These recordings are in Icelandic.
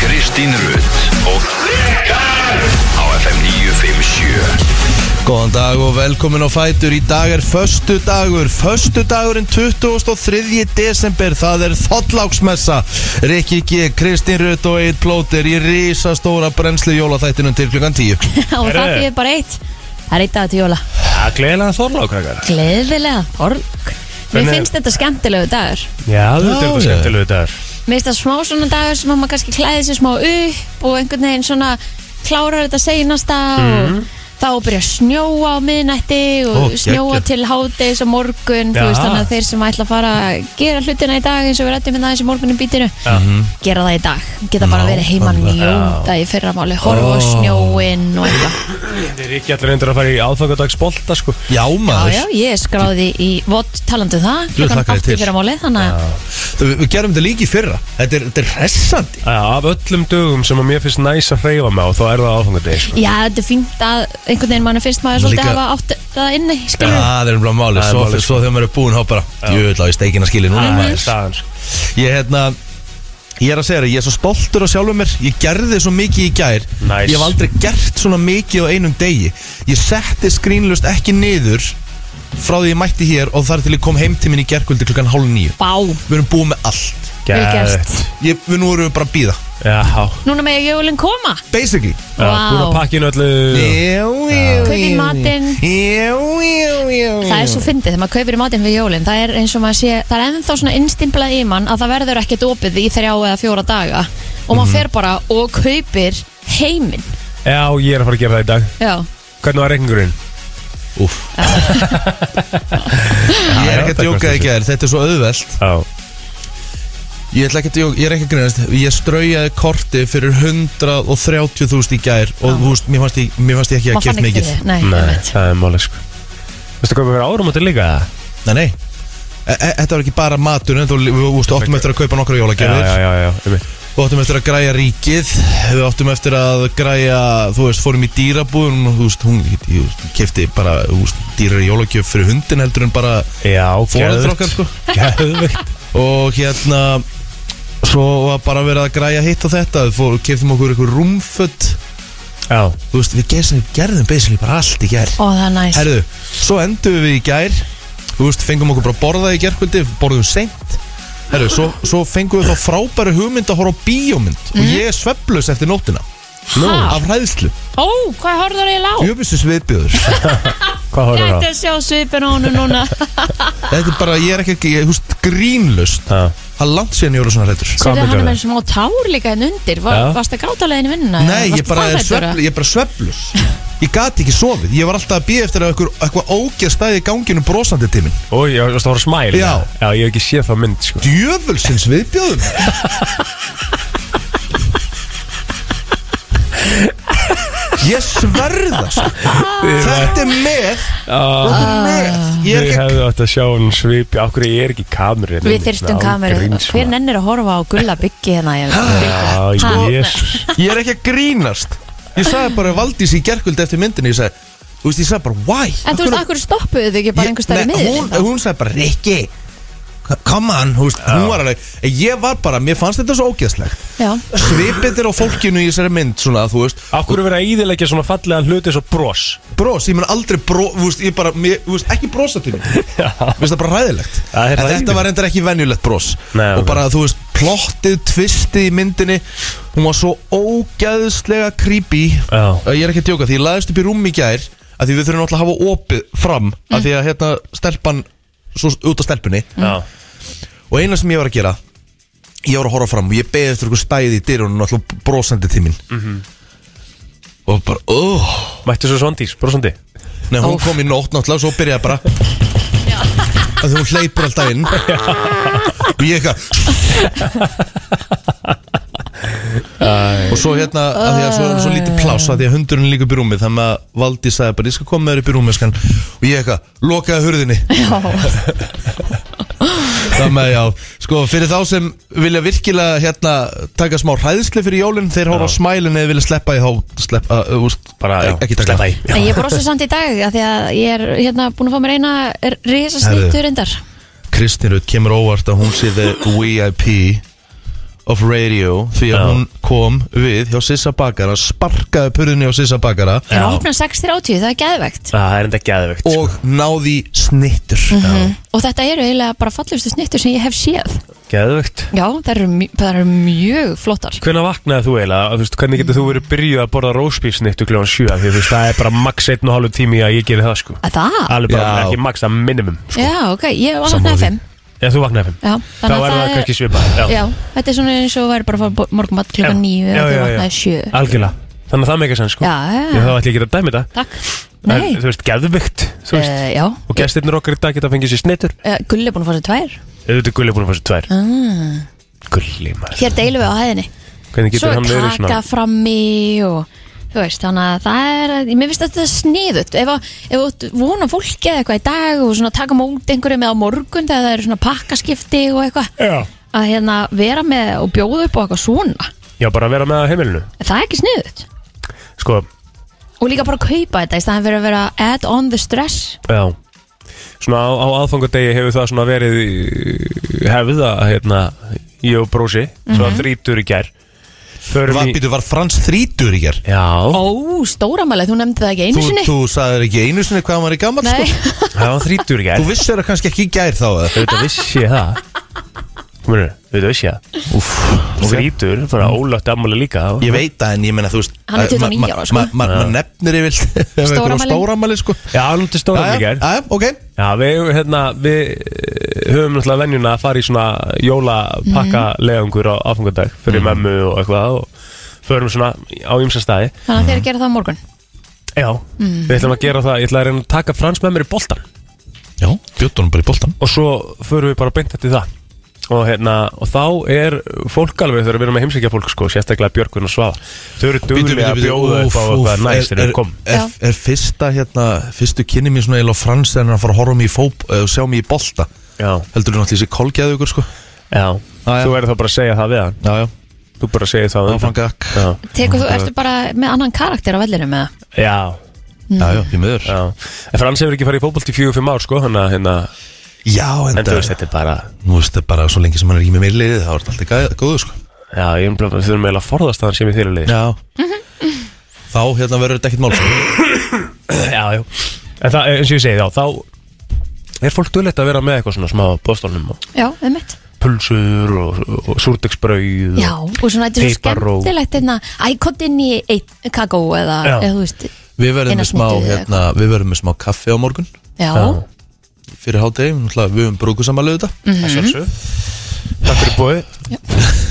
Kristín Rutt og Rikar á FM 957 Góðan dag og velkomin á Fætur Í dag er föstu dagur Föstu dagurinn 23. desember Það er þottláksmessa Rikki G, Kristín Rutt og Eitt Plóter Í risastóra brennslu jólaþættinum til klukkan 10 og það Herru. fyrir bara eitt það er eitt dag til jóla Já, gleðilega þorlák, krakkar. gleðilega org mér Hvernig- finnst þetta skemmtilegu dagur Já, þetta er Já, þetta já. skemmtilegu dagar. mér finnst það smá svona dagur sem að maður kannski klæði sér smá upp og einhvern veginn svona klárar þetta seinasta og þá byrja að snjóa á miðnætti og Mhm. Ó, snjóa geggjað. til hádegis og morgun þú Já. veist þannig að þeir sem ætla að fara að gera hlutina í dag eins og við rættum hérna aðeins í morgunum bítinu Mhm. gera það í dag, geta bara Ná, verið heima nákvæmlega. njóta í fyrramáli horfa á Ó. snjóin og eitthvað Þetta er ekki allir reyndur að fara í aðfangadags bolta, sko. Já Já, maður já, ég skráði í vott talandu það Jú, klukkan þakka þér 8 til. fyrir að máli þannig að Við, við gerum þetta líki fyrra Þetta er, þetta er hressandi Já, af öllum dögum sem að mér finnst næs að hreyfa mig á, þá er það aðfangadegi, sko. Já, þetta er fínt að einhvern veginn mann finnst maður svolítið Líka- hafa átt það inni skilur við. Það er umlað Það máli, er svo, málið, sko. svo þegar maður er búinn þá bara Jöðla, ég steikina skili núna Mhm. Það er maður. staðan, sko. Ég, hérna, ég er að segja þér, ég er svo stoltur á sjálfum mér Ég gerði svo mikið í gær Nice. Ég hef aldrei gert svona mikið á einum degi Ég setti skrínlust ekki niður Frá því ég mætti hér Og þar til ég kom heim til minn í gærkvöldi klukkan hálf nýju Bá, Við erum búið með allt vel gert Geðveikt. ég, Við nú erum við bara að býða Já, já, Núna með ég jólinn koma Basically búin að Vá. pakka inn öllu. Jú, jú, Kaupin jú. matinn. Jú, jú, jú Það er svo fyndið þegar maður kaupir í mátinn fyrir jólinn Það er eins og maður sé, það er ennþá svona innstimplað í mann að það verður ekkert opið í þrjá eða fjóra daga og Mhm. maður fer bara og kaupir heiminn Já, ég er að fara að gera það í dag. Já, Hvernig var reikningurinn? Úff Ég er ekki að djóka í gær, þetta er svo auðvelt Já, Ég, ætla ekki að djók, ég er ekki að grunast Ég straujaði korti fyrir 130.000 í gær Og þú veist, mér fannst ég, mér fannst ég ekki að maður fann geta ekki mikið fyrir Nei, nei, einmitt. það er máli, sko. Veistu hvað við verðum árum á þetta líka? Nei, nei E- e- Þetta var ekki bara matur Þetta var, við við- við áttum eftir að kaupa nokkra Já, já, jólagjafir já, já, einmitt. Við áttum eftir að græja ríkið Við áttum eftir að græja Þú veist, fórum í dýrabúðun Þú veist, hún ég, kefti bara þú veist, dýrari jólagjöf fyrir hundin heldur en bara Já, Fóreldrar okkar, sko. Geðveikt. Og hérna Svo var bara verið að græja hitt á þetta Við fór, keftum okkur ykkur rúmföt Já, Þú veist, við gerðum, gerðum basically bara allt í gær Ó, það er næst Herðu, svo endum við í gær Þú veist, fengum okkur bara að borða í gærkvöldi Borðum seint Herðu, svo, svo fengum við þá frábæri hugmynd að horfa á bíómynd Og ég er sveflaus eftir nóttina Mhm. Ha? Af hræðslu Ó, hvað horfður ég lá? Jöfisins viðbjöður hvað horfum Gæti við á? að sjá svipin á honum núna Þetta er bara, ég er ekki, ég, þú veist, grínlust Já. Það er langt síðan ég voru svona hrættur Hvað Sérðu myndir hann er það? með smá tár líka henn undir Var, Já. Varst það gátalegin í vinnuna? Nei, Varstu ég bara, það er hræddur, svefl, eða? ég er bara sveflus Ég gat ekki sofið Ég var alltaf að býja eftir að eitthvað, eitthvað ógeð stæði í ganginu brosandi til minn Ó, ég varst að horfa á smæl Já. Já, ég hef ekki séð það mynd sko. Djöfulsins viðbjöðum Ég sverða sko. Þetta er með Þetta er með Ég er Ég ekki hefði Ah. átt að sjá hún svipi Akkur ég er ekki hérna í kameru Við þyrstum kameru sko. Hver nennir að horfa á gulla byggi hérna ég- Já, Ha, jésus Sko, Ég er ekki að grínast Ég sagði bara Valdís í gerkvöld eftir myndinni Ég sagði, þú veist, ég sagði bara why En þú veist, akkur stoppuðu þig ekki bara einhver stær í Nei, hún, miður hún sagði bara Rikki c- Come on, hún, veist, hún var alveg En Ég var bara, mér fannst þetta svo ógeðslegt Já, Svipið er á fólkinu í þessari mynd Svona, þú veist Akkur er verið að íðilegja svona fallega hluti Svo bros Bros, ég mun aldrei bro, þú veist, ég bara, mér, þú veist, ekki brosa til mér Já. Þú veist, það er bara ræðilegt Það er En hræðilegt. þetta var reyndar ekki venjulegt bros Nei, Og ok. bara, þú veist, plottið, tvistið í myndinni Hún var svo ógæðslega creepy Já. Að Ég er ekki að djóka, því ég laðist upp í rúm í gær Að því við þurfum náttúrulega að hafa opið fram Mhm. Af því að hérna stelpan, svo út af stelpunni Já, Og eina sem ég var að gera Ég var að horfa fram og ég beði eftir ykkur stæði í dyrunum Náttúrulega brosandi til mín Og bara, óh Mhm. mættu svo svondís, brosandi Nei, hún kom í nótt náttúrulega og svo byrjaði bara að því hún hleypur alltaf inn og ég eitthvað og svo hérna að því að svo erum svo lítið pláss að því að hundurinn er líka upp í rúmið þannig að Valdi sagði bara ég skal koma með þér upp í rúmið skan. og ég eitthvað lokaði hurðinni þannig að já sko fyrir þá sem vilja virkilega hérna taka smá hræðslu fyrir jólinn þeir hóra á smælinn eða vilja sleppa í þá sleppa, uh, úst, Bara, já, ekki taka sleppa í. en ég brosi samt í dag af Því að ég er hérna búin að fá mér eina Risa Herðu. snýttur endar Kristín Rutt kemur óvart að hún sé the VIP of Radio Því að Já. hún kom við hjá Sissa Bakara Sparkaði purðinni á Sissa Bakara Það Já. opnar 6.30, það er geðvegt Það er enda sko. geðvögt Og náði í snittur Mhm. Og þetta eru eiginlega bara fallegustu snittur sem ég hef séð Geðvögt Já, það eru, mj- það eru mjög flottar Hvernig vaknaði þú eiginlega? Þú veist, hvernig getur þú verið byrjuð að borða rósbífsnittu kljóðan 7 Því þú veist, það er bara max 1,5 tími að ég geri það sko Að Það? Alveg bara Já. ekki max að minimum Já, ok, ég var Sammála vaknaði því. 5 Já, þú vaknaði 5 Já, Þá er það kannski svipað Já, þetta er svona eins og væri bara að fá morgumat klukkan Já. níu Já, og já, þú já. vaknaði sjö Algjörlega Þannig að það meika senn sko Já, Ég já, þá ætla ég ekki að dæmi þetta takk Það Nei, er, Þú veist, geðvögt Þú veist Eh, já, Og gestirnir okkar í dag geta að fengið sér snittur Eh, Gulli er búin að fá sér tvær Auðvitað er Gulli búin að fá sér tvær ah. Gulli maður Hér deilum við á hæðinni Hvernig Svo getur hann er verið kaka svona frammi og þú veist, þannig að það er mér finnst þetta sniðut ef, að- ef þú vona fólki eða eitthvað í dag og svona taka mót einhverju með á morgun þegar það eru svona pakkaskipti og eitthvað Já að hérna vera með og bjóða upp á eitthvað svona Já, bara að vera með á heimilinu það er ekki sniðut Sko, og líka bara kaupa þetta í staðan fyrir að vera add on the stress já Svona á, á aðfangadegi hefur það svona verið í- Hefð að, hérna Ég og brósi Svo Mhm. að þrítur í gær Förum í Býtu var Frans þrítur í hér Já, ó, stóramælið, þú nefndi það ekki einu Þú, sinni þú sagðir ekki einu sinni hvað hann var í gammal Nei, sko. það var þrítur í Þú gær vissir það kannski ekki í gær þá eða? Auðvitað vissi ég það Kominur, auðvitað vissi ég það Úff, Og ok. þrítur, bara ólögt afmáli líka Ég veit það en ég menna þú veist Hann er 29 ma- ma- ára, sko. ma- ma- Maður nefnir yfir Stóramæli. Stóramæli sko Já, hann til stóra í gær Jæja, ok Já, við, hérna, við eh, höfum náttúrulega venjuna að fara í svona jólapakka Mhm. á áfangandag Mhm. fyrir mömmu og eitthvað og förum svona á ymsa staði þannig að þeir gera það á morgun Já, Mm. við ætlum að gera það, ég ætla að reyna að taka frans með mér í boltan Já, bjóttunum bara í boltan og svo förum við bara beint eftir það og, hérna, og þá er fólk alveg þegar við erum með heimsækja fólk sko, sérstaklega Björgun og Svafa þau eru duglega að bjóða upp á eitthvað næst þegar við komum er, Já. er fyrsta hérna Fyrstu kynni mín svona eiginlega á frans Þegar hann er að fara að horfa á mig í fóp Og sjá mig í bolta Já, Heldur þú náttúrulega þessi kolgæðu ykkur sko já, já. þú verður þá bara að segja það við hann Já, já þú bara segir það á undan. Áfangak Já, Tekur þú, ertu bara með annan karakter á vellinu með það? já Mm. Já, já, því miður Já, en Frans hefur ekki farið í fótbolt í fjögur fimm ár sko, hann að hérna, Já, en en þú veist það þetta er bara Nú veist það bara svo lengi sem hann er ekki með mér í liðið Það var alltaf góðu sko já, ég er bara, við þurfum eiginlega að forðast að hann sem í þeirra liði Já Mhm. Þá hérna verður þetta ekkert mál sko. Já, já, en það, eins og ég segi þá, þá er fólk duðlegt að vera með eitthvað svona smá bóstólnum og Já, um mitt pulsur og, og súrdegsbrauð Já, og svona þetta er svo Pipar og- skemmtilegt hérna, ækotinn í eitt kakó eða, Já. eða þú veist, Við verðum Eina með smá snittuð eða hérna, Við verðum með smá kaffi á morgun já, Fyrir hádegi náttúrulega, Við höfum brúkusamalöðu þetta Mhm. það sjálfsög Takk fyrir bóðið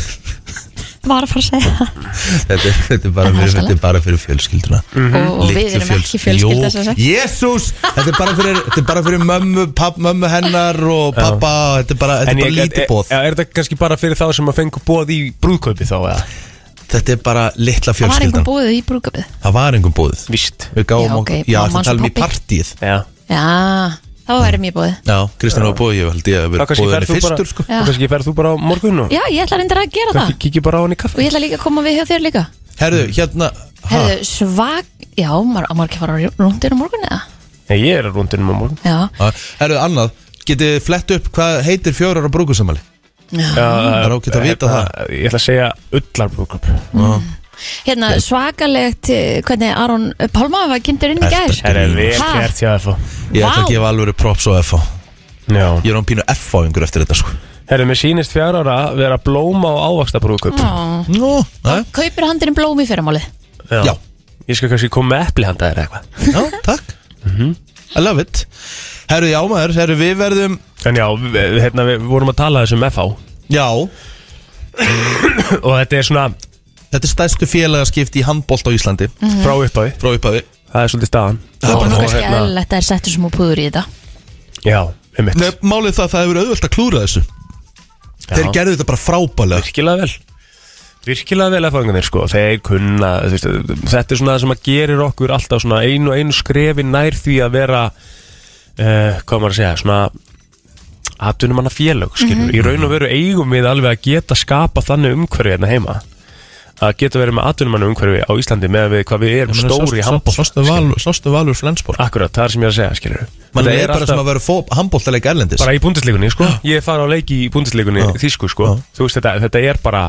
var að fara að segja það þetta, er- þetta, er bara En það er fyrir, þetta er skemmtilegt. bara fyrir fjölskylduna Mhm. og, og við erum ekki fjölskylda sem sagt. Jésús, þetta er bara fyrir, þetta er bara fyrir mömmu, papp, mömmu hennar og pappa Þetta er bara, þetta er En bara ég, lítið er, bóð er, er þetta kannski bara fyrir þá sem að fengu bóð í brúðkaupi þá eða? Þetta er bara Það var litla einhver fjölskyldan búið í brúkabið Það var engum bóð Víst Við gáum Já, ok, okkur, já, mamma hans þetta og talum um í pabbi. partíið Já, Já, þá erum ég búið Já, Kristján var bóð, ég held ég að þá vera kannski bóð henni ferð þú bara fyrstur sko. þá kannski ferð þú bara á morgun og Já, ég ætla reyndar að gera það kannski kikið bara á hann í og kaffi ég ætla líka að koma við hjá þér líka Herðu, hérna ha, Hefðu svag, já, maður á maður ekki að fara rúndir á morgun eða Nei, Ég er rundunum á morgun Já, ha, Herðu, annað, getið flett upp hvað heitir fjórar á brúkusamali já. Það er ágætt að eh, vita það. Ég ætla að segja ullarbrúðkaup Hérna, svakalegt eh, hvernig Aron Pálma var kynntur inn í gær Það er vel Ha? gert hjá FH Ég ætla Vá. að gefa alveg props á FH Já Ég er án pínu FH yngur eftir þetta sko. Það er með sínist fjár ára vera blóma og ávaxtabrúðkaup Já. Nú, já, Kaupir handirinn blóm í fyrramálið já. Ég skal kannski koma með epli handa þér eða eitthvað Mhm. Já, takk I love it Herru, já maður, herru, við verðum En já, við, hérna, við vorum að tala þessum FH Já, Og þetta er svona þetta er stærstu félagaskipti í handbólt á Íslandi Mhm. frá upphafi Frá upphafi Það er svolítið staðan Það var nú Og kannski hérna- eðlilegt að það er settur smá púður í þetta Já, um mitt Nei, málið það, það hefur auðvöld að klúra þessu Þeir gerðu þetta bara frábælega Virkilega vel Virkilega vel FH-ingarnir sko Þeir kunna, þú veist, þetta er svona það sem að gerir okkur alltaf svona einu og einu skrefi nær því að vera uh, Hvað á maður að segja, svona atvinnum hana félög, skilur Mhm. Í raun og veru eigum við alveg að geta skapa þannig umhverfi hérna heima að geta verið með atvinnum umhverfi á Íslandi með við hvað við erum stóri í handbóð Sástu valur, sástu valur Flensborg Akkurat, það er sem ég er að segja, skilur Man er bara sem að vera handbóltalega erlendis bara í búndisleikunni sko Ég fara á leiki í búndisleikunni Já. þýsku sko Já. Þú veist þetta, þetta er bara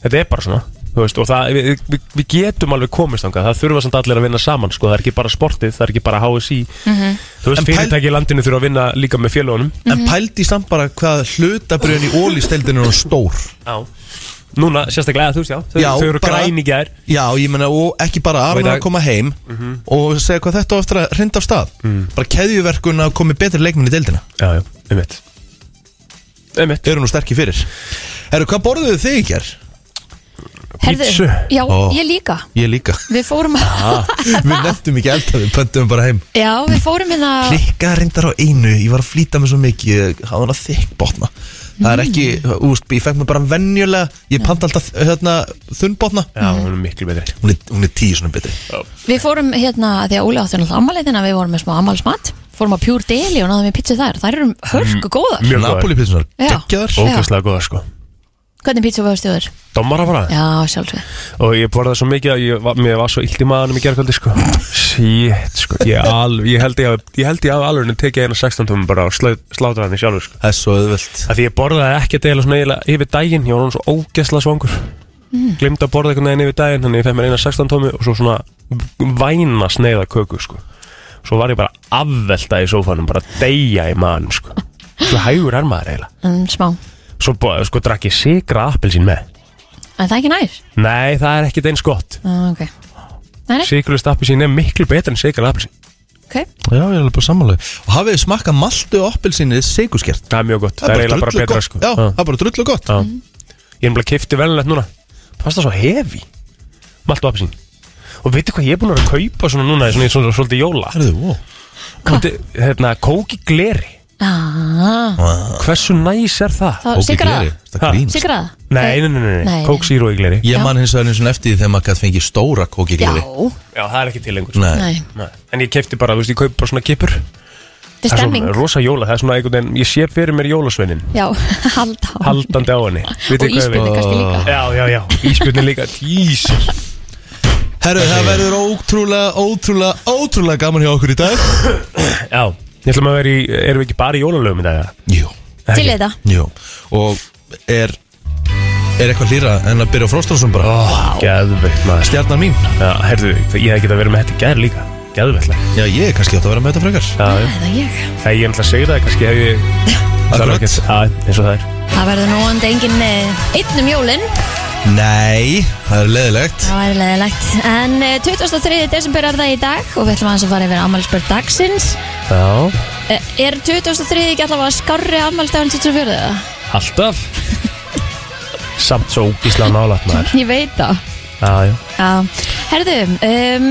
þetta er bara svona þú veist, og það, við, við, við getum alveg komist þangað, það þurfa samt allir að vinna saman sko, það er ekki bara sportið, það er ekki bara HSI Mhm. þú En veist, pæl- fyrirtæki í landinu þurfa að vinna líka með félagunum En pældi samt bara hvað hlutabrjön í ólisteldinu er stór já. núna, sérstaklega, þú veist, já, þau, Já, þau eru bara- græn í gær Já, ég meina, og Mhm. ekki bara Og í Arnar dag- að koma heim og segja hvað þetta á eftir að hrinda af stað Bara keðjuverkun að komi betri leikmenn í deildina já, já, einmitt einmitt, Eru nú sterkir fyrir Herru, hvað borðuðu þið í ger? Pítsu? Já, Ó. ég líka Ég líka Við fórum að Ah, Við nefndum ekki elda, við pöntum bara heim Já, við fórum hérna Klikka reyndar á einu, ég var að flýta mig svo mikið Ég hafði hana þykk botna Það er ekki, Mm. úst, ég fekk mig bara venjulega Ég panta alltaf hérna, þunn botna já, hún er miklu betri hún er, hún er tíu svona betri Við fórum hérna af Því að Óli átti náttúrulega ammalið Þannig að við vorum með smá ammalsmat Fórum á Pure Deli og náðum við pítsu þar Þær eru hörku góðar Mm. mjög Napoli góðar, pítsunar, Já. geggjaðar ógæslega góðar sko Hvernig pítsu var stjóður? dommara bara, Já, sjálfsög og ég borðaði svo mikið að ég, var- mér var svo illt í maðanum í gerðkvöldi sko shit, sko, ég, alveg, ég held ég hafi- ég held ég hafi alveg tekið eina 16 tómum bara og sláta hann í sjálfur sko Það er svo auðvöld að því ég borðaði ekki að deila svona eiginlega yfir daginn ég var hann svo ógæsla svangur mm. glimt að borða einhvern veginn yfir daginn þannig ég fekk mér eina 16 tómi og svo svona væna sneiða köku sko svo var ég bara afvelta í sófanum bara deyja í mann sko svo hægur er maður eiginlega mm, Smá svo bó- sko drakk ég sigra appelsín með En það er ekki nær nei það er ekkit eins gott ah, okay. Nei, nei, sigrust appelsín er miklu betur en sigra appelsín ok Já, ég er alveg bara sammálaug Og hafið þið smakkað maltu og appelsinni sigurskert það er mjög gott það er eiginlega bara drullu betra gott. sko Já, Já. það er bara drullu gott Já. Mhm. Ég er náttúrulega kifti velnett núna Fannst það svo hefi Malt og appisín Og veitu hvað ég er búin að vera að kaupa svona núna Svona, svona, svona svolítið jóla Herðu, ó Þetta, hérna, kóki gleri ah, Hversu næs er það? Þá sigraða Það grínst Sigraða Nei, nei, nei, nei, nei. Nei, kók síru í gleri Ég Já. man hins vegar eins og eftir því þegar maður gæti fengið stóra kókigleri Já, Já, það er ekki til lengur Nei, nei Nei. En ég kefti bara, þú veist, ég kaupi bara svona kipur Þetta er Það er stemming svona rosa jóla, það er svona einhvern veginn Ég sé fyrir mér jólasveinin Já, hald á Haldandi á henni Og Vitið hvað ég veit? ísbjörni kannski líka Já, já, já, íspjörnin líka Jesus Herru, það verður ótrúlega, ótrúlega, ótrúlega gaman hjá okkur í dag Já, ég ætlum að vera í, erum við ekki bara í jólalögum í dag? eða? Jú, Til í þetta jú Og er, er eitthvað hlýra en að byrja á Frostarsson bara Geðveikt maður Stjarnar mín Já, heyrðu, ég hef getað verið með þetta í gær líka Geðveikt Já, Já, ég er kannski átt að vera með þetta frekar já Það er ég Það ég er náttúrulega að segja það, kannski hef ég Það er Akkurat. ekkert, já, eins og það er Það verður nú andi engin einn um jólinn, Nei, það er leðilegt það væri leðilegt. En eh, 23. desember er það í dag og við ætlum aðeins að fara yfir afmælisbörn dagsins. Já, Eh, Er 23. ekki allavega skárri afmælisdagurinn 24. eða? alltaf Samt svo úkislega nálægt maður Ég veit það. Já, já, Já. Herðu, um,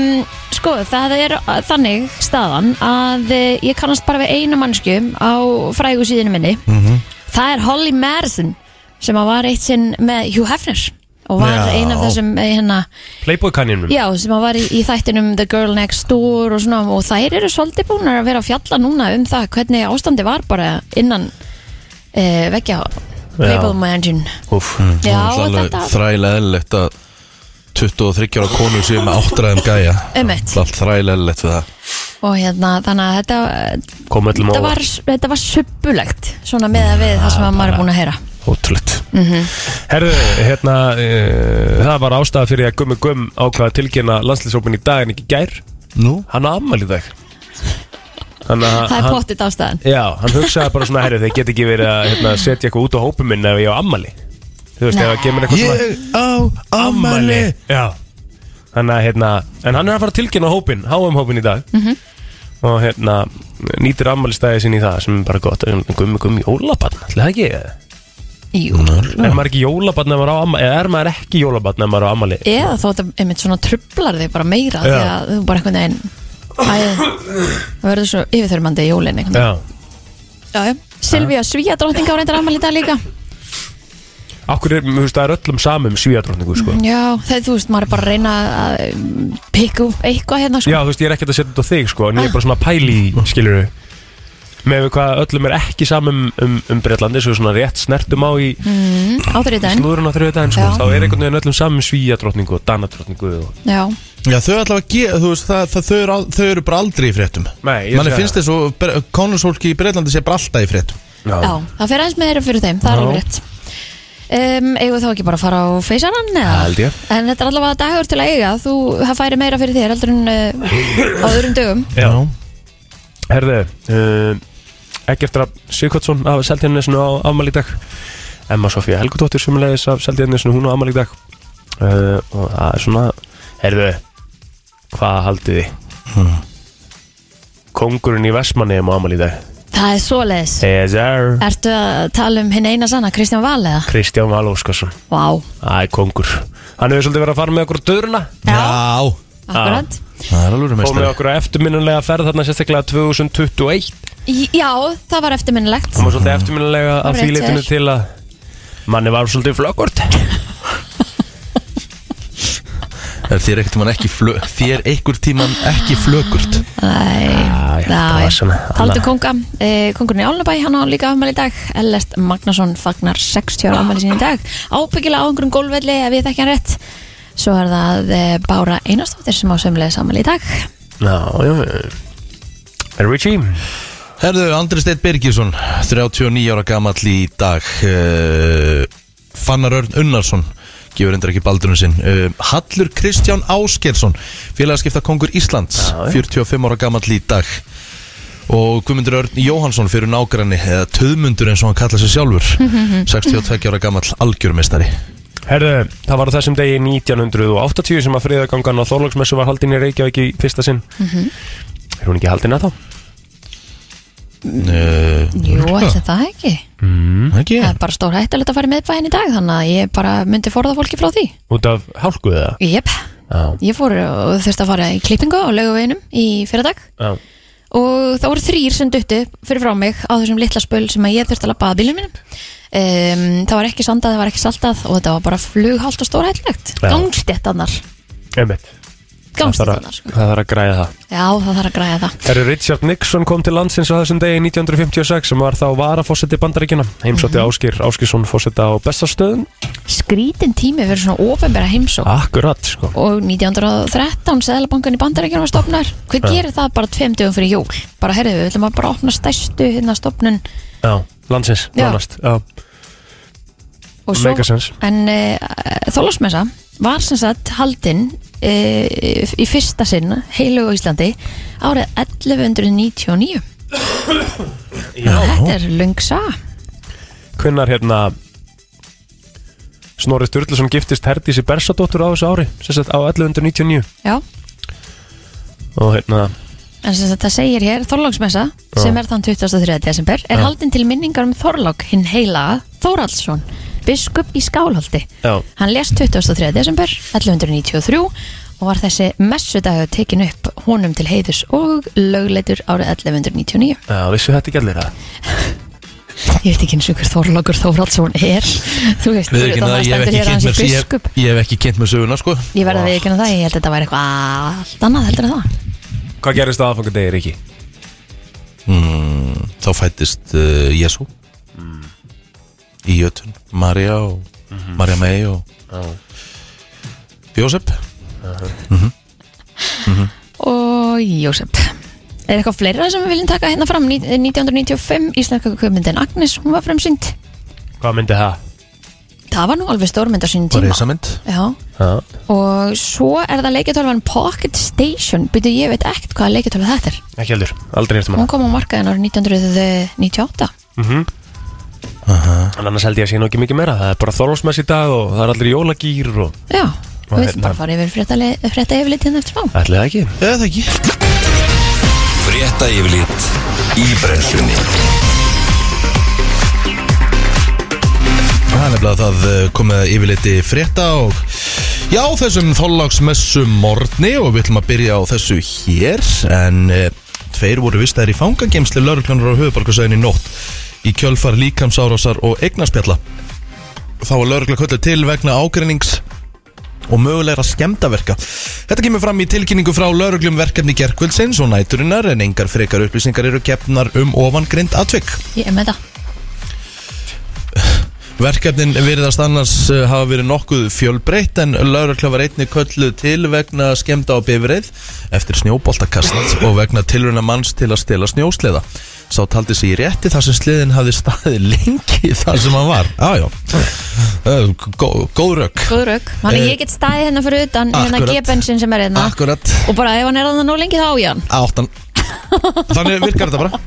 sko það er eh, þannig staðan að eh, ég kannast bara við einu mannsku á frægu síðinu minni. Mhm. Það er Holly Madison sem að var eitt sinn með Hugh Hefner og var Já. ein af þessum eh, hérna, Playboy kanninum Já, sem að var í, í þættinum The Girl Next Door og svona og þær eru svolítið búnar að vera að fjalla núna um það hvernig ástandi var bara innan e, veggja Playboy Mansion Úf, Já, Það er þetta alveg þrælega eðlilegt að 23 ára konur séu með áttræðum gæja Einmitt. Það er allt þrælega eðlilegt við það og hérna, þannig að þetta, kom öllum þetta á var, þetta var subbulegt svona með að við það sem að maður er búin að heyra Mhm. Ótrúlegt Herðu, hérna, uh, það var ástæða fyrir að Gummi Gumm ákvaða tilkynna landslýsópin í dag en ekki í gær Nú? Hann á afmæli í dag Þannig að Það er hann- pottitt ástæðan Já, hann hugsaði bara svona, herri, þeir get ekki verið að hérna, setja eitthvað út á hópum minn ef ég á ammali Þú veist, ef það kemur eitthvað Ég er á ammali Já Þannig að, hérna, en hann er að fara að tilkynna hópin, háum hópin í dag Mhm. -hmm. Og hérna, nýtir ammælistæði sinni í það sem er bara gott Gummi, gummi, jólabarn, ætli það ekki Jú. Er maður ekki jólabarn ef maður á ammali, eða er maður ekki jólabarn ef maður á ammali Eða þó þetta einmitt svona trublar þig bara meira Já. því að þú bara einhvern veginn Æ, það verður svo yfirþörmandi í jólinn einhvern veginn Já, Já, já. Silvía Svíja dróttinga á reyndar afmæli í dag líka okkur er, þú veist, það er öllum samum svíadrótningu, sko Já, þegar þú veist, maður er bara að reyna að um, pikka upp eitthvað hérna sko. Já, þú veist, ég er ekkert að setja þetta á þig, sko, en ég er bara svona að pæli í, skilur við með við hvað öllum er ekki saman um, um, um Breitlandi, svo svona rétt snertum á í mm. Mhm, á þriðdæn slúðurinn á þriðudaginn, sko, Já. þá er einhvern veginn öllum saman svíjadrottningu og danadrottningu og... Já, Já, þau allavega gefa, þú veist, það, það, þau, eru, al- þau eru bara aldrei í fréttum Nei, ég Manni sé finnst það. þess að konusólki í Breitlandi sé bara alltaf í fréttum já, það fer aðeins með þeirra fyrir þeim, það er Já. alveg rétt um, eigum við þá ekki bara að fara á feysarann eða? Það held ég. En þetta er allavega dagur til að eiga þú, það færi meira fyrir þér heldur en uh, á öðrum dögum Já. Herðu, uh, Eggertra Sigurkottsson af Seltjarnesinu á afmæli í dag Emma Sofía Helgudóttir sem leiðis af Seltjarnesinu, hún á afmæli í dag uh, og það er svona Herðu, hvað haldið þið? Kongurinn í Vestmanniðum á afmæli í dag Það er svoleiðis Yes, sir Ertu að tala um hinn eina sanna, Kristján Val eða? Kristján Val Óskarsson, Vá, það er kongur Hann hefur svolítið verið að fara með okkur á döðruna Já, akkurat það er alveg og meistari með okkur að eftirminnulega ferð þarna sérstaklega 2021 Í- Já, það var eftirminnilegt Hún var svolítið eftirminnilega Það að var rétt því hjá litinu þér. til að manni var svolítið flökkvort Er þér ekkert tíman ekki flö, Þér einhver tíman ekki flökurt Já, já, það var svona Taldu annað. konga, eh, kongurinn í Álnabæ, hann á líka afmæli í dag Ellert Magnason fagnar 60 ára afmæli sinni í dag Ábyggilega á einhverjum gólfvelli ef ég þekki hann rétt Svo er það eh, Bára Einarstóttir sem á sömulegis afmæli í dag Já, já Er Richie? Herðu, Andri Steinn Birgisson 39 ára gamall í dag uh, Fannar Örn Unnarsson gefur endur ekki baldurinn sinn uh, Hallur Kristján Áskersson félagaskipta kongur Íslands Já, já. 45 ára gamall í dag og Guðmundur Örn Jóhansson fyrir nágranni eða töðmundur eins og hann kallar sig sjálfur 62 ára gamall algjörmestari Herðu, það var á þessum degi 1980 sem að friðagangan á Þorlóksmessu var haldin í Reykjavík í fyrsta sinn Er hún ekki haldin að þá? uh, Jú, ætli það ekki Mm. ekki Það er bara stór hættilegt að fara með bæinn í dag Þannig að ég bara myndi forða fólki frá því Út af hálku eða? Jep, Já, ég fór og þurfti að fara í klippingu á laugaveginum í fyrradag já og það voru þrýr sem duttu fyrir frá mig á þessum litla spöl sem að ég þurfti að labba að bílum mínum um, það var ekki sandað, það var ekki saltað og þetta var bara flughalt og stórhællilegt Já. gangstéttanar Einmitt. Það þarf að- gangstéttanar, sko. það þarf að græða það já það þarf að græða það Herri Richard Nixon kom til landsins á þessum degi 1956 sem var þá varafósetti bandaríkjana Mhm. heimsótti Áskir Áskirsson fósetta á bestastöðum skrítin tími fyrir svona ofinbæra heimsók Akkurat sko og 1913 seðlabankan í bandarækjunum var stopnar hvað gerir það bara tveim dögum fyrir jól bara herriðu, við ætlum að bara opna stærstu hérna stopnun Já, landsins, Já. nánast Já, og Make sense. en uh, þólasmessa var sem sagt haldinn uh, í fyrsta sinn heilugu á Íslandi árið 1199 þetta er lungsa Hvenær hérna Snorri Sturluson giftist Herdísi Bersadóttur á þessu ári sérstætt á 1199 já og hérna En sem sagt, það segir hér, Þorláksmessa, sem er þann 23. desember, er haldinn til minningar um Þorlák, hinn heila Þóraldsson, biskup í Skálholti. Já. Hann lést 23. desember 1193 og var þessi messudagur tekin upp honum til heiðus og lögleitur árið 1199. Já, vissu þetta ekki allir það? Ég veit ekki eins og hver Þorlákur Þóraldsson er Þú veist, Við ekki utan það, ég hef stendur hér ekki að kynnt hann mér sé ég, biskup. hef- ég hef ekki kynnt mér söguna sko Ég verði að viðkynna það, ég held að þetta væri eitthvað allt annað heldur en það Hvað gerist það aðfangadegi Ríki? Mm, þá fættist uh, Jésu í Jötun Marja og Marja May og Jósef Mhm. Og Jósef Er eitthvað fleira sem við viljum taka hérna fram Ní- 1995, íslenska kveikmyndin Agnes, hún var fremsynd Hvað myndi það? Það var nú alveg stórmynd á sínum og tíma Reisamynd Já, Já, og svo er það leikjartölvan Pocket Station Býtu, ég veit ekkert hvaða leikjartölva þetta er ekki heldur, aldrei hértum Hún hana Mhm. kom á markaðin árið 1998 En annars held ég að sé nú ekki mikið meira Það er bara þorlósmess í dag og það er allir í jólagýr og Já, Og við viljum hérna- bara fara yfir frétta yfirleitt hérna eftir frá Ætli það ekki eða það ekki Frétta yfirlit í brennslunni það er nefnilega það eh, komið yfirleiti frétta og já þessum þóllagsmessu morgni og við ætlum að byrja á þessu hér en uh, tveir voru vistaðir í fangagemsli lauruglunar á höfubarkasæðin í nótt í kjölfar líkamsárásar og eignaspjalla þá var laurugla köllu til vegna ágreinings og mögulegra skemmtaverka. Þetta kemur fram í tilkynningu frá lauruglum verkefni gerkvöldsins og næturinnar en engar frekar upplýsingar eru gefnar um ofangrind atvik. Ég er með það Verkefnin virðast annars uh, hafa verið nokkuð fjölbreytt en laurökla var einni kölluð til vegna skemda á bifreið eftir snjóboltakast og vegna tilruna manns til að stela snjósleða. Sá taldi sig í rétti þar sem sliðin hafi staðið lengi þar sem hann var. Já, já. Uh, Gó, góð rök. Góð rök Þannig Eh, ég get staðið hérna fyrir utan hérna akkurat. gebensin sem er hérna Akkurat. og bara ef hann er þannig nóg lengi þá á ég hann Áttan Þannig virkar þetta bara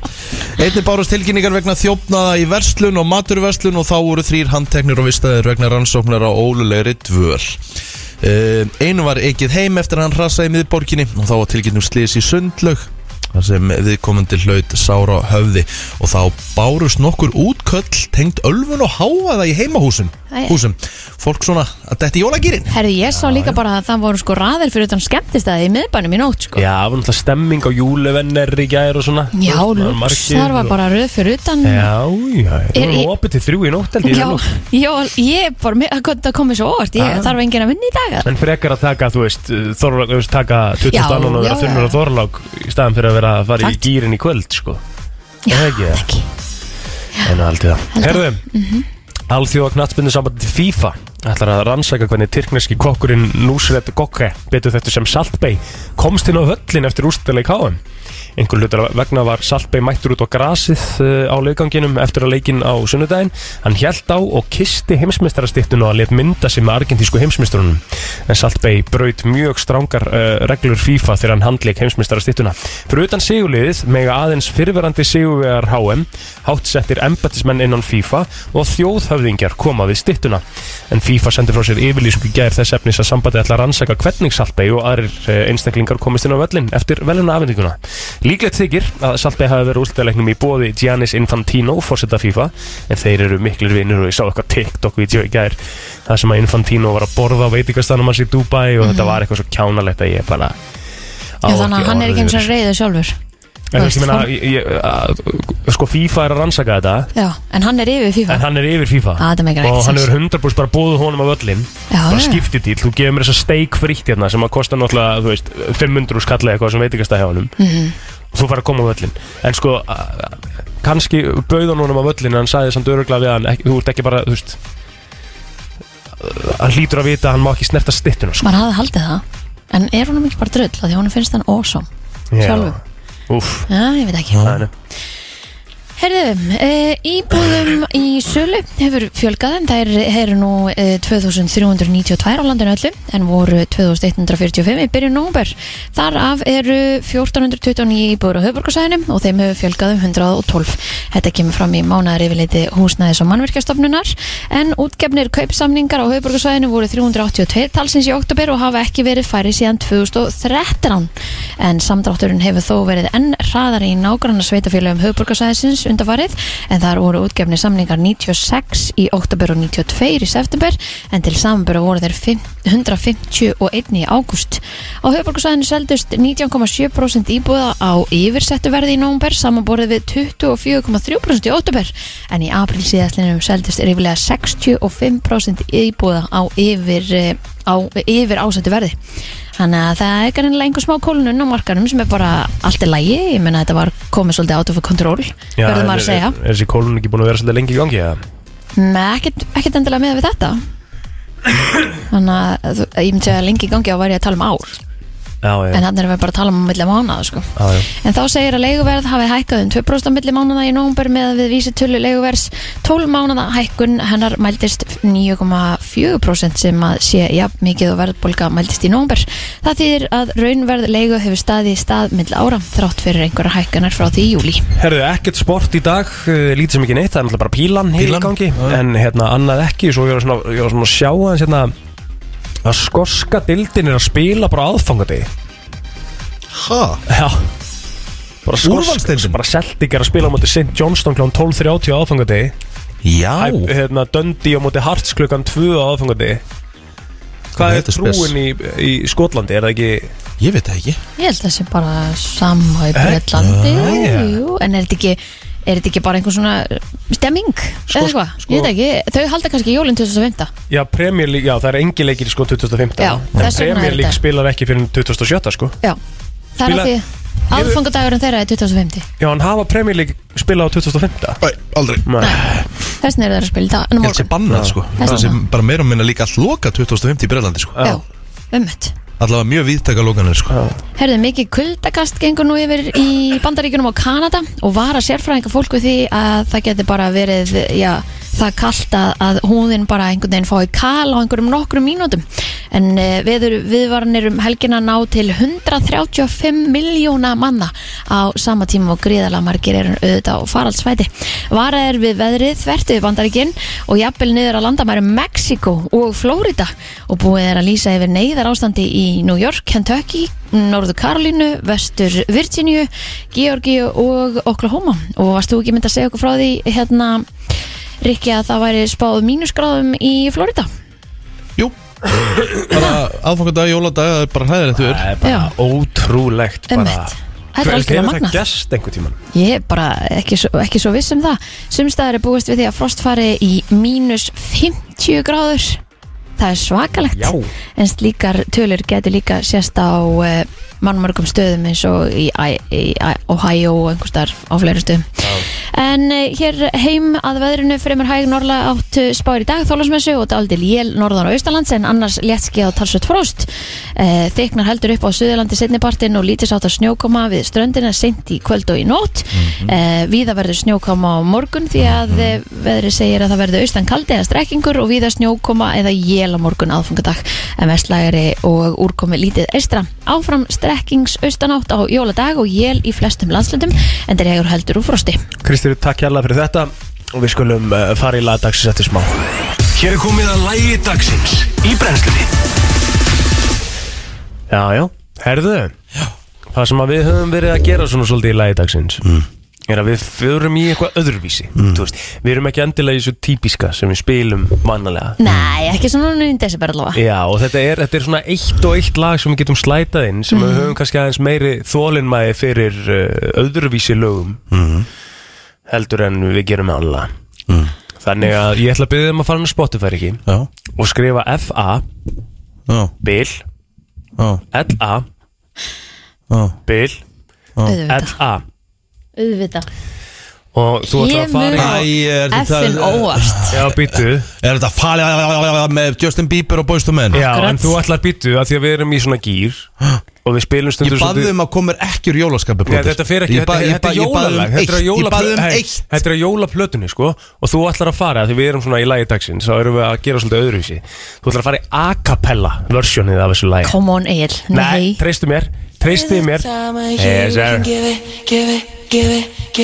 Einnig bárust tilkynningar vegna þjófnaða í verslun og maturverslun og þá voru þrýr handteknir og vistaðir vegna rannsóknar á ólulegri dvöl Eh, Einu var ekið heim eftir að hann hrassaði í miðborginni og þá var tilkynnum slis í sundlaug þar sem viðkomandi hlaut sára á höfði og þá bárust nokkur útköll tengt ölfun og háaða í heimahúsum Æ. húsum. Fólk svona að detti jólagýrin Herðu ég sá líka bara að það voru sko raðir fyrir utan skemmtistæði í miðbænum í nótt sko Já, það var náttúrulega stemming á júlevenner í gær og svona Já, Þú veist, lúks, margir Eh, þar var og- bara röð fyrir utan Já, já, það Er í- var opið til þrjú í nótt held ég, Já, í nótt. já, ég bara, mér- það kom- það komið svo óvart, ég Ah. þarf enginn að vinna í dag En frekar að taka, þú veist, þorlag, þú veist, taka 20 Já, annan og vera já, já. þunnur og þorlag í staðan fyrir að vera að fara í Takk. gýrin í kvöld, sko Já, það er ekki það. ekki En aldrei það Held að- Herðu, alþjóða knattbyndu sambandi FIFA ætlar að rannsaka hvernig tyrkneski kokkurinn Nusret Gokke betur þetta sem Saltbey komst inn á höllin eftir úrstuleik háum einhver hlutar vegna var Saltbey mættur út á grasið uh, á leikanginum eftir að leikin á sunnudaginn hann hjælt á og kisti heimsmeistarastýttun og að let mynda sig með argentísku heimsmeistarunum en Saltbey braut mjög strángar uh, reglur FIFA þegar hann handleik heimsmeistarastýttuna fyrir utan sigurliðið mega aðeins fyrverandi sigurvegar HM hátsettir embattismenn innan FIFA og þjóðhöfðingjar koma við styttuna. En FIFA sendir frá sér yfirlýsingu í gær þess efnis að sambandið ætla að rannsaka hvernig Saltbei og aðrir eh, einstaklingar komist inn á völlin eftir veluna afhendinguna. Líklegt þykir að Saltbei hafi verið úrstæðleiknum í bóði Giannis Infantino, fórseta FIFA, en þeir eru miklir vinnur og ég sá eitthvað TikTok-vídeó í gær þar sem að Infantino var að borða á veitingastanum hans í Dubai og þetta var eitthvað svo kjánalegt að ég bara á Já, þannig að hann er ekki eins orð og reyður sjálfur En þú Þú veist, ég meina, veist, ég- ég- að- sko FIFA er að rannsaka þetta Já, en hann er yfir En FIFA hann er yfir FIFA Ah, þetta meikar ekkert Og hann sens. er 100% bara búið honum af öllin Já, Bara já. skiptið til, þú gefur mér þessa steik fritt hérna Sem að kosta náttúrulega, þú veist, 500 skallið eitthvað sem veitingastæði á honum Mm. -hmm. Og þú fara að koma á öllin En sko, a- a- kannski bauð hann honum af öllin En hann sagði samt öruglega við hann ekki, Þú ert ekki bara, þú veist Hann hlýtur að vita að hann má ekki snerta stittuna sko. Maður hafði haldið það En er honum ekki bara drull, af því honum finnst hann awesome sjálfur. Úf, Já, ég veit ekki það er nefn Herðu, e, íbúðum í sölu hefur fjölgað en þær eru nú e, 2392 á landinu öllu en voru 2145 í byrjun nómber. Þar af eru 1429 íbúður á höfburgarsæðinum og þeim hefur fjölgað um 112. Þetta kemur fram í mánæðar yfirleiti húsnæðis og mannverkjastofnunar en útgefnir kaupsamningar á höfburgarsæðinu voru 382 talsins í oktober og hafa ekki verið færi síðan 2013 en samdrátturinn hefur þó verið enn hraðar í nágranna sveitafélögum höfuborgarsæðisins undarfarið en þar voru útgefni samningar 96 í oktober og 92 í september en til samanbyrðu voru þeir 5 151 í ágúst. Á höfuborgarsæðinu seldust 19,7% íbúða á yfirsettu verði í nómber samanborið við 24,3% í oktober en í april síðastlinum seldust yfirlega 65% íbúða á yfir eh, á, yfir ásettu verði þannig að það er kannilega einhver smá kólunum á markanum sem er bara allt í lægi ég menna þetta var komið svolítið out of control Já, verður en maður að er- segja Er er þessi kólun ekki búin að vera svolítið lengi í gangi? eða? Nei, ekkert, ekkert endilega með við þetta þannig að þú- ég myndi segja að lengi í gangi á væri ég að tala um ár Já, já, en þannig erum við bara að tala um milli mánaða sko. já, já. En þá segir að leiguverð hafi hækkað um 2% á milli mánada í nómber með við vísitölu leiguverðs 12 mánada hækkun hennar mæltist 9,4% sem að sé jafn mikið og verðbólga mæltist í nómber. Það þýðir að raunverð leigu hefur staði í stað milli ára þrátt fyrir einhverja hækkanar frá því í júli. Herðu, ekkert sport í dag, uh, lítið sem ekki neitt, það er náttúrulega bara pílan, pílan. Pílan, í gangi, já. en hérna annað ekki, svo ég var svona, ég var svona að sjá aðeins hérna að skorska dildin er að spila bara aðfangadegi. Ha? Já. Bara Úrvalsdeildin? bara Celtic er að spila á móti St. Johnston klán 12.30 á aðfangadegi, Já Hæ- hérna Dundee á móti Hearts klukkan 2 á aðfangadegi. Hvað er Þetta er spes. trúin í, í Skotlandi, er það ekki, Ég veit það ekki Ég held þessi bara sama í Breitlandi, já. jú, en er þetta ekki, er þetta ekki bara einhver svona stemming eða eitthvað? sko- Ég veit ekki, þau halda kannski jólinn 2015. já, Premier League, já, það er engi leikir í sko 2015, Já, en þess vegna er Premier League þetta. spilar ekki fyrir 2017, sko. Já, það er að Spila- því Aðfangadagurinn þeirra er 2050 Já, hann hafa Premier League spila á 2005 Æ, aldrei Nei, Þess vegna eru þeirra að spila í dag En á Þetta sé morgun bannað sko er Það sé bannað. bara meira og minna líka allt loka 2050 í Breðlandi sko Já, ummitt Allavega mjög víðtaka lokanir sko Herðu, mikið kuldakast gengur nú yfir í bandaríkjunum og Kanada og vara sérfræðinga fólku því að það geti bara verið, já, það kallt að, að húðin bara einhvern veginn fái kal á einhverjum nokkrum mínútum. En uh, viður, viðvaranir um helgina ná til 135 miljóna manna á sama tíma og gríðalega margir eru auðvitað á faraldsvæti. Vara er við veðrið þvert yfir bandaríkin og jafnvel niður að landamæri Mexiko og Flórida og búið er að lýsa yfir neyðar ástandi í New York, Kentucky, Norðu Karolínu, Vestur Virginíu, Georgíu og Oklahoma og varst þú ekki mynd að segja okkur frá því hérna Rikki að það væri spáð mínusgráðum í Flórida Jú Bara aðfangadag, jóladag, það er bara hæðilegt við það er bara Já. ótrúlegt bara. Einmitt. Þetta er algjörlega Hefur það magnað. gerst einhvern tíman? Ég er bara ekki svo, ekki svo viss um það Sumstaðar er búist við því að frost fari í mínus 50 gráður Það er svakalegt Já. En slíkar tölur getur líka sérst á uh, mannmörgum stöðum eins og í, í, í Ohio og einhvers þar á fleiri stöðum En uh, hér heim að veðrinu fremur hæg norla átt spáir í dag þólasmessu og daldil jél norðan og austalands en annars léttski á talsvöld fróst uh, Þyknar heldur upp á suðurlandi setnipartin og lítið sátt að snjókoma við ströndina seint í kvöld og í nótt mm Víða verður snjókoma á morgun því að mm veðri segir að það verður austan kaldi eða strekkingur og víða snjókoma eða jél á morgun aðfungadag en vestlægari og úrkomi lítið eistra Áfram strekkings austanátt á jóladag og jél í flestum landslöndum en þeir hegur heldur úr frosti Kristýr, takk hérlega fyrir þetta og við skulum uh, fara í lagdagsins eftir smá Hér er komið að lægi dagsins í brennslunni Já, já, herðu já. Það sem að við höfum verið að gera svona svolítið í lagi dagsins mm. er að við förum í eitthvað öðruvísi mm. veist, Við erum ekki endilega í svo típiska sem við spilum mannalega Nei, ekki svona núna í desember allavega Já, og þetta er, þetta er svona eitt og eitt lag sem við getum slætað inn sem Mhm. við höfum kannski aðeins meiri þólinmæði fyrir uh, öðruvísi lögum Mhm. heldur en við gerum alla mm. Þannig að ég ætla að byrja þeim að fara inn á Spotify ekki Já, og skrifa F-A já, Bill já, L-A já Bill Auðvitað, L-A auðvitað og þú ætlar að fara í Kemur Æ, er þetta- F-in óvart Já, býtu Er þetta falið með Justin Bieber og Boyz II Men? Já, Akkurat. en þú ætlar að býtu að því að við erum í svona gýr og við spilum Ég stundur baði um að koma mér ekki úr jólaskapi Nei, þetta fer ekki, ég ba- þetta, ég þetta er ba- ég bað um jólalag Þetta er eitt, Ég baði um jólaplötunni sko. eitt Þetta er jólaplötunni, sko Og þú ætlar að fara, af því við erum svona í lagi dagsins Þá erum við að gera svolítið öðruvísi Þú ætlar að fara í a cappella versjónið af þessu lagi Come on Egil, Nei, nei treystu mér, treystu mér Yes, sir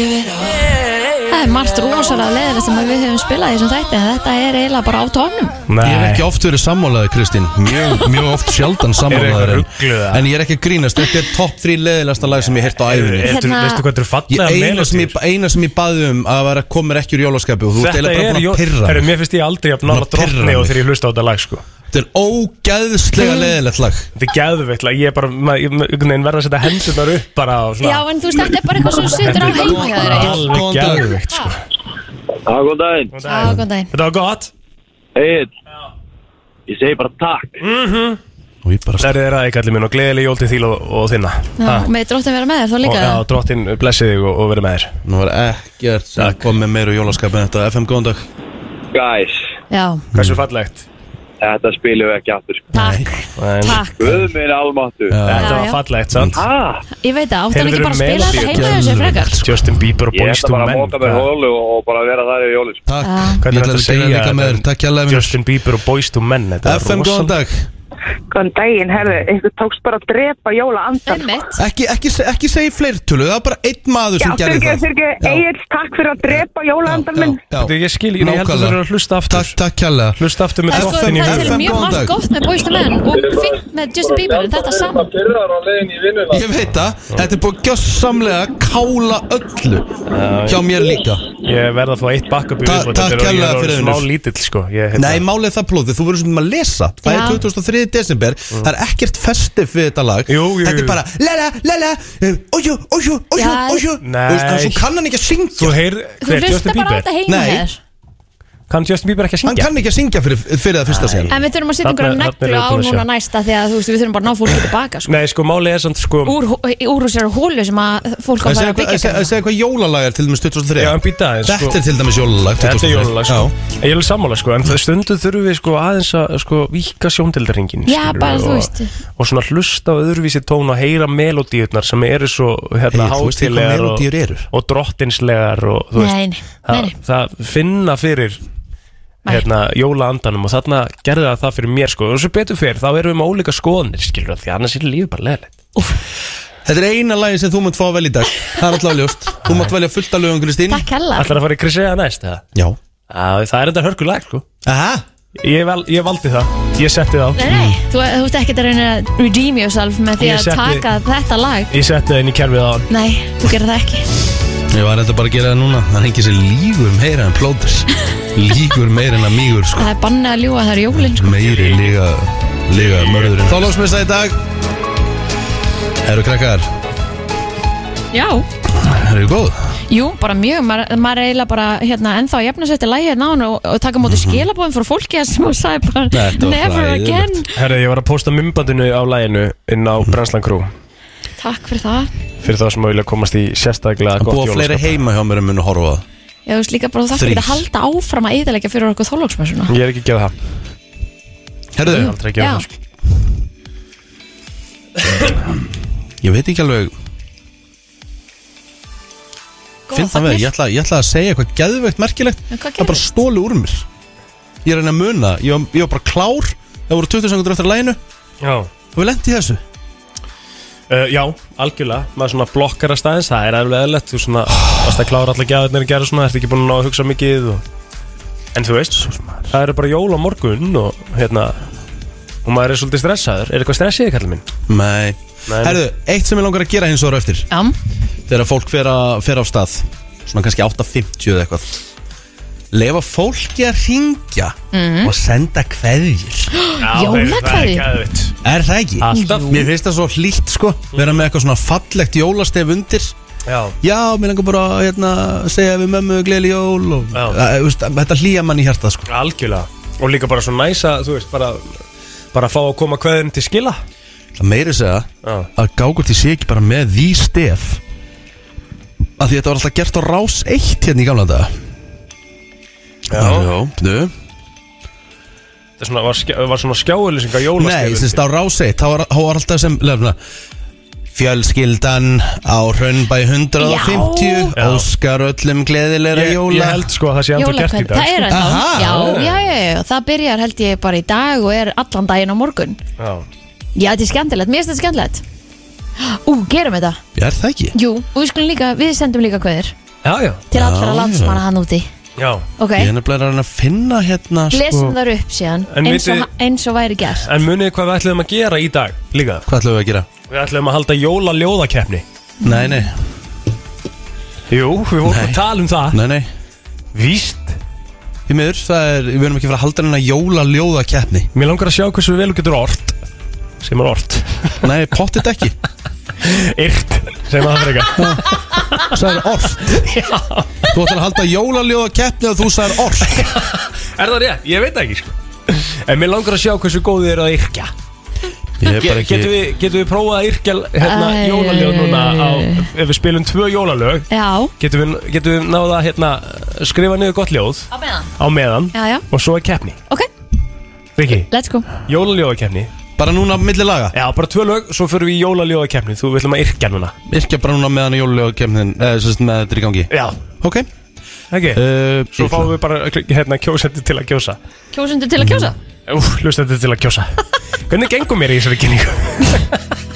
Það er margt rosalega leðilega sem við höfum spilað í þessum þætti en þetta er eiginlega bara á tónum Ég hef ekki Nei, oft verið sammálaði Kristín Mjög, mjög oft sjaldan sammálaður Er eitthvað en, rugluð, eða? en ég er ekki að grínast Þetta er topp 3 leðilegasta lag sem ég heirt á æfinni Ertu- Hérna- veistu hvað þetta er Ég, fallega eina, sem ég, eina sem ég baði um að vera að koma mér ekki úr jólaskapi og þú ert Þetta eiginlega er, bara jó, búin að pirra herru, mig. mér finnst ég aldrei að nála Búin að pirra drottni og mig. þegar ég hlusta á þetta lag, sko Þetta er Mm. ógæðslega leðilegt lag Þetta er gæðveikt lag, ég er bara, ma- ég- einhvern veginn verða að setja hendurnar upp bara Já, og svona en þú veist, þetta er bara eitthvað sem sittur á heima hjá þér Egill. Alveg Góðan dag. gæðveikt, sko Já, góð daginn. Góðan Já, daginn. góðan daginn Þetta var gott Egil, ég segi bara takk. Mhm. Og ég bara Það er þeirra eikallir minn og gleðileg jól til þín og, og þinna Já, Ha. Með dróttin vera með þér, þú Og líka já, drottin blessi þig og, og verið með þér Nú var ekkert sem Takk. kom með meir úr jólaskapi en þetta FM góðan dag Guys, Já, Hversu fallegt þetta spilum við ekki aftur. sko. takk, En, takk Guð minn almáttu. Þetta Já, var já. fallegt, Mm. sant? Ah, Ég veit að áttan Hefur ekki verið bara að spila melódíu- þetta heima hjá þessu frekar Justin Bieber og ég Boyz ætla II bara að Men móka mér hvað- hólu og bara vera þar yfir jólins. Takk, Já. ég Hvernig er þetta ætla að að segja segja líka með þér þetta? Takk hjá lefinu Justin Bieber og Boyz II Men þetta er FM góðan rosalega- dag Góðan daginn, herðu, ykkur tókst bara að drepa jóla andan. Einmitt, Ekki, ekki, se- ekki segja fleirtölu, það var bara einn maður Já, sem gerði fyrir það ekki, Já. Egil, takk fyrir að drepa jóla andan minn. Já, Þetta já. ég skil, ég held að þú Nákvæmlega. eru að hlusta aftur Takk, takk kjærlega Hlusta aftur með Það er sko, drottin í það er FM, til huganum. mjög góðan margt dag. gott með Boyz II Men og fint með Justin Bieber en þetta saman Ég veit það, þetta er búið gjössamlega að kála öllu Hjá mér líka Ég verð að fá eitt backup í Ta- viðbót, takk þetta er- ég er kærlega orðinn fyrir Smá Unnur. lítill, sko Ég- hérna- Nei, málið er það plóðið, þú verður svona að lesa Það Já. er 2003. desember, það er ekkert festif við þetta lag Mm. Jú, jú, jú. Þetta er bara Lala, lala, ójú, ójú, ójú, Já. ójú Nei. Þú kann hann ekki að Þú syngja heyr, Þú hver, hlusta bara Justin á Bieber þetta heima Nei. hjá þér Kann Justin Bieber ekki að Hann syngja? kann ekki að syngja fyrir, fyrir það fyrsta sér En við þurfum að setja einhverja Þarna- þarna er neglu á ég búin að núna sjá. næsta því að þú veist, við þurfum bara að ná fólki tilbaka sko. Nei, sko, máli er samt, sko úr, úr þessari hólu sem að fólk á að Að fara að byggja hérna. segja sig að segja hvað jólalag er til dæmis 2003 Já, en býta aðeins, sko. Þetta er til dæmis jólalag Þetta er 2003. jólulag, sko En Ég er alveg sammála, sko En það- stundum þurfum við, sko, aðeins að, sko, víka sjóndeldarringin Já, bara, þú veist. Og svona hlusta á öðruvísi tón og heyra melodíurnar sem eru svo, hérna, Hey, þú veist ekki hvað hátilegar og, melódíur eru? og drottinslegar og, þú veist Nei, nei, nei, það, nei. það finna fyrir Nei. hérna, jólaandanum og þarna gerði það það fyrir mér sko og svo betur fyrir þá erum við með ólíka skoðanir skilur því annars er lífið bara leðilegt Þetta er eina lagi sem þú munt fá að velja í dag Það er alltaf ljóst Þú mátt velja fullt að lögum Kristín Takk hella Ætlar að fara í Krisega næst eða? Já Að, það er enda hörkulag sko Aha ég, val, ég valdi það, ég setti það á. Nei, nei, þú, þú ert ekkert að reyna að redeem yourself með því Ég að setti- taka þetta lag ég setti það inn í kerfið á hann Nei, þú gerir það ekki Ég var þetta bara að gera það núna Það er ekki sér lígur meira en plóður Lígur meira en að mígur sko Það er bannað að ljúga það er jólin sko. Meiri líga, líga mörðurinn Þá lóðsum við það í dag Herru krakkar, Já, herru góð sko. jú, bara mjög maður maður er eiginlega bara hérna, ennþá að jafna sétti lagið hérna áðan og, og taka á Mhm. móti skilabóðum frá fólki sem hún sagði bara Þetta var never hræðilegt. again Herra, ég var að posta mymbandinu á læginu inn á Brenslan Crew Takk fyrir það fyrir þá sem að vilja komast í sérstaklega Það gott búa fleiri jólaskap. heima hjá mér um mun að horfa á það Já, þú veist líka bara það Þrír. fyrir að halda áfram að eðalega fyrir okkur þólóksmessuna Ég er ekki að gera það, Herru, aldrei að gera það sko. ég veit ekki alveg Finn það með, ég ætla, ég ætla að segja eitthvað geðveikt merkilegt En hvað Það bara gerðist? stóli úr mér Ég er að reyna að muna, ég var, ég var bara klár Það voru 20 sekundur eftir að læginu Já Og við lendi í þessu Uh, já, algjörlega, maður svona blokkar að staðins, það er alveg eðlilegt, þú svona, varst að klára allar gæðirnir að gera svona, ertu ekki búin að ná að hugsa mikið og... En þú veist, það eru bara jól á morgun og hérna, og maður er svolítið stressaður, er eitthvað stressið, kallið minn? Nei, Nei. Herru, eitt sem ég langar að gera hins ára eftir Já, Þegar fólk fer, a, fer á stað Svona kannski 8.50 eða eitthvað Lefa fólki að ringja Mhm. Og senda kveðjur Jólakveðjur? gæðið. Er það ekki? Alltaf. Mm. Mér finnst það svo hlýtt sko Vera með eitthvað svona fallegt jólastef undir Já, Já, mér langar bara að hérna, segja við mömmu gleyli jól og, Já. að, veist, Þetta hlýja mann í hjartað sko algjörlega. Og líka bara svo næsa, þú veist, bara, bara fá að koma kveðin til skila. Það meiri segja Já. að gágur til sé ekki bara með því stef að því þetta var alltaf gert á rás eitt hérna í gamla daga Nú, Það er svona, var, skjá, var svona skjáulýsinga Nei, jólaskjöfum. sem stá rás eitt þá var, þá var alltaf sem lefna, Fjölskyldan á Hrönnbæ 150 Já. Óskar öllum gleðilegra Ég, jóla ég held sko að það sé ennþá gert í jólakveð, dag. það er sko. þetta Aha. já, já, já, já, það byrjar held ég bara í dag og er allan daginn á morgun Já. Já, þetta er skemmtilegt, mér finnst þetta skemmtilegt Ú, gerum við þetta Já, er það ekki? Jú, og við skulum líka, við sendum líka kveðir Já, já. til allra Já, landsmanna hann úti Já. Ok, Ég er nefnilega að reyna að finna Ah, hérna lesum þar upp síðan En eins og, vitið- ha- eins og væri gert En munið hvað við ætlum að gera í dag líka? Hvað ætlum við að gera? Við ætlum að halda jólaljóðakeppni Nei, nei, Jú, við vorum Nei. að tala um það nei, nei Víst Því miður, það er, við erum ekki að fara að halda hennar jóla ljóða keppni Mér langar að sjá hversu vel þú getur ort Sem er ort Nei, pottit ekki Yrt Sem að það fyrir eitthvað Sæður orft Þú ætlar að halda jóla ljóða keppni og þú sæður orft Er það rétt? Ég veit það ekki sko En mér langar að sjá hversu góð þið eru að yrkja Ég er bara Get- Getum ekki við, getum við prófað að yrkja hérna, Æ, jólaljóð æ, núna æ, á, æ. Ef við spilum tvö jólalög Já, Getum við, getum við náða hérna Skrifa niður gott ljóð á meðan á meðan Já, já, Og svo er keppni ok, Riki, let's go jólaljóðakeppni Bara núna milli laga Já, bara tvö lög, svo fyrir við í jólaljóðakeppni Þú villum að yrkja núna Yrkja bara núna meðan jóla ljóða keppnin eða, sérst, með þetta er í gangi Já, Ok ekki uh, Svo fáum við bara hérna kjósendur til að kjósa Kjósundu til að kjósa Úf, hlustendur til að kjósa Hvernig gengur mér í þessari kynningu?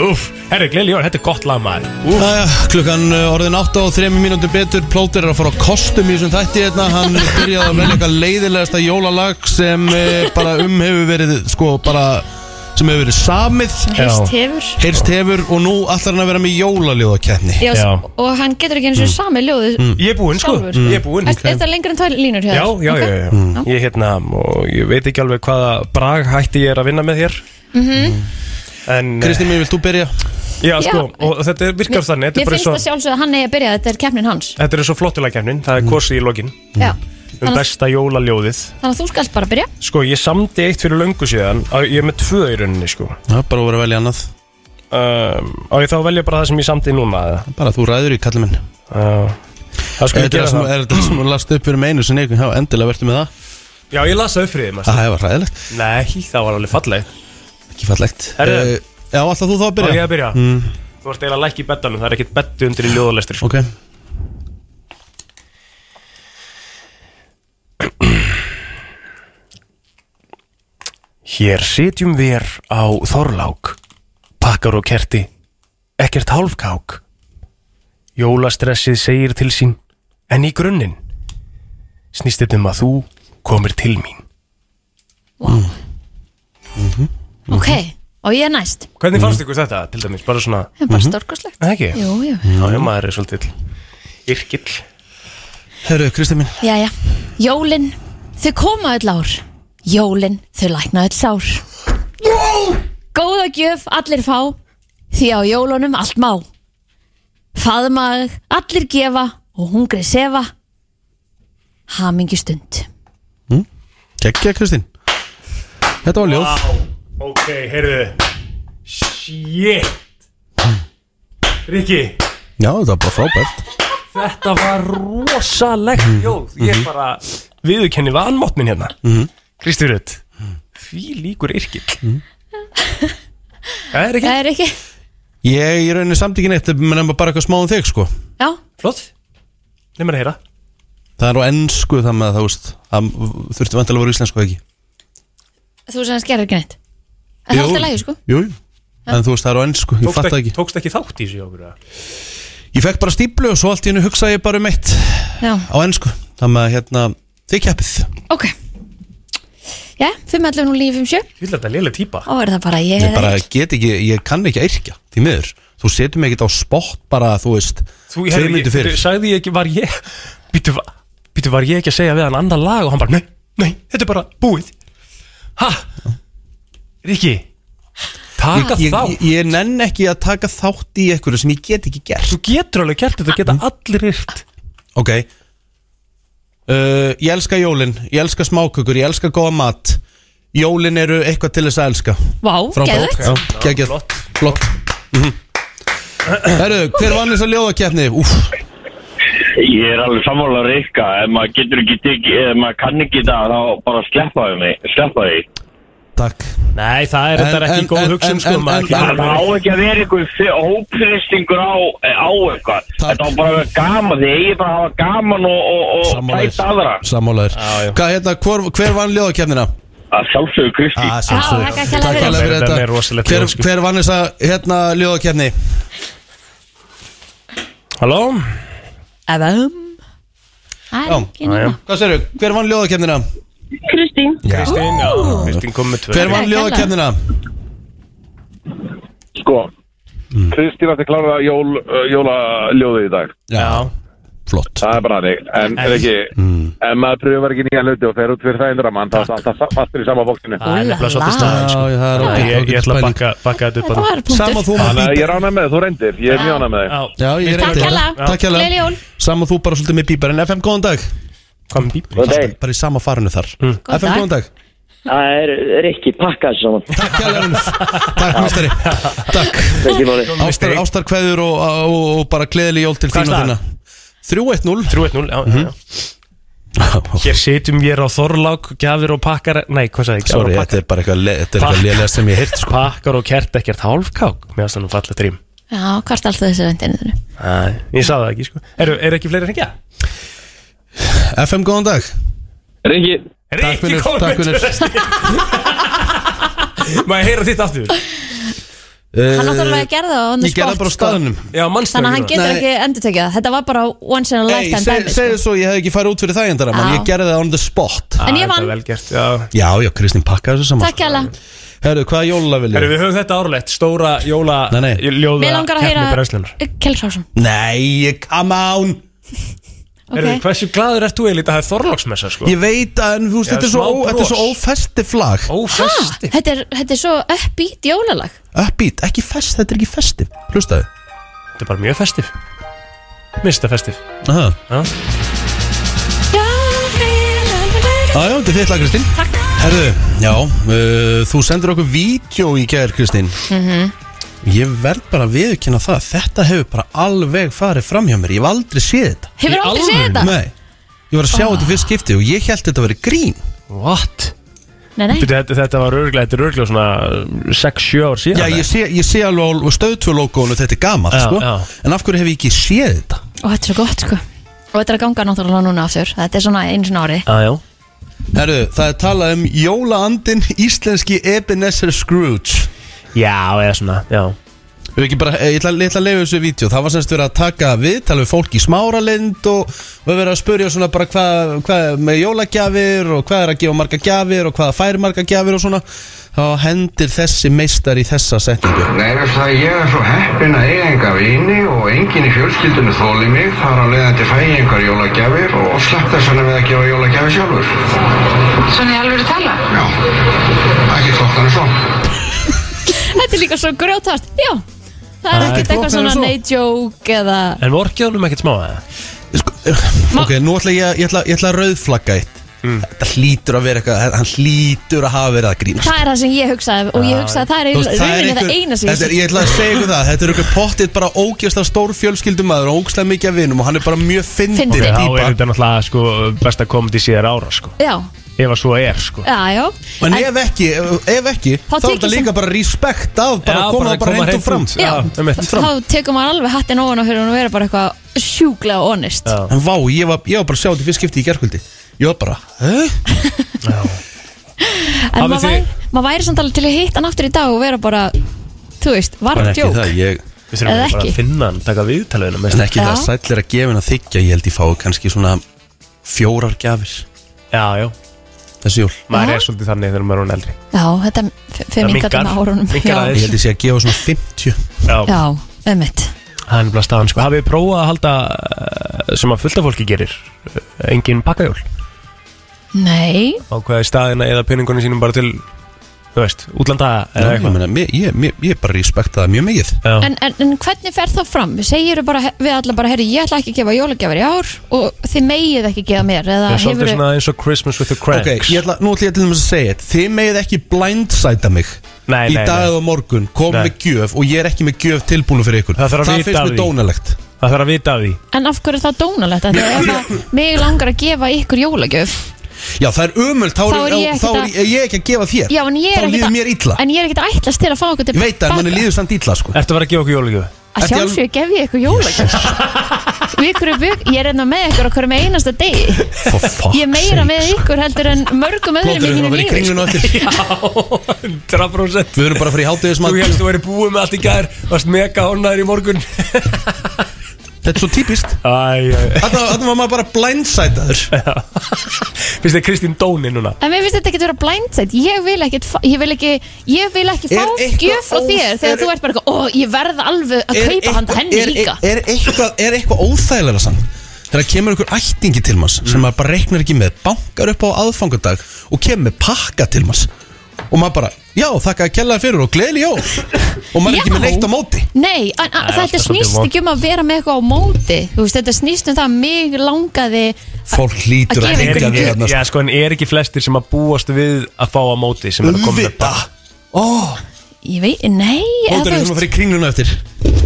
Úf, herri, gleyli jól, þetta er gott lag maður Úf, Æja, klukkan uh, orðin 8 og 3 mínútur betur Plóter er að fara á kostum í þessum þætti hérna. Hann byrjaði að velja eitthvað leiðilegasta jólalag sem uh, bara um hefur verið sko bara sem hefur verið samið Heist hefur Heyrst hefur og nú ætlar hann að vera með jólaljóðakeppni Mm. Já, Já. og hann getur ekki eins og sami ljóðu ég er búinn sko Sjálfur. Ég er búinn Er er þetta lengur en tvær línur hjá Já, þér? já, já, Ok. já, Mm. já. Ég hérna, og ég veit ekki alveg hvaða braghætti ég er að vinna með hér Mhm. En, eh, Kristín mér, vilt þú byrja? já sko, Já. og þetta er- virkar þannig Mér Þetta er bara finnst svo, það sjálfsögð að hann eigi að byrja, þetta er keppnin hans Mm. Mm. þetta er svo flottulega kemnin Það er kosið í lokin Já, um besta jólaljóðið Þannig að þú skalt bara byrja Sko, ég samdi eitt fyrir löngu síðan að Ég er með tvö í rauninni, sko Það er bara að vera að velja annað um, Á ég þá að velja bara það sem ég samdi núna eða? Bara þú ræður í kallum minn Já Það Er skulle ég þetta gera sem- það er þetta sem hún last upp fyrir meinu sem einhvern Já, endilega verður með það Já, ég las það upp fyrir þig, maður Það var ræðilegt, Nei, það var alveg falleg ekki fallegt Herðu. Eh, Já, alltaf þú þá að Á ég byrja að byrja mm. Þú ert eiginlega læk í beddanum, það er ekkert beddu undir í ljóðalestri, sko Ok, Hér sitjum við á Þorlák Pakkar og kerti Ekkert hálfkák Jólastressið segir til sín En í grunninn Snýst þetta um að þú komir til mín Mhm. Mhm. Ok, og ég er næst Hvernig fannst ykkur þetta til dæmis? Bara svona, Það er bara Mhm. stórkoslegt eða ekki? Jú, jú, Já, já, maður er svolítið Yrkill herru, Kristið minn já, já Jólin, þau koma öll ár Jólin, þau lækna öll sár Góða gjöf, allir fá Því á jólunum allt má Faðmag, allir gefa Og hungri sefa Hamingi stund Kekja, Mm. Kristín Þetta var ljóð Ok, heyrðu Shit Rikki Já, þetta var bara frábært Þetta var rosalegt Mhm. ljóð Ég bara viðurkenni vanmátt minn hérna Mhm, Kristi Rut Því líkur yrkil Mm. Það er ekki Það er ekki, Ég í rauninni samt ekki neitt menn nema bara eitthvað smá um þig, sko já, flott Nei mér að heyra Það er á ennsku það með það, þú veist Það þurfti vantilega að vera íslensku eða ekki þú sem skerðir ekki neitt En það er Jú, alltaf lægi, sko Jú, jú. en þú veist það er á ennsku, Sko, ég fatt Tókst það ekki, ekki tókst ekki þátt í þessu hjá okkur eða? Ég fekk bara stíplu og svo allt í hennu hugsaði ég bara um eitt Já, á ennsku Þannig að hérna, þið keppið ok Já, 511 og 957 Ég vil þetta lélega típa um Ó, er það bara ég Ég eða bara Egill? get ekki, ég kann ekki að yrkja Því miður, þú setur mig ekkert á spott bara, þú veist, Þú tveir heyrðu, myndir ég- fyrir Sagði ég ekki var ég Býtu, va- býtu var ég ekki að segja við hann andan lag Og hann bara nei, nei, þetta er bara búið Ha Rikki Taka Ég, þátt ég, ég nenn ekki að taka þátt í einhverju sem ég get ekki gert Mm. Þú getur alveg gert þetta, geta allir yrt Ok uh, Ég elska jólin, ég elska smákökur, ég elska góða mat Jólin eru eitthvað til þess að elska Vá, Frábært geðvægt Já, geggjað. flott. Flott mhm. Herru, hver vann þess að ljóðakeppni? Úf, Ég er alveg sammála Rikka, ef maður getur ekki tekið, ef maður kann ekki það, þá bara sleppa því mig, sleppa því. takk Nei, það er En- þetta ekki en- góð en- hugsun en- sko en- en- maður Það ekki á ekki að vera einhver fi- hópfristingur á, á eitthvað. Takk. Þetta á bara að vera gaman, þið eigið bara að hafa gaman og, og, og bæta aðra. Sammálaður Já, já. Hvað hérna, hvor, hver vann ljóðakeppnina? Að sjálfsögur Kristi. Ah, sjálfsögðu. Já, takk hérlega Takk fyrir. hérlega fyrir Þetta er þetta rosalegt Hver, ljós, sko. hver vann þess að hérna ljóðakeppni? Halló? Efum Það Já, er ekki nema Hvað sérðu, hver vann ljóðakeppnina? Kristín, Kristín, já, Kristín kom með tvö Hver Takk vann hérlega. ljóðakeppnina? Sko, Mm. Kristín ætti að klára jól, uh, jólaljóði í dag Já, flott Mm. Það er bara hannig En, en, ekki, en maður pröfum ekki nýja hluti og fer út fyrir það innra mann Það er alltaf fastur í sama bókinu það er nefnilega svolítið Já, staðan sko. já, það er Ég- ágætt- Ég ágætt ætla að spæling. bakka, bakka þetta upp Það að var punktur Sama þú maður Þannig að ég rána með þig, þú reyndir, ég er mjög rána með þig Já, Já, ég Takk reyndi hella. það. Takk hella. Gleðileg jól. Sama þú bara svolítið með bíbar En FM, góðan dag kom með Mm. bíbli Nei, Bara í sama farinu þar Góðan FM, dag. góðan dag það er Rikki pakkað saman. Takk hella Unnur. Takk, mistari Takk Ekki máli. Ástar, ástar kveður og, og, og bara gleðileg jól til Hvað þín og er þína 3-1-0 3-1-0, já, Mhm. já, já Hér sitjum við á Þorlák, gjafir og pakkar Nei, hvað sagði ég? Gjafir Sorry, og þetta pakkar er bara eitthvað le- Þetta er eitthvað Pakk. lélega sem ég heilt sko Pakkar og kert ekkert hálfkák Mér finnst það nú falla trím Já, hvort alltaf þessi vendinu þinu Æ, Ég sagði það ekki, sko Eru er ekki fleiri að hringja? FM, góðan dag Ringi, Takk Rikki fyrir, kom takk með tvö fyrir. Má ég heyra þitt aftur? Hann náttúrulega gerði það á hann Eh, Ég gerði það bara á staðnum Já, mannstu sko. Þannig að hann getur Nei. ekki endurtekið það Þetta var bara once in a Ei, lifetime seg- dæmi segðu sko. svo, ég hef ekki farið út fyrir það endara Já. mann Ég gerði það on the spot En ég vann. Vel gert, já Já, já, Kristín pakkaði þessu saman Takk hella sko. Herru, hvaða jóla vil Herru, við höfum þetta árlegt, stóra jóla Nei, nei. ljóða Mér langar að heyra Eh, brennslunar Kjell Krásson Nei, come on Herru, Ok, hversu glaður ert þú Elita, það er Þorlóksmessa sko Ég veit að, en þú veist, Já, þetta er svo, smá ó- þetta er bros. svo ófesti flag Ó, Ha, festi þetta er, þetta er svo uppbít jólalag Upbeat, ekki fest, þetta er ekki festi Hlustaðu Þetta er bara mjög festif Mista festif Aha. Já, við Jájá, þetta er þitt lag Kristín Takk. Herðu, já, uh, þú sendur okkur vídeo í gær Kristín Ég verð bara að viðkynna það Þetta hefur bara alveg farið fram hjá mér Ég hef aldrei séð þetta Hefur aldrei séð þetta? Nei, ég var að sjá þetta í fyrst skipti og ég held þetta að vera grín Ah. What? Nei, nei, Þetta, þetta var örglega, þetta er örglega svona 6-7 ár síðan Já, ég sé, ég sé alveg stöðtvölókónu þetta er gamalt, Já, sko já. En af hverju hef ég ekki séð þetta? og þetta er svo gott sko Og þetta er að ganga náttúrulega núna aftur Þetta er svona einu svona ári ah, já. Herru, það er talað um jólaandinn íslenski Ebenezer Scrooge já, eða svona já. Við ekki bara, eh, ég ætla, ég ætla að leifa þessu vídeo Það var semst verið að taka viðtal við fólk í smáralind og, og verið að spurja svona bara hvað hva með jólagjafir og hvað er að gefa marga gjafir og hvað fær marga gjafir og svona þá hendir þessi meistar í þessa setningu Nei, veist það, ég er svo heppin að eiga enga vini og enginn í fjölskyldunni þóli mig, þar á leiðandi fæ ég engar jólagjafir og slapp þess vegna við að gefa jólagjafir sjálfur. Svona ég alveg að tala? Já, ekki flottan en svo. Þetta er líka svo grjótast Já, það er ekkert Æ, flóknara eitthvað svona en svo. neittjók eða En vorkið honum ekkert smá eða? sko, Ok, nú ætla ég, ég, ætla, ég ætla að rauðflagga eitt Mm. Þetta hlýtur að vera eitthvað, hann hlýtur að hafa verið að grínast Það er það sem ég hugsaði og ég hugsaði að það er Þú veist, eiginlega- rauninni það einhver- eina sem þetta er, ég ég ætla að segja ykkur það Þetta er ykkur pottitt bara ógjast af stór fjölskyldumæður og ógstlega mikið af vinum og hann er bara mjög fyndin Fyndin. Já, típa. er þetta náttúrulega sko, besta komandi síðar ára sko. Já, Ef að svo er sko. já, já En ef ekki, ef ekki þá tek er ég þetta líka sem- bara respekt af bara að koma bara hreint og fram út. Já, Já, einmitt. þá tekur maður alveg hattin ofan og fyrir hún að vera bara eitthvað sjúklega honest Já. En vá, ég var, ég var bara að sjá þetta í fyrst skipti í gerkvöldi Ég var bara, eh? En Hafið maður þið- væri, mað væri samt alveg til að hitta hann aftur í dag og vera bara, þú veist, var bara það ekki djók það ég, Við Eða þurfum bara ekki. að finna hann, taka viðtalið En ekki Já. það, sæll er að gefa henn að þykja Ég held ég fái kannski svona fjórar gjafir Já, já, Þessi jól maður Já. er svolítið þannig þegar maður er hún eldri Já, þetta fyrir Það mingat um minnkar- árunum minnkar Já, aðeins. Ég held ég sé að gefa svona 50 Já, já ömmit það er nefnilega staðan sko. Hafið þið prófað að halda eh, sem að fullta fólki gerir eh, engin pakkajól Nei, ákveða í staðina eða peningunni sínum bara til þú veist, útlanda eða Já, Ég, eitthvað meina, mér- ég, mér- ég bara respekta það mjög mikið Já. en, en, en hvernig fer það fram? Segir bara, við alla bara, herri, ég ætla ekki að gefa jólagjafir í ár og þið megið ekki gefa mér eða Það er hefur svolítið svona eins og Christmas with the Cranks Ok, ég ætla, nú ætla ég til dæmis að segja þetta Þið megið ekki blindsæta mig Nei, Í nei, dag nei. eða á morgun, kom Nei. með gjöf Og ég er ekki með gjöf tilbúinu fyrir ykkur Það þarf að vita finnst af mér því. dónalegt Það þarf að vita af því En af hverju er það dónalegt? Þetta er það mig langar að gefa ykkur jólagjöf Já, það er ömult, þá, Þá er ég ekkert þá er að- ég, ég ekki að gefa þér Já, en ég er Þá ekkert líður að- mér illa En ég er ekkert að ætlast til að fá okkur til Ég veit að manni baka. líður samt illa, sko Ertu að vera að gefa okkur jólugjöf? Að Ertu alveg- sjálfsögur gef ég ykkur jólagjöf Við ykkur er bygg Ég er enná með ykkur okkur með einasta degi Ég er meira með ykkur heldur en mörgum öðrum Plóturinn að vera í lífi, sko. kringlun og eftir Já, 100% Við erum bara að fara í Þú hátæðismat helst að vera búið með allt í gær Varst mega honnaður í morgun Þetta er svo típist Æ, æ. Þarna þarna var maður bara blindsætaður Finnst þið Kristín Dóni núna? En mér finnst þetta ekki að vera blindsætt Ég vil ekki, ég vil ekki, ég vil ekki Er fá eitthvað gjöf frá ós- þér er- Þegar þú ert bara eitthvað, ó, ég verð alveg að Er kaupa handa eitthvað- henni er- líka Er er eitthvað, er eitthvað óþægilega sann Þegar kemur einhver ættingi til manns sem maður bara reiknar ekki með, bankar upp á aðfangadag og kemur með pakka til manns og maður bara, já þakka að kella fyrir og gleðli jól og maður er ekki Já. með neitt á móti Nei, a, a, þetta alltaf svolítið snýst vont. ekki um að vera með eitthvað á móti Þú veist, Þetta snýst um það að mig langaði Fólk hlýtur að gefa að hengja einhverjum við gjöf. hérna Já, sko, en er ekki flestir sem að búast við að fá á móti sem er að koma með Uðvita Ég veit, nei eða, þú Óttur er sem að veist, fara í kringluna eftir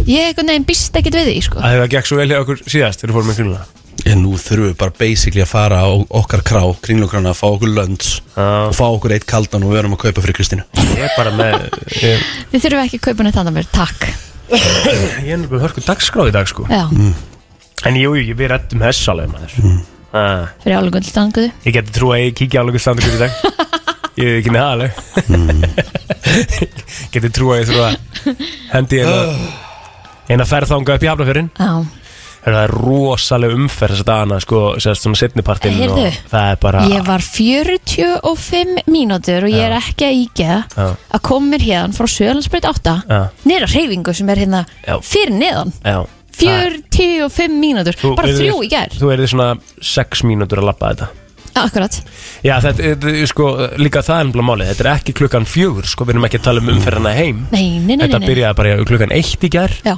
Ég eitthvað neginn býst ekkit við því sko. Það hefur gekk svo vel hjá okkur síðast þegar við fórum með kringluna En nú þurfum við bara basically að fara á okkar krá kringlunkrana að fá okkur lönds Já. og fá okkur eitt kaldan og við erum að kaupa fyrir Kristínu Ég er bara með Ég, Þið þurfum ekki að kaupa neitt andan mér, takk ég er nefnilega hörku dagskráð í dag sko Já, Mm. En jú, jú, við rettum þess alveg maður ah, fyrir álega gullstanguðu Ég geti trú að ég kíkja alveg standur í dag Ég er ekki með það alveg Mm. Geti trú að ég þurfa að hendi eina eina ferð þangað upp í hafnafjörinn Já, Það er rosalega umferð þess að dana sko, sérst svona setnipartinn Heyrðu. og það er bara ég var 45 mínútur og ég er ekki að ígeða Já. að koma mér hérna frá Sjölandsbreyt 8 Já. niður á hreyfingu sem er hérna Já. fyrir neðan Já, það er- 45 mínútur, Þú bara yrðir- þrjú í gær Þú erði svona 6 mínútur að labba þetta Akkurat, Já, þetta þetta er sko, líka það er ennblá málið Þetta er ekki klukkan fjögur, sko, við erum ekki að tala um umferðina heim nei, nei, nei, nei, Þetta nei. byrjaði bara klukkan eitt í gær Já,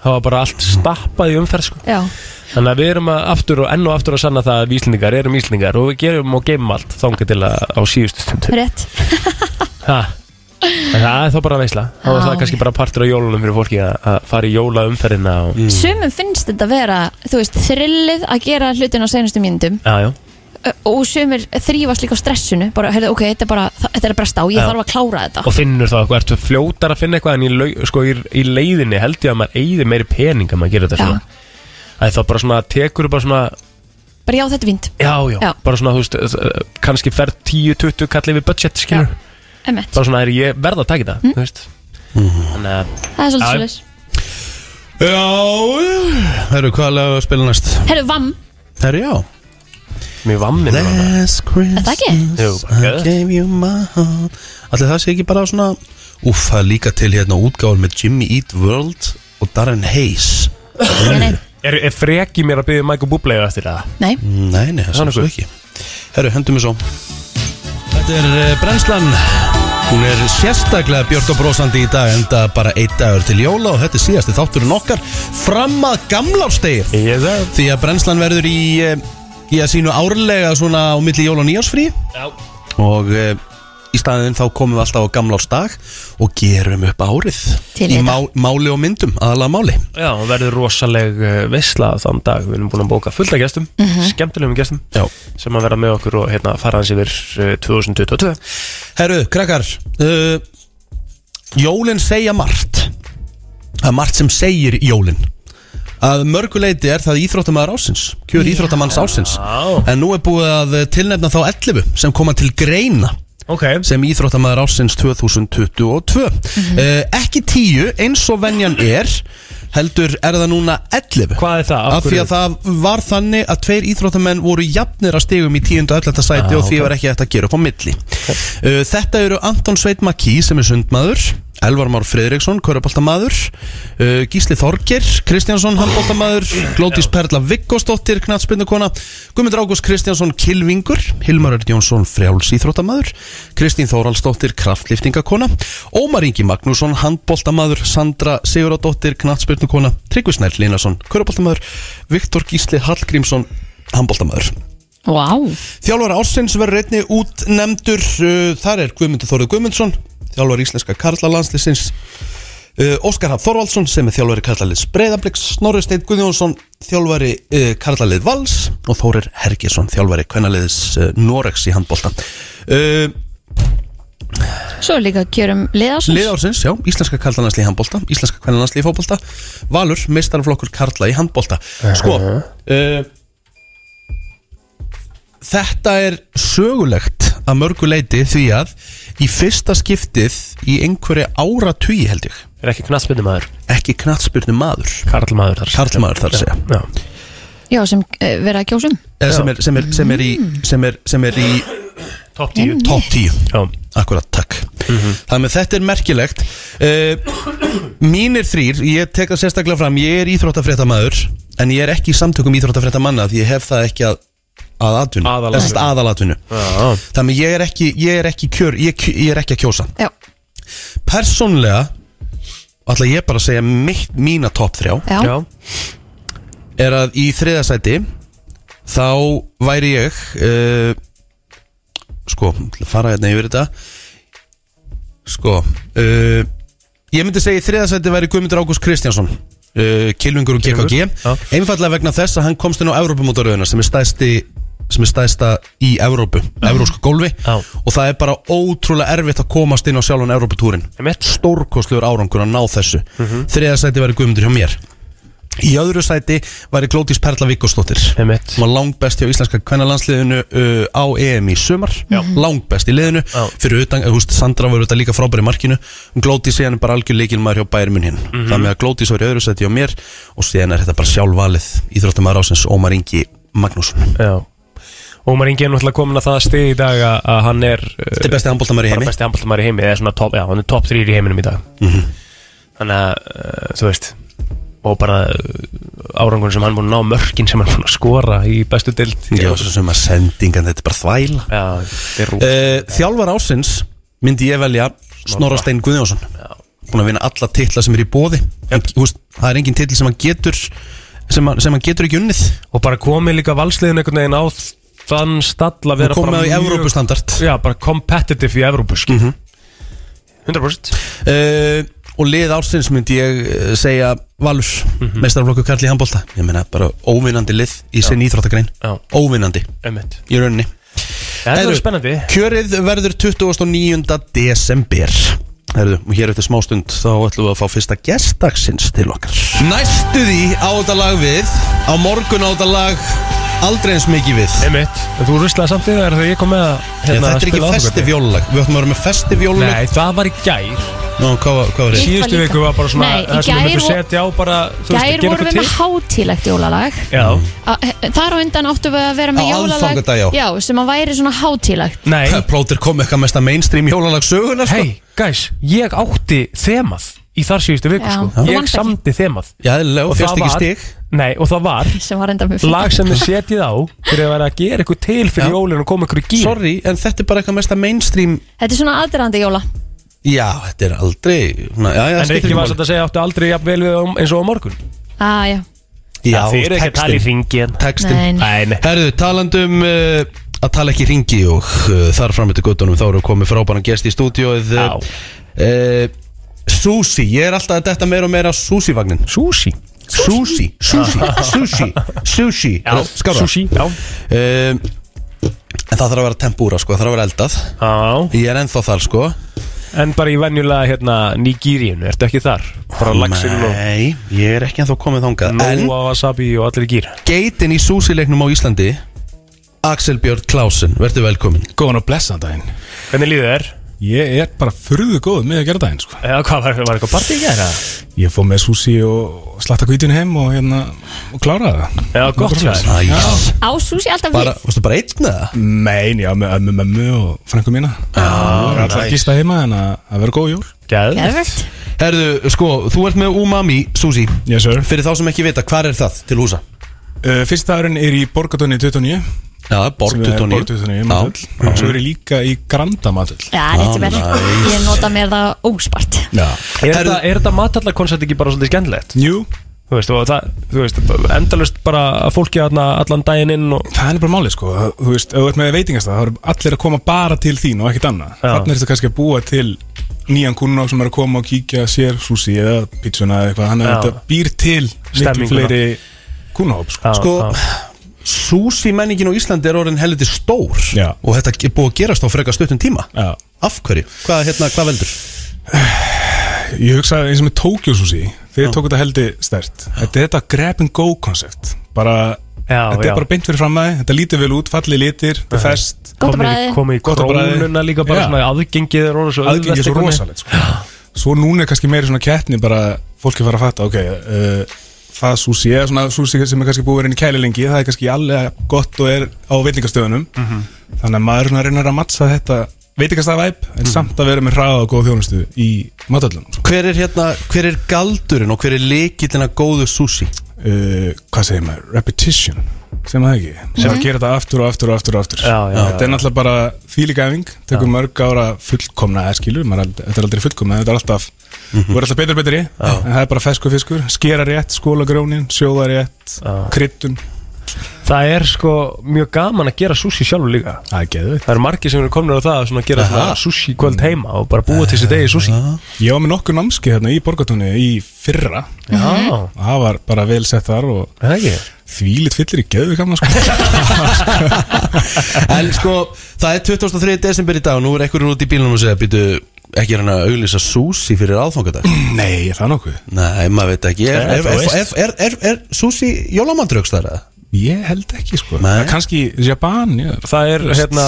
það var bara allt stappað í umferð sko. já, þannig að við erum að aftur og enn og aftur að sanna það að við Íslendingar erum Íslendingar og við gerum og geymum allt þangað til að á síðustu stundu rétt ha. en það er þá bara veisla þá er Já. það kannski bara partur á jólunum fyrir fólki að að fara í jólaumferðina og... mm. Sumum finnst þetta vera, þú veist, þrillið að gera hlutin á seinustu mínundum já, já. ö, og sumir þrýfast líka á stressinu bara, heyrðu, ok, þetta er bara, þa- þetta er að bresta á ég Já. þarf að klára þetta og finnur þá eitthvað, ertu fljótar að finna eitthvað en í, lau, sko, í, í leiðinni held ég að maður eigði meiri pening að maður gerir þetta Já. svona Það er þá bara svona, tekur bara svona bara já, þetta er fínt, já, já, Já. bara svona, þú veist eh, kannski fer 10-20 kallið við budget skilur, emmett, bara svona er ég verð að taka þetta þú veist Mhm. þannig að Mm. það er Já. svolítið svolítið Já, herru, hvað lag á að spila næst? Herru, vamm, Herru, já mjög vammin var það. Last það ekki? Jú, bara Christmas I geðveikt. gave you my heart Allir það sé ekki bara svona Úff, það er líka til hérna útgáður með Jimmy Eat World og Darren Hayes Nei, nei, er, er freki mér að byggja Michael Bublé eftir það nei, Nei, nei, það sem Þannig svo guð. ekki Herru, hendum við svo Þetta er eh, Brennslan Hún er sérstaklega björt og brósandi í dag enda bara einn dagur til jóla og þetta er síðasti þátturinn okkar fram að gamlárstegi ég það því að brennslan verður í eh, í að sínu árlega svona á milli jól og nýjársfrí já, og eh, í staðinn þá komum við alltaf á gamlársdag og gerum upp árið Til í í má, máli og myndum, aðalega máli já og verður rosaleg eh, veisla þann dag við erum búin að bóka fullt af gestum Mhm. skemmtilegum gestum Já. sem að vera með okkur og hérna fara hans yfir eh, 2022 Herru, krakkar uh, Jólin segja margt Það er margt sem segir jólin Að mörguleiti er það íþróttamaður ásins Kjör íþróttamanns ásins Já. En nú er búið að tilnefna þá 11 sem koma til greina ok Mhm. sem íþróttamaður ásins 2022 uh, Ekki 10 eins og venjan er heldur er það núna 11 hvað er það? Af því að það var þannig að tveir íþróttamenn voru jafnir að stegum í 10. og 11. sæti Ah, og ok. því var ekki hægt að gera upp á milli. Uh, þetta eru Anton Sveit Makí sem er sundmaður, Elvar Már Fredriksson, köruboltamaður, uh, Gísli Þorger, Kristjánsson, handboltamaður, Glótis Perla Viggosdóttir, knatsbyndukona, Guðmundur Ágúst Kristjánsson, Kilvingur, Hilmar Örd Jónsson, frjáls íþróttamaður, Kristín Þóralsdóttir, kraftliftingakona, Ómar Ingi Magnússon, handboltamaður, Sandra Siguradóttir, knatsbyndukona, Tryggvi Snær Linarsson, köruboltamaður, Viktor Gísli Hallgrímsson, handboltamaður. vá, Þjálfara ársins verður einni útnemndur uh, Þar er Guðmundur Þórið Guðmundsson Þjálfara íslenska Karla landslisins uh, Óskar Haf Þorvaldsson sem er þjálfari Karlaliðs Breiðabliks Snorri Steinn Guðjónsson Þjálfari uh, Karlalið Vals Og Þórir Hergesson þjálfari kvennaliðs uh, Norex í handbóltan uh, svo er líka um kjörum liðásins Lið ársins, já, íslenska karlalandsli í handbólta Íslenska kvennalansli í fótbólta Valur, meistarflokkur karla í handbólta Sko uh, Þetta er sögulegt að mörgu leiti því að í fyrsta skiptið í einhverju áratugi held ég er ekki knastbyrni maður ekki knattspyrnu maður Karl maður þar Karlmaður þar að segja já. Já, sem uh, vera að kjósum Eða sem er, sem, er, sem, er í, sem, er, sem er í top 10 top 10 já. Mhm. Akkurat, takk Þannig að þetta er merkilegt uh, Mínir þrýr, ég tek það sérstaklega fram Ég er íþróttafréttamaður En ég er ekki í samtökum íþróttafréttamanna Því ég hef það ekki að, að atvinnu Aðalatvinnu. Eða sem sagt aðalatvinnu Já. Þannig að ég er ekki, ég er ekki, kjör, ég, kj- ég er ekki að kjósa Já, Persónlega ætla ég bara að segja mitt, mína topp þrjá já, Já. er að í þriðasæti þá væri ég uh, sko, til að fara hérna yfir þetta sko uh, ég myndi segja í þriðasæti væri Guðmundur Ágúst Kristjánsson uh, Kilvingur og GKG já. einfallega vegna þess að hann komst inn á Evrópumótaröðuna sem er stæsti sem er stæsta í Evrópu, evrósku gólfi Mhm. Já. og það er bara ótrúlega erfitt að komast inn á sjálfan Evróputúrin Einmitt. Mhm. stórkostlegur árangur að ná þessu mm -hmm. þriðasæti væri Guðmundur hjá mér Í öðru sæti væri Glótis Perla Vikkostóttir Hún Einmitt. var langbest hjá íslenska kvennalandsliðinu uh, á EM í sumar Já. Langbest í liðinu Já. Fyrir utan, eh, þú veist, Sandra var auðvitað líka frábæri markinu Hún Glótis síðan er bara algjör leikilmaður hjá Bærmun hinn Mhm. mm -hmm. Það með að Glótis var í öðru sæti hjá mér Og síðan er þetta bara sjálfvalið Íþróttamaður ásins Ómar Ingi Magnússon já og maður ingi er náttúrulega komin að það stið í dag að, að hann er Þetta er uh, bestið handbóltamæri bara heimi Mhm. besti handbóltamæður í heimi eða svona top, já, hann er top 3 í heiminum í dag þannig að uh, þú veist og bara uh, árangun sem hann búin að ná mörkin sem hann búin að skora í bestu dild Já, svo sem að sendingan, þetta er bara þvæla Eh, já, þetta er rú uh, Þjálfar ásins myndi ég velja Snorra Stein Guðjónsson búin að vinna alla titla sem er í bóði yep. Húst, það er engin titl sem hann getur sem hann, sem hann getur ekki unnið og bara komið líka valsliðin einhvern veginn á þann stall að og vera komið bara á í mjög- Evrópustandard Mhm. já, bara competitive í Evrópuski mm 100% uh, og lið ársins myndi ég eh, segja Valur, mm Mhm. -hmm. mestarflokku Karli Hambólta ég meina bara óvinnandi lið í sinni íþróttagrein, Já. óvinnandi Einmitt. í rauninni Ja, þetta Heyrðu, er spennandi Kjörið verður 29. desember Herðu, og hér eftir smástund þá ætlum við að fá fyrsta gestdagsins til okkar Næstu því á þetta lag við á morgun á þetta lag aldrei eins mikið við Einmitt. En Þú ruslaði samt í það þegar ég kom með að Já, hérna, Þetta er spila ekki aðfangadag. festivjólulag, við ætlum að vera með festivjólulag Nei, það var í gær Nú, hvað, var- hvað Hitt var þetta? var Síðustu líka. viku var bara svona Nei, í það sem gær við höfum vo- setja á bara þú veist, Gær vorum gera eitthvað við með til. hátílegt jólalag Já, Mm. Á- Þar á undan áttum við að vera með Á jólalag aðfangadag, já. Já, sem að væri svona hátílegt nei Plóter kom eitthvað mesta mainstream jólalag sögunar sko. Hei, guys, ég átti þemað í þar síðustu viku Já, sko þú Ég vannst ekki. samdi þemað Já, eðlilega, og fyrst ekki stig Nei, og það var sem var enda með lag sem við setjið á fyrir að vera að gera eitthvað til Já. fyrir jólinu og koma ykkur í gíl Sorry, en þetta er bara eitthvað mesta mainstream Þetta er svona aðdraðandi jóla Já, þetta er aldrei na, já, já, En skiptir ekki ekki var máli. satt að segja áttu aldrei jafn vel við á- eins og á morgun ah, já. Já, Þið eru ekki að tala í textin, ringin textin. Nei, nei. Nei, nei Herðu, talandum uh, að tala ekki í ringi og uh, þar fram eftir guttunum þá eru komið frábæran gest í stúdíóið Já. uh, Susi, ég er alltaf að detta meira og meira Susi-vagnin Sushi Susi, Susi, Susi, Susi Já, sushi Já, En Eh, það þarf að vera tempúra sko, það þarf að vera eldað já Ég er ennþá þar sko En bara í venjulega hérna Nigeríun, ertu ekki þar? Bara laxinn og Nei, ég er ekki ennþá komið þangað En Nóa wasabi og allir í gýr geitin í Susi-leiknum á Íslandi Axel Björn Klásen, verður velkomin Góðan og blessan daginn Hvernig líður þér? Ég er bara furðu góð með að gera daginn sko. Eða hvað, var, var eitthvað partí í gera? Ég fóð með súsi og slatta kvítun heim og, hérna, og kláraði það Já, gott hjá þér Æ, Á súsi alltaf bara, við varstu bara einn eða? Mein, já, með ömmu, mömmu og frænku mína Það er alltaf að gista heima en að, að vera góð jól Gæð Gerfitt Herðu, sko, þú ert með umami, Susi yes, sir. Fyrir þá sem ekki vita, hvar er það til húsa? uh, Fyrst dagurinn er í Borgatóni 29 Já, Mhm. Borg sem er 29 Borg 29 matull og svo er ég líka í Granda matull Já, rétti vel Ég nota mér það óspart Já Er þetta- er þetta matallakoncert ekki bara svolítið skemmtilegt? Jú, Þú veist, og það, þú veist, endalust bara að fólki aðna allan daginn inn og það er bara málið sko Þú veist, ef þú ert með veitingastað þá eru allir að koma bara til þín og ekkert annað Já. Þannig er þetta kannski að búa til nýjan kunnum sem er að koma og kíkja sér súsi eða pítsuna eða eitthvað Þannig Já. að þetta býr til miklu Stemminguna. fleiri kunnahóp sko Já, Sko, já. Susi menningin á Íslandi er orðin helviti stór Já. Og þetta er búið að gerast á frekar stuttum tíma Já. Af hverju? Hvað, hérna, hvað veldur? Ég hugsa eins og með Tokyo Sushi Þeir tóku þetta heldi stert Þetta er þetta grab and go koncept Bara, Já, þetta já. er bara beint fyrir fram að þið Þetta lítur vel út, fallið litir, þetta er fest Gott að komið bræði í- komið í Gott að bragði. krónuna líka bara Já. svona aðgengið er orðið svo Aðgengi er svo auðvelt einhvern veginn. rosalegt sko. Svo núna er kannski meiri svona kettni bara fólki fara að fatta ok, uh, það sushi eða svona sushi sem er kannski búið að vera inn í kæli lengi það er kannski alveg gott og er á veitingastöðunum Mhm. þannig að maður er svona að reyna að mattsa þetta veitingastaðvæp en samt að vera með hraða og góð þjónustu í matallunum sko. Mhm. Hver er, hérna, hver er galdurinn og hver er leikillina góðu Susi? uh, hvað segir maður, repetition sem það ekki, Mhm. sem að gera þetta aftur og aftur og aftur og aftur, Já, já, þetta er náttúrulega bara þýligæfing, tekur mörg ára fullkomna eða skilur, maður, er ald- þetta er aldrei fullkomna þetta er alltaf, þú Mhm. mm alltaf betur og betri en það er bara fesku fiskur, skera rétt skóla grónin, sjóða rétt kryddun, Það er sko mjög gaman að gera sushi sjálfur líka það er geðveitt Það eru margir sem eru komnir á það að svona gera svona sushi kvöld heima og bara búa til þessi degi sushi ég var með nokkuð námski hérna í borgatunni í fyrra, Já, það var bara vel sett þar og er það ekki? þvílit fyllir í geðveitt gaman sko En sko, það er 23. desember í dag og nú er einhverjum út í bílunum og segja Býtu, ekki er hann að auglýsa Susi fyrir aðfangadag? nei, er það nokkuð, Nei, maður veit ekki Er, Nei, er, þú er, veist. er, er, er, er Susi jólamandrökstar eða? ég held ekki sko Nei. kannski Japan, já, Það er hérna,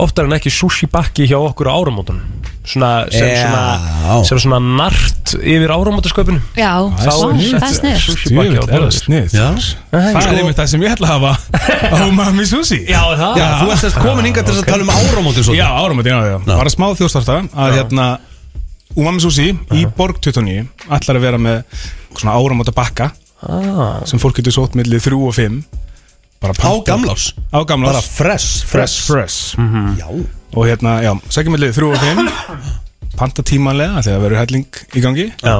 oftar en ekki sushi bakki hjá okkur á áramótunum svona, sem, Já. svona, sem svona nart yvir áramótasköpunum Já, er vá, sniðugt. það er snið Sushi bakki á Djöfull er það borðið sko. snið Já. Það er einmitt það sem ég ætla að hafa á Mami Susi Já, það Já, þú ert þess komin hingað til þess að tala um áramótin Já, svolítið áramöndin á því Bara smá þjóðstarta að hérna Umami Susi í Borg 29 ætlar að vera með svona áramönda bakka Ah. sem fólk getur sótt millið 3 og 5 bara Á panta- gamlás Á gamlás Bara fresh Mhm. Fresh, fresh Já Og hérna, já, sækjum millið 3 og 5 panta tímanlega þegar verður helling í gangi Já.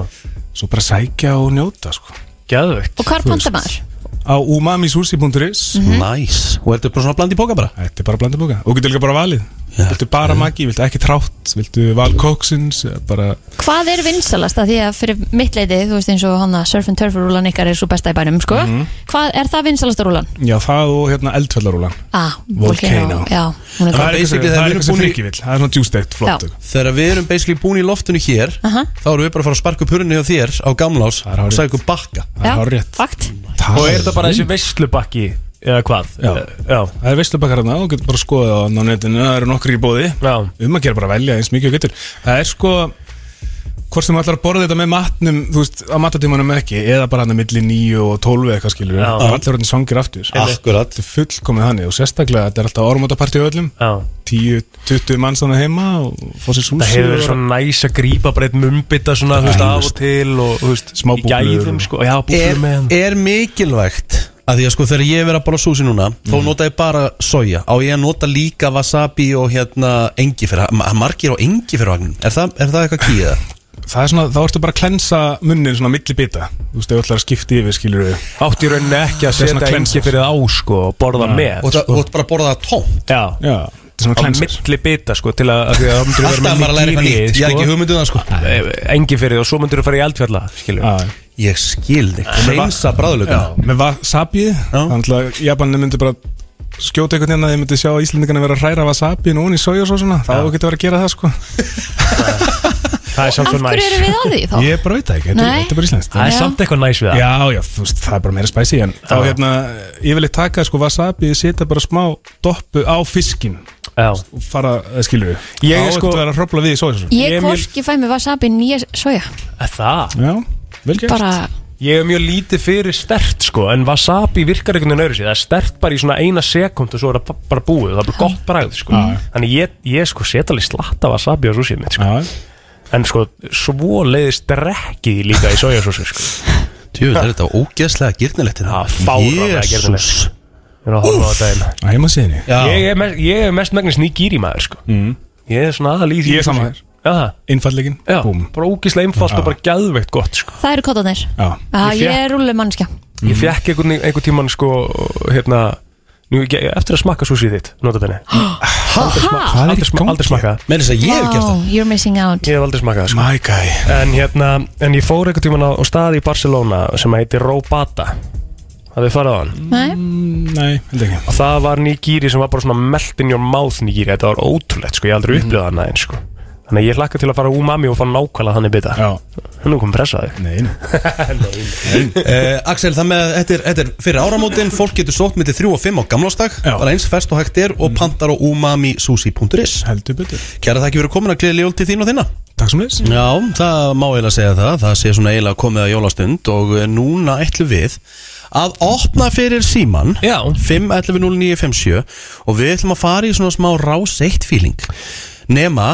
svo bara sækja og njóta sko. Gæðvegt Og hvar panta maður? Á umamisushi.is Mhm. Nice, og ertu bara svona bland í bóka bara? Þetta er bara bland í bóka, og getur líka bara valið Viltu bara magi, viltu ekki trátt, viltu val kóksins eða bara Hvað er vinsalast að því að fyrir mitt leiti, þú veist eins og hann að surf and turf rúlan ykkar er svo besta í bænum, sko? Mhm. Hvað er það vinsalasta rúlan? Já, það og hérna eldfjallarúlan Ah, Volcano. Já, hún er góð. Það er eitthvað sem- það basically þegar er við erum eitthvað sem búin í- frikki vill Það er svona juice date, flott Já. Þegar við erum basically búin í loftinu hér Aha. Þá erum við bara að fara að sparka upp hurðinni hjá þér á gamlás og sækum bakka Já, fakt. Og er þetta bara þessi veistlubakki eða hvað? Já, það er veistlubakar hérna og getur bara að skoða það á netinu, það eru nokkur í bóði Já. um að gera bara að velja eins mikið og getur það er sko, hvort sem ætlar að borða þetta með matnum, þú veist, á matatímanum ekki eða bara hann að milli 9 og 12 eða hvað skilur, Já. það er allir orðin svangir aftur Akkurat Þetta er fullkomið þannig og sérstaklega þetta er alltaf ormótapartí á öllum 10-20 mann svona heima og fá sér súsi Það hefur verið svo næs að grípa bara eitt mumbita svona, þú veist, af og til og, þú veist, Smá í gæðum, sko, já, er, búblur með hann er mikilvægt að því að sko þegar ég vera bara súsi núna þá Mm. nota ég bara soja á ég að nota líka wasabi og hérna engi fyrir, margir á engi fyrir vagnum er, það- er það eitthvað kýða? Það er svona, þá ertu bara að klensa munnin svona milli bita Þú veist, ef þú ætlar að skipta yfir, skilur við Átt í rauninni ekki að setja engi fyrir á, sko, og borða með og, sko. og bara borða það tómt Já, já Það svona er milli bita sko til að, að, að Alltaf maður að læra eitthvað nýtt, ég hef ekki hugmynd um það sko Engi fyrir og svo myndur þú fara í eldfjalla skilur Ég skil þig, hreinsa bræðlökun Já, með wasabi Þannig að Japanin myndi bara skjóta einhvern veginn að þið myndi sjá að Íslendingarna vera að hræra wasabi núna í soja og svo svona þá getur verið að gera það sko Það er samt svo Af hverju erum við að því þá? Ég bara veit það ekki, þetta er- Nei. þetta er bara íslenskt Það er Já. samt eitthvað næs við það. Já, já, þú veist, það er bara meira spæsi En þá hérna, ég vil taka sko wasabi setja bara smá doppu á fiskin Já Og fara, eh, skilur við Ég Þá er sko- ertu að vera að hropla við í soja og svo Ég hvorki fæ mér wasabi nýja soja. Það? Já, vel gert Bara, Ég hef mjög lítið fyrir stert sko En wasabi virkar einhvern veginn öðru sér Það er stert bara í svona eina sekund Og svo er það ba- bara búið og Það er bara gott bragð sko Þannig ég, ég sko set alveg slatta wasabi á súsið mitt sko En sko svo leiðist drekki líka í sojasósu sko Tjú, það er þetta ógeðslega girnilegt hérna. Það fáránlega girnilegt. Ég er að horfa á þetta eina Á heimasíðinni ég, er mest, ég er mest megnast nýgýri maður sko. Ég er svona aðal í því Mm. Ég er sama þér. Já, Innfallegin Já, bara ógíslega einfalt og bara gæðveikt gott sko. það eru kottanir. Já. Ah, Ég ég fékk- er rúlega mannskja. Mhm. Ég fekk einhvern, einhvern tíman sko, hérna, nú, ég, eftir að smakka súsið þitt Nota þenni Hæ? Aldrei, sma, aldrei smakka Með þess You're missing out. Ég hef aldrei smakað það, sko. My guy En hérna, en ég fór einhvern tíman á, á staði í Barcelona sem heitir Robata Það við farið á hann Nei? Mm. Mm, Nei, held ekki Og það var nýgýri sem var bara svona melt in your mouth nýgýri Þetta var ótrúlegt sko, ég hef aldrei Mhm. mm. upplifað annað eins sko Þannig að ég hlakka til að fara umami og fá nákvæmlega þannig bita Já Nú kom pressaði Nei, Eh, Axel, það með, þetta er, þetta er fyrir áramótin Fólk getur sótt mitt í 3 og 5 á gamlástak Bara eins fest og hægt er og pantar á umamisushi.is Heldur betur Kæra þakki fyrir komin að gleðli jól til þín og þinna Takk sem leys Já, það má eiginlega segja það Það sé svona eiginlega komið að jólastund Og eh, núna ætlum við að opna fyrir síman 5.11.09.57 Og við ætlum að fara í svona smá ráseitt feeling Nema,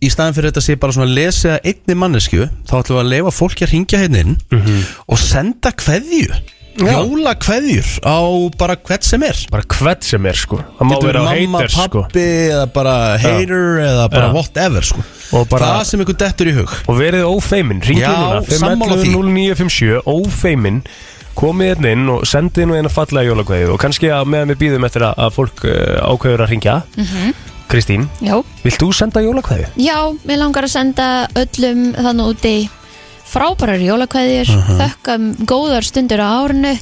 í staðan fyrir þetta sé bara svona lesa einni mannesku Þá ætlum við að leifa fólki að ringja hérna inn Mhm. Og senda kveðju Jóla kveðjur á bara hvert sem er Bara hvert sem er sko Það má vera á haters, Mamma, sko. pappi eða bara hater eða bara Já. whatever sko Og bara- Það sem ykkur dettur í hug Og verið ófeimin, ringið Já, núna sammála því. 511-0957, ófeimin komið hérna inn og sendið nú eina fallega jólakveði og kannski að meðan við býðum eftir að, að fólk uh, ákveður að ringja Mhm. Kristín, Já. vilt þú senda jólakveði? Já, mér langar að senda öllum þannig úti frábærar jólakveðjur, uh Mhm. þökkum góðar stundur á árinu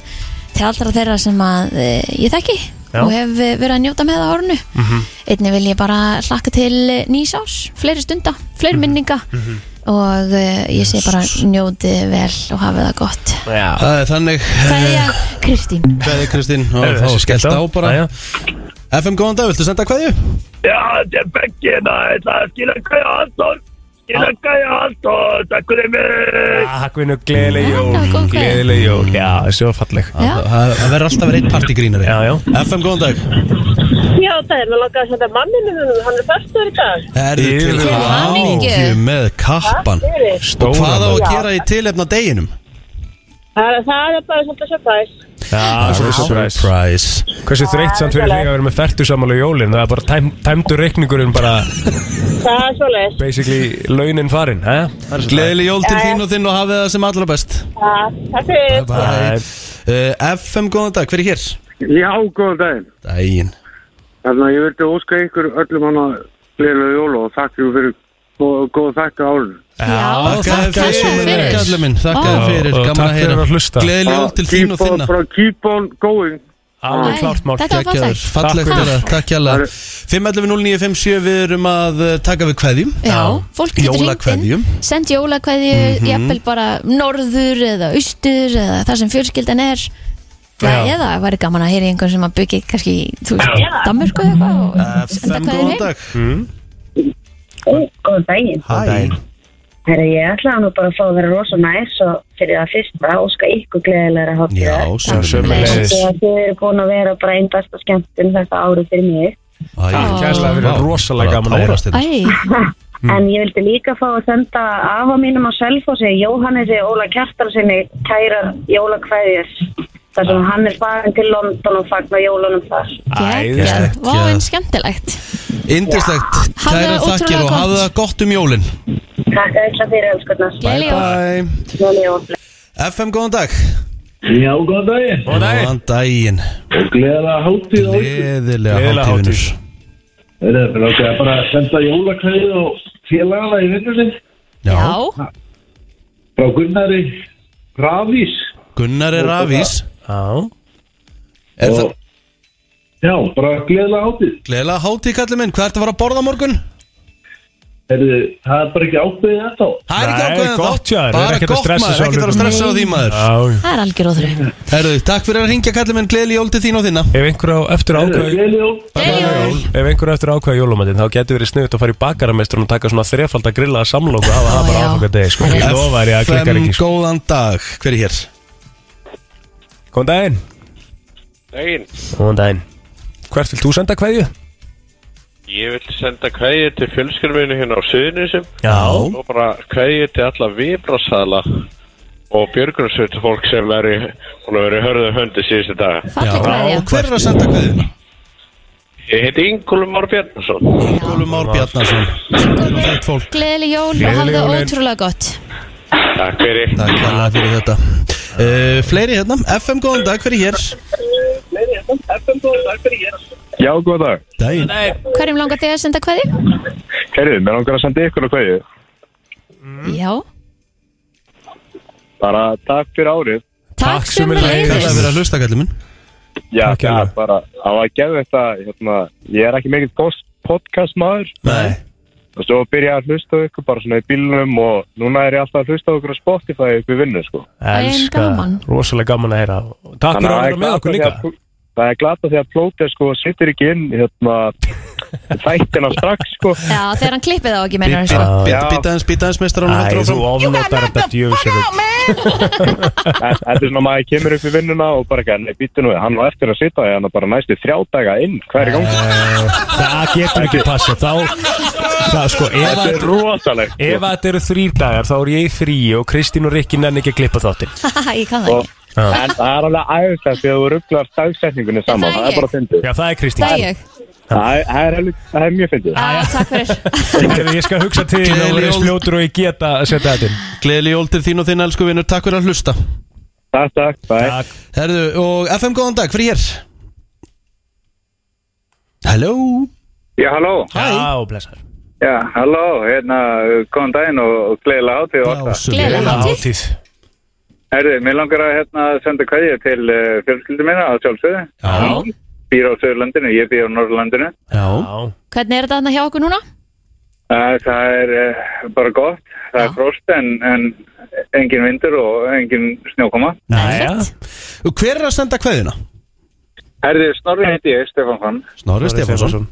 til allra þeirra sem að e, ég þekki Já. og hef eh, verið að njóta með á árinu. Mhm. Einnig vil ég bara hlakka til nýsás, fleiri stunda, fleiri minninga og e, ég segi bara njótið vel og hafið það gott. Já. Það er þannig Kveðja, Kristín. Kveði Kristín Heyrðu, og þá þessi skellt skellt á. á bara FM góðan dag, viltu senda kveðju? Já, þetta er beggin að þetta er skilakæja Hansson Skilakæja Hansson, takk fyrir mig Takk vinnu, Mhm. gleðileg jól, gleðileg jól, já, þessi var falleg Já. Það það verður alltaf verið eitt partigrínari já, já. FM góðan dag Já, það er, mér langar að senda manninu minn, hann er fastur í dag. Erðu Til til hamingju. hamingju með kappan Takk fyrir. Og hvað á að gera í tilefna deginum? Það er- það er bara svolítið surprise. Já, það er Ah, surprise. Hversu þreytt samt fyrir þig að vera með færtu samanlega jólin Það er bara tæm, tæmdu reikningurinn bara Það er svolítið. basically launin farin eh? Gleðileg jól til þín og þinn og hafið það sem allra best Takk fyrir. Bye. Uh, FM, góðan dag, hver er hér? Já, góðan daginn. Dæin Þannig að ég vildi óska ykkur öllum hann að gleyla jóla og þakka ykkur fyrir góð, góð þakka árið. Já, þakka þér fyrir Kallur minn, þakka þér fyrir, Og gaman takk að fyrir heyra að hlusta. Gleðileg jól til þín og Keep on- þinna bara Keep on going. Alveg Æ, klárt mál. þetta var Geggjaður, fallegt. Fallegt Takk. er það, takk hérlega 5.11.09.57 við erum að eh, taka við kveðjum Já, fólk getur hringt Jólakveðjum inn Send jólakveðju, mm Mhm. jafnvel bara norður eða austur eða það sem fjölskyldan er Já. Já. Eða væri gaman að heyra í einhvern sem að byggja kannski, þú veist, Danmörku eða eitthvað og Eh, senda FM, kveðjur góðan heim dag Góðan daginn. Hæ Herra, ég ætlaði nú bara að fá að vera rosa næs og fyrir það fyrsta óska ykkur gleðilega að hafa Já, sömuleiðis. Þið eru búin að vera bara einn besta skemmtun þetta árið fyrir mig. Takk kærlega fyrir, rosalega gaman að heyra. hérna. En ég vildi líka fá að senda afa mínum á Selfossi, Jóhannesi Óla Kjartar sinni kærar jólakvæðir þar Ah. sem hann er farin til London og fagnar jólunum þar. Æðislegt. Vá, en skemmtilegt Indislegt, Hafðu kæra það þakkir og ótrúlega hafðu það gott um jólin Takk eitthvað fyrir elskurnar. Gleðileg jól. Gleðileg jól. FM, góðan dag Já, góðan daginn. Góðan daginn. Góðan daginn Og gleðilega hátíð á ykkur. Gleðilega hátífinur Heyrðu, mig langaði bara að senda jólakveðið og félagana í vinnunni. Já. Frá Gunnari Ravís. Gunnar er rafís Já Er það Já, bara gleðilega hátíð. Gleðilega hátíð, kallið minn, hvað ertu að fara að borða á morgun? Heyrðu, það er bara ekki ákveðið þetta. Það er ekki ákveðið ennþá. Bara Bara gott, gott maður, maður, ekkert að stressa um á því, maður. Það er algjör óþrið Herðu, takk fyrir að ringja kallið minn, gleðileg jól til þín og þinna Ef einhverju á eftir ákveð Gleðileg Ef einhverju eftir ákveða jólumatinn þá getur verið sniðut að fara í bakaramestrun og taka svona þrefald að grilla að samlóku að það bara áfanga degi sko. Ég lofa þér ég að klikkar ekki sko. góðan dag, hver er hér? Góðan daginn Daginn, Góðan daginn Hvert vilt þú senda kveðju? ég vil senda kveðið til fjölskylduminu hérna á Suðunisum Já. og bara kveðið til alla vibrasaðla og björgunarsveit fólk sem veri, hún veri hörðu höndi síðustu daga Já, hver er að senda kveðjuna? Ég heiti Ingúlum Már Bjarnason Ingúlum Már Bjarnason Þetta fólk Gleðileg jól og Gleðileg hafðu það jólin. ótrúlega gott Takk fyrir Takk hérlega fyrir þetta uh, Fleiri hérna, FM góðan dag, hver er hér? Já, góð dag. Dæin. Hverjum langar þig að senda kveði? Herrið, mér langar að senda ykkur að kveðju. Já, Bara takk fyrir árið. Takk sömuleiðis. Takk fyrir að hlusta, kallið minn Já, það er bara, það var gefið þetta, hérna, ég er ekki mikill post, podcast maður. Nei. Og svo byrja ég að hlusta á ykkur bara svona í bílunum og núna er ég alltaf að hlusta á ykkur á Spotify upp í vinnu, sko. Elska, rosalega gaman að heyra Takk fyrir að Þannig það er vera með glatað okkur því líka að pló- Það er glata því að plótið, sko, sittir ekki inn, hérna, þættina strax, sko. já þegar hann sko. klippið á ekki meinar Býta hans, býta hans mestar á hann heldur áfram ofnotar þetta djöfisöfum Þetta er svona maður kemur upp í vinnuna og bara ekki, nei, býttu nú, hann var eftir að sitja í hann bara næstu þrjá daga inn, hver er gangi? Eh, Það getur ekki passa Þá, það sko ef Þetta er að- rosalegt sko. Ef að þetta eru þrýr dagar þá er ég í frí og Kristín og Rikki nenni ekki að klippa þáttinn Haha, ég kann það Og- ekki En það er alveg æðislegt þegar þú rugglar dagsetningunni Það saman, er það er bara fyndið. Já, það er Kristín. Ah. Það er ég Það er- það er helvít- það er mjög fyndið. Já, takk fyrir Þegar ég skal hugsa til þín og Gleðileg verið jól. fljótur og ég geta að setja þetta inn Gleðileg jól til þín og þinn, elsku vinnur, takk fyrir að hlusta Takk, takk, takk Herðu, og FM góðan dag, hver er hér? Halló Já, halló. Já, blessar. Já, halló, hérna, góðan daginn og gleðilega hátíð og alltaf. Gleðilega hátíð Herði, mér langar að hérna, senda kvæðið til uh, fjölskyldum minna að sjálfsögðu. Já. Býr á Söðurlandinu, ég býr á Norðurlandinu. Já. Hvernig er þetta hann hjá okkur núna? það er uh, bara gott, það er frost en, en engin vindur og engin snjókoma. Næja Og hver er að senda kveðjuna? Herði, Snorri heiti ég, Stefán Fann. Snorri Stefánsson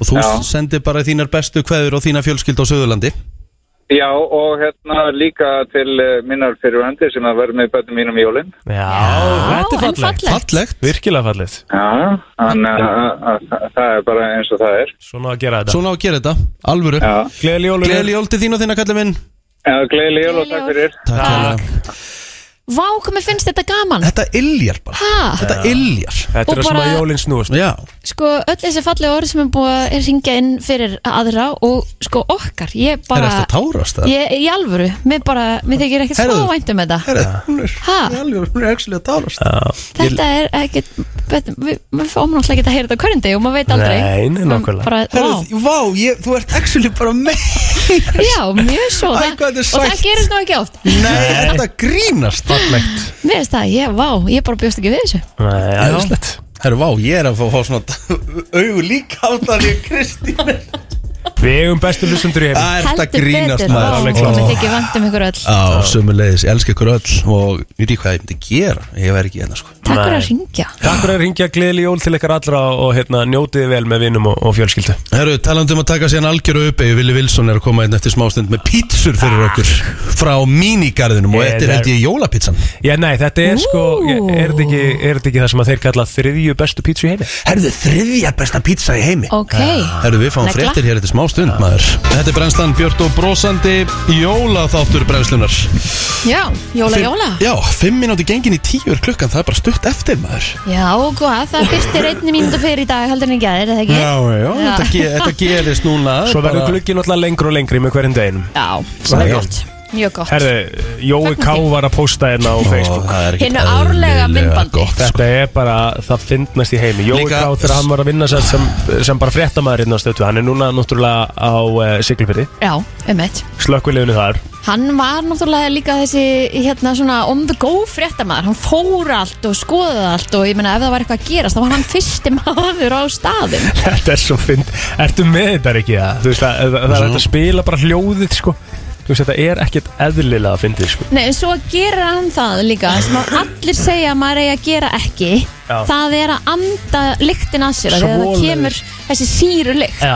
Og þú Já. sendir bara þínar bestu kveður og þína fjölskyld á Suðurlandi Já, og hérna líka til uh, minnar fyrirvændi sem að verða með bönnum mínum í jólinn. Já, þetta er fallegt. Fallegt Virkilega fallegt Já, þannig að að- að- það er bara eins og það er. Svona að gera þetta Svona á að gera þetta, alvöru Gleðileg jól Gleðileg jól til þín og þinna, kallið minn Já, gleðileg jól og takk fyrir. Takk, Takk. Vá, hvað mér finnst þetta gaman Þetta illjar bara Ha? Þetta illjar Þetta er Og það sem bara- að jólinn snúast Já Sko, öll þessi fallega orð sem er búið að er hringja inn fyrir aðra og sko okkar, ég bara Er þetta tárast það? Ég, í alvöru, mér bara, mér þykir ekkert Herðu. smá vænt um þetta Herðu, hún er, ha, hún er actually að tárast Þetta er ekkert, bet- við- maður fáum náttúrulega ekki að heyra þetta á hverjum degi og maður veit aldrei Nei, nei, Man nákvæmlega. bara, Herðu, vá. vá, ég, þú ert actually bara með Já, mjög svo Æ, það, hvað þetta er Og það sætt. gerist nú ekki oft Nei, þetta grínast fallegt Mér finnst það, ég, vá, ég bara bjóst ekki við þessu Nei, aðeinslegt Herru, vá, ég er að fá, fá svona augu líka á það ég Kristi Við eigum bestu hlustundur í Það er heim þetta Heldur grínast betur, maður. vá, Alveg Mér klárt. þykir vænt um ykkur öll Á, sömulegis, ég elska ykkur öll og við því hvað ég myndi gera Ég væri ekki hérna sko Takk fyrir að ringja Takk fyrir að ringja gleðli jól til ykkar allra og hérna, njótið þið vel með vinum og, og fjölskyldu Herru, talandi um að taka síðan algjöru uppi Vili Vilsson er að koma einn eftir smástund með pítsur fyrir okkur Frá mínigarðinum og Ég þetta er er- held ég jólapítsan Já, nei, þetta er sko, er þetta ekki, er þetta ekki það sem að þeir kalla þriðju bestu pítsu í heimi? Herðu, þriðja besta pítsa í heimi Ok Herru, við fáum fréttir hér eftir smástund maður Þetta er brennslan Björn og Brósandi Jólaþáttur brennslunar Já, jóla, jóla Já, fimm mínúti gengin í tíu er klukkan, það er bara stutt eftir maður Já, og hvað, það byrtir einni mínútu fyrir í dag heldur en ekki að er það ekki? Þetta, ge þetta gerist núna Svo verður glugginn alltaf lengri og lengri með hverjum deginum Já, það er gott Mjög gott Herðu, Jói K var að posta hérna á Facebook Hinnu árlega myndbandi Þetta er bara, það fyndnast í heimi Jói Líka- K þegar hann var að vinna sem, sem, sem bara fréttamaður hérna á stötu Hann er núna náttúrulega á uh, Siglufyrði Já, um eitt Slökkviliðinu þar Hann var náttúrulega líka þessi hérna svona on the go fréttamaður Hann fór allt og skoðaði allt og ég meina ef það var eitthvað að gerast þá var hann fyrsti maður á staðin Þetta er svo fynd Ertu með þetta ekki það? Þú veist, það, það, það er hægt að spila bara hljóðið sko Þú veist, þetta er ekkert eðlilega að fyndið sko Nei, en svo gerir hann það líka sem að allir segja að maður eigi að gera ekki Já. Það er að anda lyktin að sér af því að það Svoleiðis. kemur þessi síru lykt Já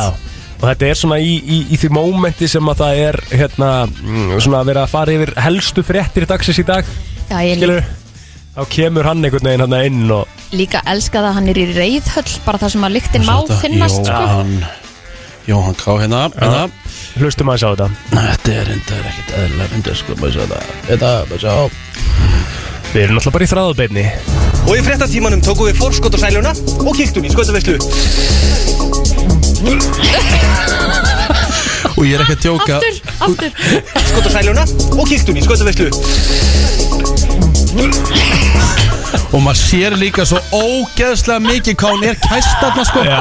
Og þetta er svona í, í, í því mómenti sem að það er hérna, mm, svona að vera að fara yfir helstu fréttir dagsins í dag Já, ég Skilur Þá kemur hann einhvern veginn hann inn og líka elska það að hann er í reyðhöll bara þar sem að lyktin má finnast sko. Jóhann Jóhann K. hérna, hérna. Hlustum aðeins á þetta Þetta er reyndar ekkert eðlilega reyndar sko maður sjá þetta Þetta, maður sjá Við erum náttúrulega bara í þráðbeinni Og í fréttatímanum tókum við fórskot á sæluna og kíktum í skotaveislu Og ég er ekki að tjóka Aftur, aftur Skot á sæluna og kíktum í skotaveislu Og maður sér líka svo ógeðslega mikið hvað hún er kæst þarna sko Já,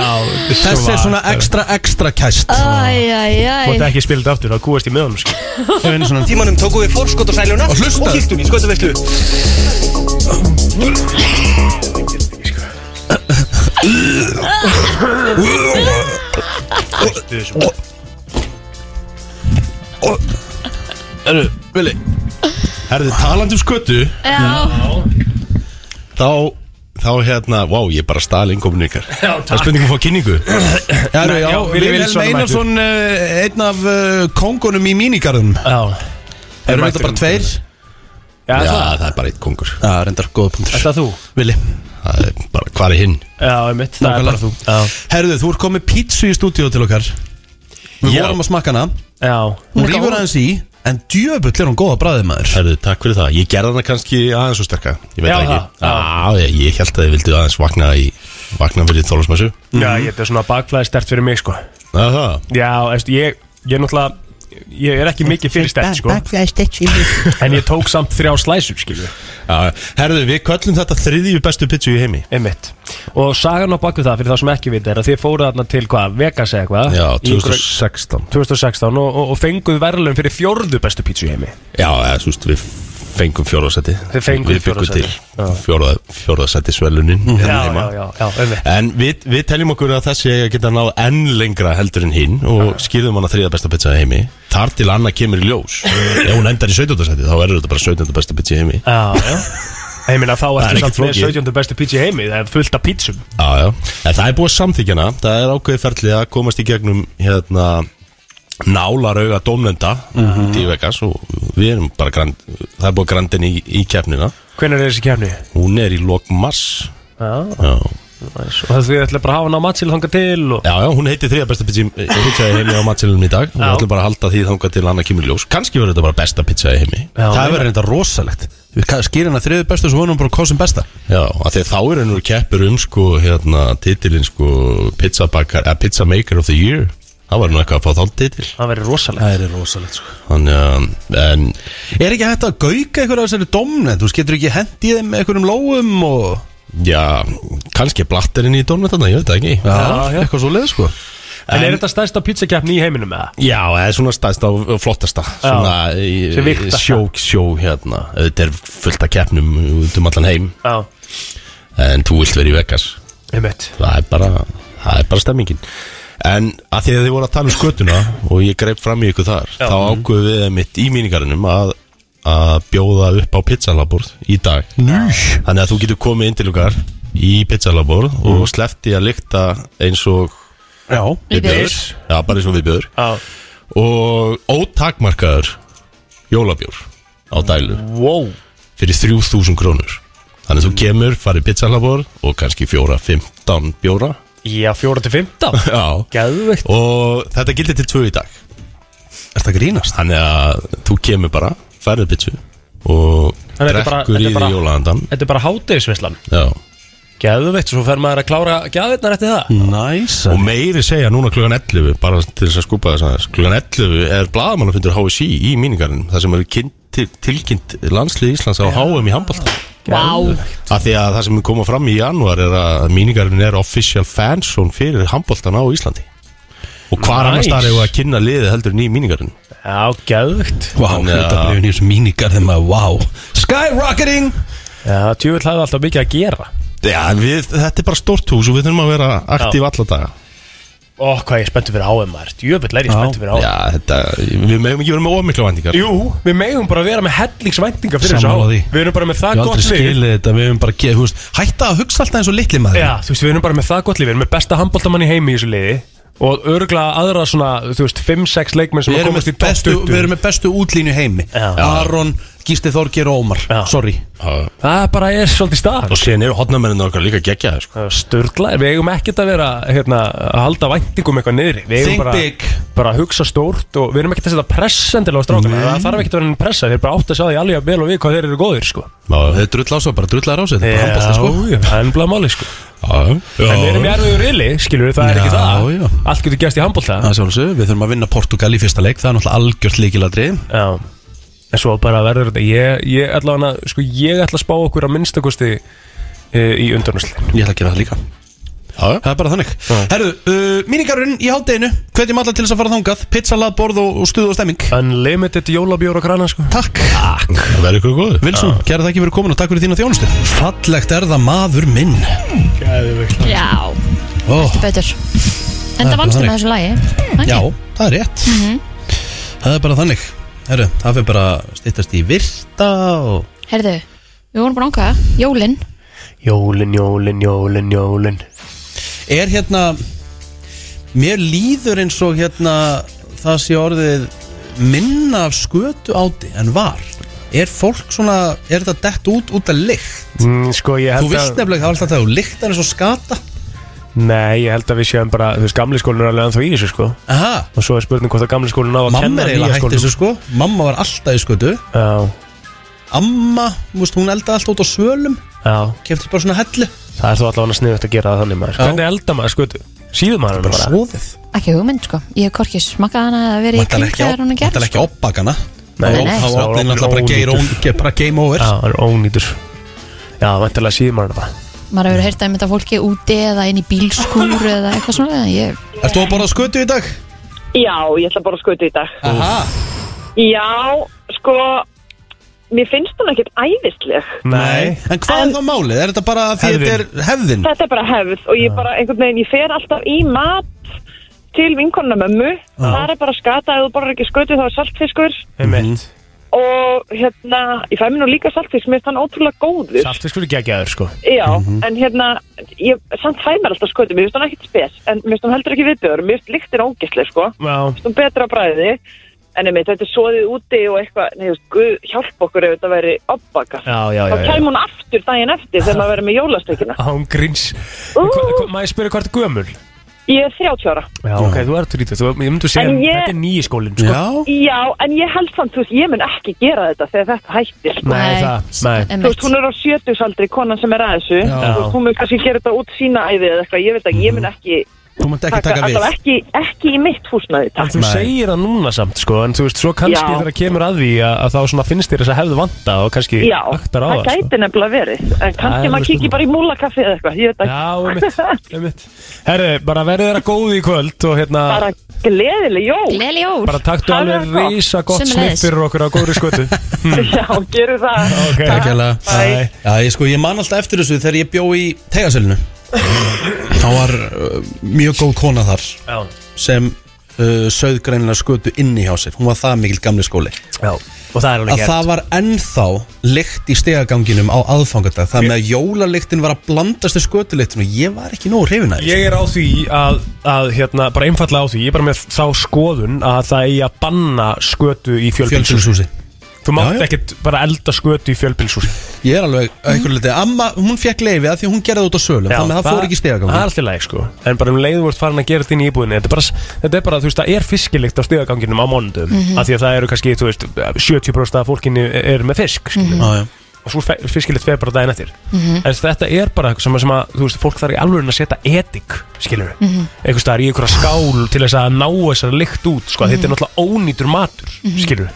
þetta er svo Þessi er svona vakar. ekstra ekstra kæst Þú Æjæjæj ætti ekki að spila þetta aftur, það kúast í miðanum sko Tímanum tókum við fórskot á sæluna og kíktum í skotaveislu Hættu þessu Herru, Vili Herru, talandi um skötu Já, Þá, þá hérna, vá, ég bara stali inkominu ykkar Það er spurningum að fá kynningu Herru, já, Já, Willi Vili Wilson er Einarsson eh, Einn af uh, kongunum í mínigarðum Já Erum þetta bara tveir? Já, það er bara eitt kongur Já, reyndar, góða punktur Er það þú? Vili Það er bara, hvað er hinn? Já, einmitt, það er Nákvæmlega. bara þú Já, Herru, þú ert komið pítsu í stúdíu til okkar Við Já. vorum að smakka hana já. Hún rýfur aðeins í En djöfull er hún góða bræðið maður Herðu, takk fyrir það. Ég gerði hana kannski aðeins og sterka. Ég veit Já, það ekki. Já, ég, ég held að þið vildu aðeins vakna í vakna fyrir þólusmessu. Já, ég þetta er svona bakflæði stert fyrir mig sko Það er það. Já, eftir, ég, ég er náttúrulega Ég er ekki mikið fyrir stert sko En ég tók samt þrjá slæsur skilju Já, herðu, við köllum þetta þriðju bestu pitsu í heimi. Einmitt Og sagan á baku það, fyrir það sem ekki vita er að þið fóruð þarna til hvað, Vegas eða hvað Já, Ah, í einhverju- 2016. 2016 og, og, og fenguð verðlum fyrir fjórðu bestu pítsu í heimi Já, eða, þú veist, við fengum fjóraðsæti. Þið fenguð Við byggum fjórða til sæti. fjóra- fjórðasæti svelunin. Já, já, já, já, einmitt En við, við teljum okkur að þessi eigi að geta náð enn lengra heldur en hinn og skýrðum hana þriða besta pizza í heimi Þar til annað kemur í ljós Mm. Ef hún endar í 17. seti þá verður þetta bara 17. besta pizza í heimi Já, já Ég meina þá Það er ertu ekkert samt með flókið. 17. bestu pítsu í heimi Það er fullt af pítsum Já, já En það er búið samþykjana Það er ákveðið ferli að komast í gegnum hérna nálarauga dómnenda Mhm. í Vegas og við erum bara grand, það er búið grandin í, í kefnina Hvenær er þessi kefni? Hún er í lok mars Já, Já nice. og því ætla bara að hafa hann á matsil þangað til og... Já, já, hún heitir þriða besta pizza í- pizza í heimi á matselunum í dag og við Já. ætlum bara að halda því þangað til annað kemur í ljós Kanski verður þetta bara besta pizza í heimi Já. verður reynda rosalegt skýr hann að þriðu bestu svo vonum bara hvað sem besta Já, af því að þá er hann úr keppur um sko, hérna, titilinn sko, pizza, bakar, eh, pizza Maker of the Year Það var nú eitthvað að fá þá titil Það verður rosalegt Það er rosalegt sko Þannig að, en Er ekki hægt að gauka einhverja af þessari domnet? Þú veist, getur ekki hendi í þeim einhverjum lóum og... Já, kannski blatterinn í dónum þetta, ég veit það ekki Já, eitthvað svo leið sko En, er þetta stærsta pizzakeppni í heiminum eða? Já, það er svona stæðsta og flottasta Svona í- Sem virtasta. sjó, sjó hérna Þetta er fullt af keppnum út um allan heim Já. En þú vilt vera í Vegas Einmitt. Það er bara, það er bara stemmingin En að því að þið voru að tala um skötuna Og ég greip fram í ykkur þar Þá ákveðu við mitt í míningarinnum að að bjóða upp á pizzalaborð í dag Nú. Þannig að þú getur komið inn til okkar í pizzalaborð Mm. og sleppti að lykta eins og Já, viðbjöður Já, bara eins og viðbjöður Og ótakmarkaður jólabjór á dælu wow. Mm. Fyrir 3000 krónur Þannig að þú kemur, farið pizzalabor og kannski 4-15 bjóra Já, 4-15 Já Geðveikt Og þetta gildir til 2 í dag Er þetta grínast? Þannig að þú kemur bara, færið pizzu og Þannig að þetta er bara- drekkur þetta í er því bara- jólahandan Þetta er bara hátegisvislan Já Geðveikt, svo fer maður að klára geðveitnar eftir það Næs Og meiri segja núna klukkan 11 bara til þess að skúpa þess aðeins klukkan 11 er blaðamannafundur HSI í míningarinn þar sem eru kynnt- til- tilkynnt landslið Íslands á HM í handbólta Vá að því að það sem við koma fram í janúar er að míningarinn er official fanzone fyrir handbóltan á Íslandi og hvar Nice. annars þar eru að kynna liðið heldur en í míningarinn Já, geðveikt Vá, hlutabrifin í þessum míningar þeim að, vá Skyrocketing Já, tjúvill hafði alltaf mikið að gera Já, við, þetta er bara stort hús og við þurfum að vera aktíf alla daga Ó, hvað ég er spenntur fyrir HMR Tjúvill er ég spenntur fyrir HMR Já, þetta, við meðum ekki vera með ómiklu vendingar Jú, við megum bara vera með hellingsvæntingar fyrir þessu Sammála því. HM. Við erum bara með Ég það hef aldrei gott lið skilið þetta, við hefum bara geð, þú veist, hætta að hugsa alltaf eins og litli maður Já, þú veist, við erum bara með það gott lið Við erum með besta handbóltamann í heimi í þessu liði Og örgulega aðra svona, þú veist, 5-6 leikmenn sem Við að erum, komast með í top bestu, 20 við erum með bestu útlínu í heimi Aron, Gísli Þorgir og Ómar Sorry Það bara er svolítið stað Og síðan eru hotnamenninu okkar líka geggjaði sko. Sturla, við eigum ekkert að vera hérna, að halda væntingum eitthvað niðri Við Think eigum bara, big. bara að hugsa stórt og við erum ekkert að setja pressendilega á strákana Nei. Það þarf ekkert að vera enn pressa, þeir bara átt að sjá því alveg vel og við hvað þeir eru góðir sko. Já, þeir drull á svo, bara drull á rási Þetta er bara Já, já, handbólta sko það er ennblá máli sko. Já, En við erum í erfiðu rili, skilur við, það er ekki Já, það já. Allt getur gæst í handbólta Það er sjálfsög, við þurfum að vinna Portugal í fyrsta leik Það er náttúrulega algjört líkilatri Já En svo bara verður þetta Ég, ég, ætla, hana, sko, ég ætla að spá okkur að minnstakosti e, í undanúslin Ég ætla að gera það líka Það er bara þannig Herru, uh, míningarun í hátdeinu Hvernig maður til þess að fara þangað Pizza, laðborð og, og stuð og stemming Unlimited jólabjór og grana sko Takk Það verður ykkur góður Vilsum, kæra þakki fyrir komin og takk fyrir þína þjónustu Fallegt er það maður minn Já, Ó, betur Það En er það vannstu með þannig. þessu lagi Takk. Já, það er rétt Mhm. Það er bara þannig Herru, það fyrir bara stýttast í virta og... Herðu, við vorum búin að ákvæða Jólin Jólin, jólin, jólin, jólin Er hérna Mér líður eins og hérna Það sé orðið minna af skötu áti en var Er fólk svona, er þetta dett út út af lykt? mm, Sko ég Þú held vilt að nefnilega ekki hafa alltaf það og lyktar eins og skata Nei, ég held að við séum bara Þú veist, gamli skólinn er alveg ennþá í þessu sko Aha, Og svo er spurning hvort að gamli skólinn á að mamma kenna er eiginlega nýja hætti þessu skólinn sko Mamma var alltaf í skötu Já, Amma, þú veist, hún eldaði alltaf út á svölum já Kefti bara svona hellu Það er þó allavega sniðvægt að gera það þannig maður Hvernig elda maður sko Síðum maður bara Svoðið Ekki hugmynd sko, ég hef korkið smakað hana að vera í Vantar kring ekki þegar hún er Þetta gerð sko. er ekki oppakana Nei, nei. Þá Það var opnin alltaf bara geir ónýtur. ón- bara game over Já, það er ónýtur Já, vantilega síðum maður bara Maður hefur heyrt að þetta fólki úti eða inn í bílskúr eða eitthvað svona ég... Ertu að borða skötu í dag? Já, ég ætla bara að skuta í dag. Aha Já, sko, mér finnst hún ekkert æðisleg. Nei En hvað er þá málið? Er þetta bara að því þetta er hefðin? Þetta er bara hefð og ég bara einhvern veginn, ég fer alltaf í mat til vinkonuna mömmu. Já. Það er bara skata, ef þú borðar ekki skutu þá er saltfiskur. Einmitt. Og hérna, ég fæ mér nú líka saltfisk, mér finnst hann ótrúlega Mhm. góður. Saltfiskur er geggjaður sko Já, Mhm. en hérna, ég, samt fæ mér alltaf skotum, mér finnst hún ekkert spes, en mér finnst hún heldur ekki viðbjörn, mér finnst lyktin ógislega, sko, mér Já, finnst hún betra að bræði, en einmitt, þetta er soðið úti og eitthvað, nei, þú veist, guð, hjálp okkur ef þetta væri oppbakað. já, já, Þá já, já. kæm hún aftur daginn eftir þegar maður verið með jólastökina. Án gríns En hva- hva- Má ég spyrja hvað er gömul? Ég er 30 ára Já, ok, þú ert rítið, þú, ég myndi að segja, En ég- þetta er nýji skólinn, sko. Já, en ég held samt, þú veist, ég mun ekki gera þetta þegar þetta hættir sko. Nei, það, nei. Þú veist, hún er á sjötusaldri, konan sem er að þessu Já. Mhm. Þú veist, Hún mun kannski gera þetta út sína æði eða eitthvað, ég veit ekki, ég mun ekki Þú munt ekki taka við. allavega ekki, ekki í mitt húsnaði, En takk þú segir það núna samt, sko, en þú veist, svo kannski Já. þegar kemur að því að, að þá svona finnst þér þess að hefðu vanta og kannski Já, aktar á það það, sko. gæti nefnilega verið En Það er kannski alveg maður spurning. kikið bara í múlakaffi eða eitthvað, ég veit ekki Já, um mitt Herri, bara verið þeirra góði í kvöld og hérna, Bara gleðileg jól Gleðileg jól bara taktu alveg reysa gott snipp fyrir okkur á góðri skötu. Já, gerum það Ok. Takk hérlega Bye. Já, ég sko, ég man alltaf eftir þessu þegar ég bjó í tegasölinu Þá var uh, mjög góð kona þar Já. sem uh, söðgrænilega skötu inni hjá sér Hún var það mikil gamli skóli Já, og það er alveg Að gert. það var ennþá lykt í stegaganginum á aðfangadag Það með að jólalyktin var að blandast í skötulyktinu og ég var ekki nógu hrifin að því Ég er á því að, að hérna, bara einfallega á því, ég er bara með þá skoðun að það eigi að banna skötu í fjölbílshúsi. Fjölbýlishúsi. Þú Já, mátt já. ekkert bara elda skötu í fjölbílshúsi. Ég er alveg að einhverju liti Amma, hún fekk leifi að því að hún gerði það út á sölum Þannig að það fór ekki Það í er stegagangin allt í lagi sko En bara um leiður vort farin að gera þetta inn í íbúðinni Þetta er bara, þetta er bara þú veist, það er fiskilikt á stegaganginum á mánudum mm Mhm. Af því að það eru kannski, þú veist, 70% af fólkinni er með fisk mm Mhm. Á, já. Og svo fe- fiskilikt fer bara daginn eftir Mhm. En þetta er bara eitthvað sem, að- sem að, þú veist, fólk þarf í alveg að setja etik, skilur við Mhm. Einhvers staðar í einhverja skál til þess að ná þessari lykt út, sko Þetta er Mhm. náttúrulega ónýtur matur, Mhm. skilur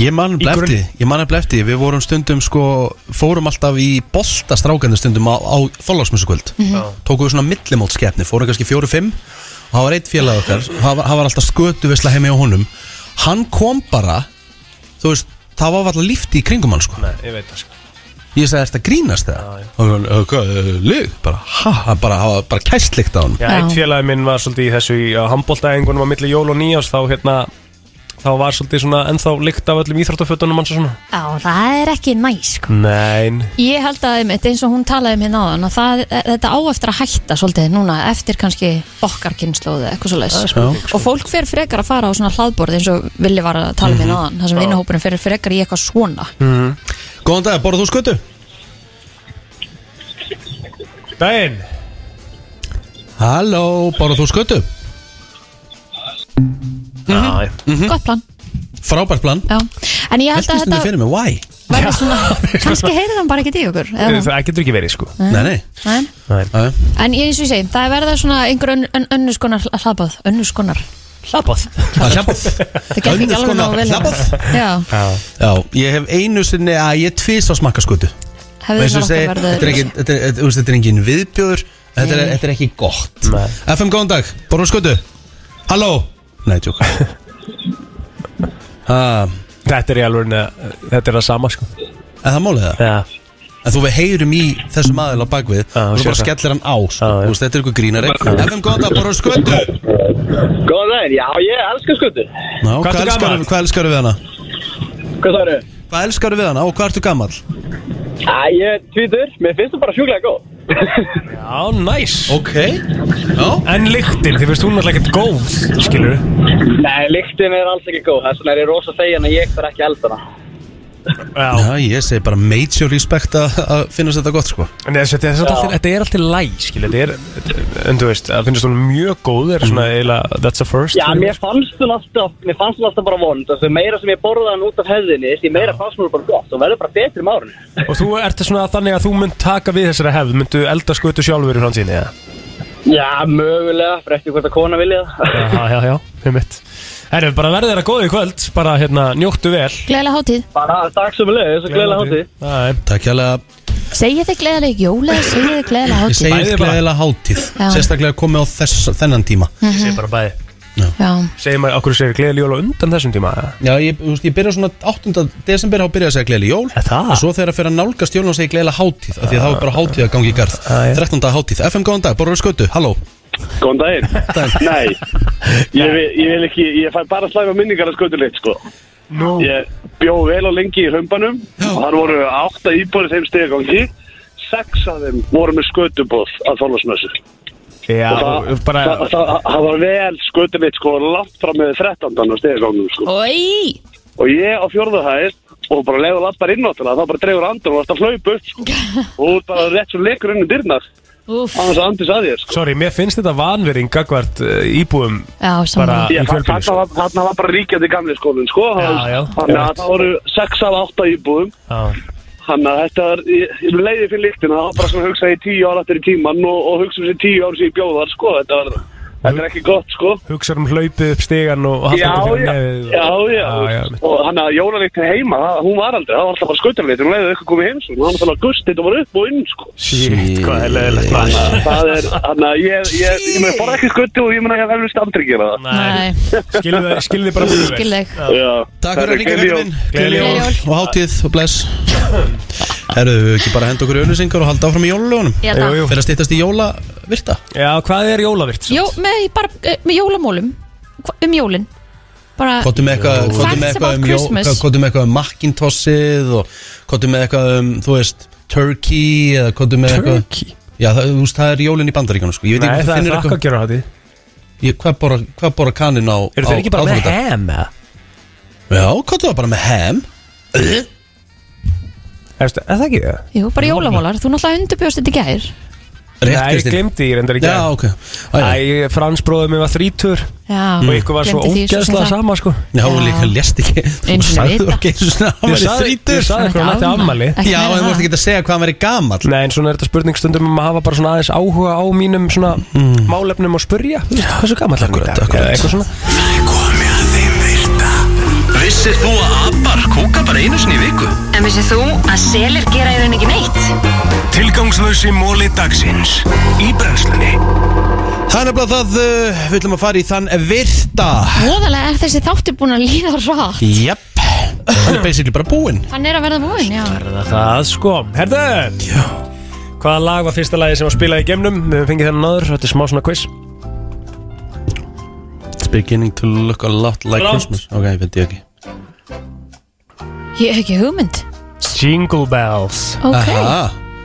Ég man Í grunn- blefti, ég man blefti Við vorum stundum sko, fórum alltaf í boltastrákandi stundum á, á þólagsmjössukvöld Mhm. Já. Tókum við svona millimót skeppni, fórum kannski fjóru-fimm Og það var eitt félag okkar Það var, það var alltaf skötuvisla heimi á honum Hann kom bara Þú veist, það var alltaf lífti í kringum hann sko Nei, ég veit það sko Ég sagði, ertu að grínast það? Og hann, "Eh, hvað, eh, lyg?" bara, ha, hann bara, það var bara kæstlikt á hann Já, eitt félagi minn var svolítið í þessu í handbóltaæðingunum á milli jól og nýjás þá hérna þá var svolítið svona ennþá lykt af öllum íþróttafötunum hans og svona Já, það er ekki næs sko. Nein Ég held að einmitt, eins og hún talaði um hérna áðan að það, þetta á eftir að hætta svolítið núna eftir kannski okkarkynnslóðu eitthvað svo Það er spurning, sko. og fólk fer frekar að fara á svona hlaðborð eins og Villi var að tala um hérna áðan það sem Já. vinnahópurinn fer frekar í eitthvað svona -hmm. Góðan dag, borðu þú skötu? Daginn Halló, borðu þú skötu? Mm -hmm. mm Gott plan Frábært plan Já. En ég held Veltum að stundum þetta fyrir mig, why? verður svona kannski heyrið hann bara ekki í okkur eða hvað? Það getur ekki verið sko Nei. Nei, nei, Nei. nei. En ég eins og ég segi, það er verða svona einhver önn- önn- önnur skonar hlaðbóð önnur skonar hlaðbóð Hlaðbóð Það gekk ekki Ah, Önnur alveg skonar náðu vel hérna. Já, Já. Já, ég hef einu sinni að ég tvís á smakka skötu hefði Eins og það segi, verða Þetta er ekki- þetta er- þetta- þú veist, þetta er engin viðbjör Þetta er, Nei. þetta er ekki gott FM, góðan dag, borðu skötu? Halló? Nei, tjók Þetta er í alveg þetta er það sama sko Er það málið það? Já En þú við heyrum í þessum aðeins á bakvið og þú sé bara það. skellir hann á sko. Þú veist, Þetta er ykkur grínari FM, góðan dag, borðu skötu? Góðan daginn, já ég elskar skuttur Ná, Hvað hvað, ertu elskar, gamall? hvað elskar við hana? Hvað það eru? Hvað elskar við hana og hvað ertu gammal? Æ, ég er tvítur, mér finnst það bara sjúklega góð Já, næs Ok Já En lyktin, þið finnst hún alltaf ekkert góð skilur Nei, lyktin er alls ekki góð, þess vegna er ég rosa þegin að ég fer ekki að elda hana Já. ég segi bara major respect að að finnast þetta gott sko En þessi, þetta, Já. þetta, þetta, þetta er alltaf læg skilur Þetta er, þetta- en þú veist, það finnst hún mjög góð er Mm. svona eiginlega, that's a first Já, mér fannst hún alltaf, mér fannst hún alltaf bara vond Þessu meira sem ég borðaði hann út af hefðinni, því meira fannst hún bara gott og verður bara betri með árinu Og þú ert svona þannig að þú mynd taka við þessari hefð Myndu elda skötu sjálfur í framtíðinni eða? Já, mögulega, fyrir eftir hvort að kona vilja það Já, já, já, um mitt Herru, bara verðið þeirra góðu í kvöld Bara hérna, njóttu vel Gleðilega hátíð Bara takk sem leiðis og gleðilega hátíð Takk hérlega Segið þið gleðileg jóla, segið þið gleðileg Ég hátíð segi gleðilega hátíð Já. Mhm. Sérstaklega komið á þess, þennan tíma Ég segi bara bæði Já, Segir maður, okkur segir gleðileg jól á undan þessum tíma eða? Já, ég, þú veist, ég byrja svona 8. desember þá byrja að segja gleðileg jól Það? Og svo þegar að fyrir að nálgast jól og segja gleðilega hátíð af Því að þá er bara hátíð að gangi í garð 13. hátíð, FM góðan dag, borður skötu, halló Góðan daginn Nei, ég, vil- ég vil ekki Ég fæ bara slæma minningar að skötulegt sko no. Ég bjó vel og lengi í hömbanum og þar voru átta íbúrið þeim stegagangi sex af þeim voru með skötubóð að þólasmössu Já, og það, bara- það, það, það var vel skötulegt sko langt fram með 13. á stegagangnum sko Oi. og ég á fjórðu hæð og bara leiður lappar inn á það þá bara dregur andur og varst að hlaupa upp sko. og þú ert bara rétt svo leikur inn um dyrnar Úff. annars andis að þér sko. Sorry, mér finnst þetta vanvering gagvart uh, íbúum Já, bara saman í Ég- fjölbíli þarna sko. var- þarna var bara ríkjandi gamli skólinn sko Já, já. þannig að það voru 6 af 8 íbúðum Já. þannig að þetta er ég, ég leiði fyrir líktina, það var bara svona að hugsa í 10 ára eftir í tíman og, og hugsa um þessi 10 ára sem ég bjóð þar sko, þetta var Þetta er ekki gott sko Hugsar um hlaupið upp stegan og Já, haldið fyrir já, nefið og- já, já, já, og hann að jólaleitin heima, það- hún var aldrei, það var alltaf bara skautarleitin, hún leiði eitthvað komið heims og hann var alltaf gust, þetta var upp og inn sko Shit, hvað er leðilegt Þannig að það er, þannig að ég, ég, ég, ég fór ekki skuttu og ég mun að ég hef helvist aldrei gera það Nei, Skilðu skilðu bara mjög vel. Skil þig. Já. Takk fyrir að ringa Gleðileg hérna jól. minn Gleðileg jól. Og hátíð og bless Herðu, við ekki bara henda okkur í auðlýsingar og halda áfram í jólulegunum Já, takk. Jú, jú. Fyrir að stýttast í jólavirta Já, hvað er jólavirt? Jó, með, bara, eh, með jólamólum Hva- Um jólin Bara Kottum með eitthvað kottu Ah. með Facts eitthvað about um, Christmas. jó- kottu með eitthvað um Macintossið og kottum með eitthvað um, þú veist, Turkey eða kottum með eitthvað Turkey? Já, það, þú veist, það er jólin í bandaríkanum, sko Ég veit Nei, ekki það hvað er finnir frakka að eitthvað gera hátíð Ég- Hvað bora, hvað bora kanin á Eru þeir ekki bara með ham, eða? Já, kottu það bara með ham Er það ekki það? Jú, bara jólamólar Þú náttúrulega undirbjóðst þetta í gær Rétt, Nei, Rétt, ég Kristín. glemdi, ég reyndar ekki Já, ok. Æ, Frans bróðið mér var þrítur Já, Og ykkur var svo gleymdi því svo sem ógeðslega það. sama, sko Já, og líka lest ekki Þú Einu sinni sagði vita. ekki einu sinni að hann Ég væri sagði- ég þrítur sagði ykkur að hann ætti afmæli. Ekki Já, meira en það. þú ert ekki að segja hvað hann væri gammal Nei, en svona er þetta spurning stundum um að hafa bara svona aðeins áhuga á mínum svona Mm. málefnum og spurja Þú veist, Hversu gammal er hann í dag? Eða Eitthvað svona Vissir þú að abar kúka bara einu sinni í viku? En vissið þú að selir gera í rauninni ekki neitt? Tilgangslösi móli dagsins Í brennslunni Það er nefnilega það, uh, við ætlum að fara í þann virta Móðalega er þessi þáttur búin að líða rátt Jep, hann er basically bara búinn Hann er að verða búinn, já Það, það sko, herðu Já Hvaða lag var fyrsta lagi sem var spilað í gemnum? Við höfum fengið þennan aður, þetta er smá svona quiz It's beginning to look a lot like Rámt. Christmas Ok, ég veit ég ekki Ég hef ekki hugmynd Jingle Bells Ok. Aha.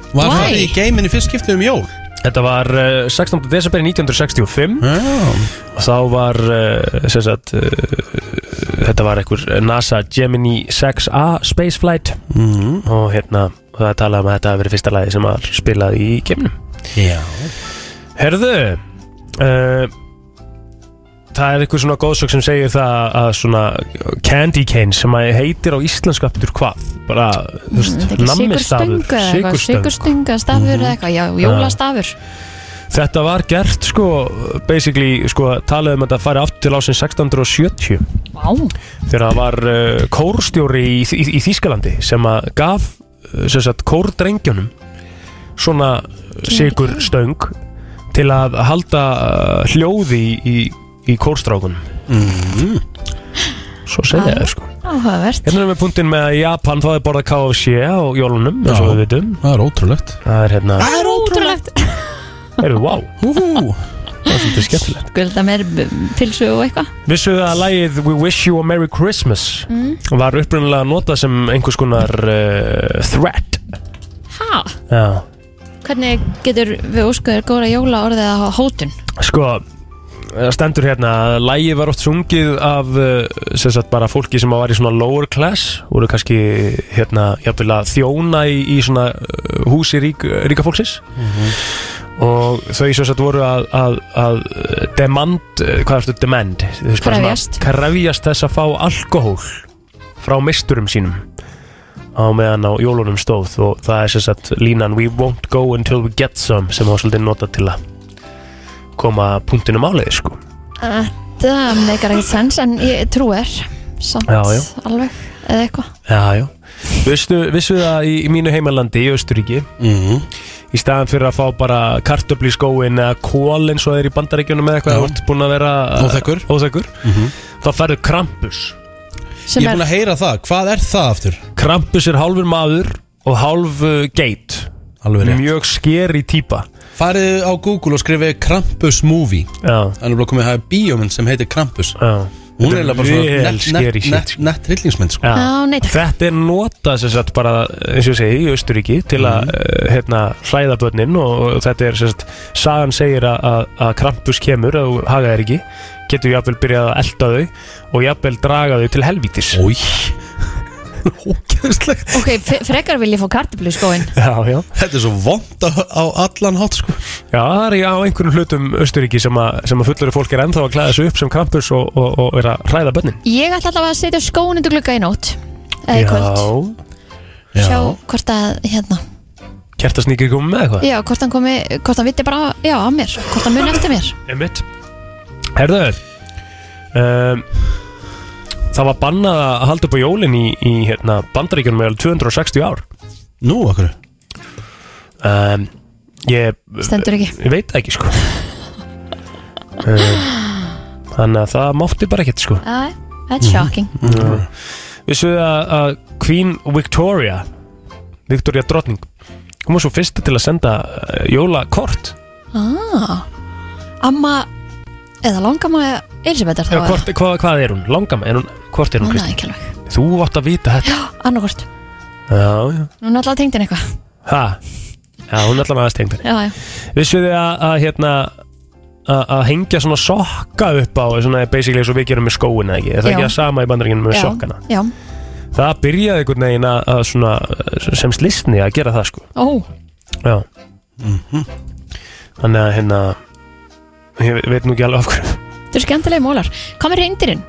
Var Why? það í geiminni fyrst skiptum um jól? Þetta var uh, 16. desember 1965 og þá var uh, sem sagt, uh, þetta var einhver NASA Gemini 6A spaceflight Mhm. og hérna og það talaði um að þetta að vera fyrsta lagi sem var spilað í geimnum Já Herðu uh, Það er einhver svona góðsök sem segir það að svona candy cane sem að heitir á íslensku aftur hvað bara, þú Mm, veist, nammistafur Sigurstunga eða eitthvað Sigurstunga stafur Mhm. eða eitthvað Já, jólastafur Þetta var gert sko basically sko talað um að þetta fari aftur til ásinn 1670 Vá þegar það var uh, kórstjóri í, í, í Þýskalandi sem að gaf uh, sem sagt, kórdrengjónum svona sigur stöng til að halda uh, hljóði í, í, í kórstrákunum Mhm. mm. Svo segja ég það sko Áhugavert Hérna erum við punktinn með að í Japan þá er borðað KFC á jólunum eins og við vitum Það er ótrúlegt Það er hérna, Það er ótrúlegt heyrðu, wow Úhú Það er svolítið skemmtilegt Gulda meir pilsu og eitthvað Vissuðu að lagið We Wish You a Merry Christmas Mm. var upprunalega notað sem einhvers konar uh, threat Ha? Já. Hvernig getur við óskuður góra jóla orðið að hafa hótun? Sko, það stendur hérna að lagið var oft sungið af uh, sem sagt bara fólki sem var í svona lower class voru kannski hérna jafnvel að þjóna í, í svona uh, húsi rík, ríka fólksins og þau sem sagt voru að, að, að demand, eh, hvað ertu demand? Þau bara svona Krefjast. Krefjast þess að fá alkohól frá misturum sínum á meðan á jólunum stóð og það er sem sagt línan we won't go until we get some sem var svolítið notað til að koma punktinum áleiði sko Það meikar ekkert sens en ég trú er samt Já, já. alveg eða eitthvað Já, já Vistu, vissu það í, í mínu heimalandi í Östuríki Mhm. -hmm. Í staðan fyrir að fá bara kartöfli í skóin eða kól eins og þeir í bandaríkjunum eða eitthvað Já. Þú ert búin að vera eh, Óþekkur. óþekkur. Mhm. Þá ferðu Krampus Sem Ég er er- búin að heyra það, hvað er það aftur? Krampus er hálfur maður og hálf uh, geit Alveg rétt. Mjög skeri típa Farið á Google og skrifið Krampus Movie Já Þannig er bara komið að hafa bíómynd sem heitir Krampus Já Hún Þetta er er eiginlega bara svona vel nett- scary nett shit, net, net, net rillingsmynd sko. Já, nei, takk. Þetta er notað sem sagt bara eins og ég segi í Östuríki til Mhm. að mm. hérna, hlæða börnin og, og þetta er sem sagt sagan segir að- að að krampus kemur og haga þér ekki getur jafnvel byrjað að elda þau og jafnvel draga þau til helvítis Ói Ógeðslegt Ok, fe- frekar vil ég fá kartiblu í skóin Já, já Þetta er svo vond á, á allan hátt sko Já, það er í- á einhverjum hlutum Östuríki sem að, sem að fullur fólk er ennþá að klæða sig upp sem krampus og, og, og er að hræða bönnin Ég ætla allavega að setja skóin undir glugga í nótt Eða í kvöld Já, Sjá já. hvort að, hérna Kertasníkir komið með eitthvað Já, hvort hann komi, hvort hann viti bara Já, á mér, hvort hann muni eftir mér Einmitt Herðu um, Það var bannað að halda upp á jólin í, í hérna, bandaríkjunum með alveg 260 ár Nú, okkur um, Ég Stendur ekki. Ég veit það ekki sko um, Þannig að það mátti bara ekkert sko Æ, That's shocking mm. Vissu að, að Queen Victoria Victoria Drottning Hún var svo fyrsta til að senda uh, jólakort ah. Amma Eða langamma Elisabethar Já, hvort, hvað, hvað er hún? Langam? Er hún, hvort er hún, Núna Kristín? ekki alveg Þú átt að vita þetta Annarkvort, Já, já núna alltaf tengd henni eitthvað Ha? Já, hún er allavega aðeins tengd henni Já, já Vissu þið að, að hérna að að hengja svona sokka upp á svona basically eins og við gerum með skóin eða ekki er það Já. ekki að sama í bandaríkinu með sokkana Já, það byrjaði einhvern veginn að, að svona sem slistni að gera það sko ó, Já Þannig að hérna Ég veit nú ekki alveg af hverju þetta er skemmtilegi mólar Hvað með reyndirinn?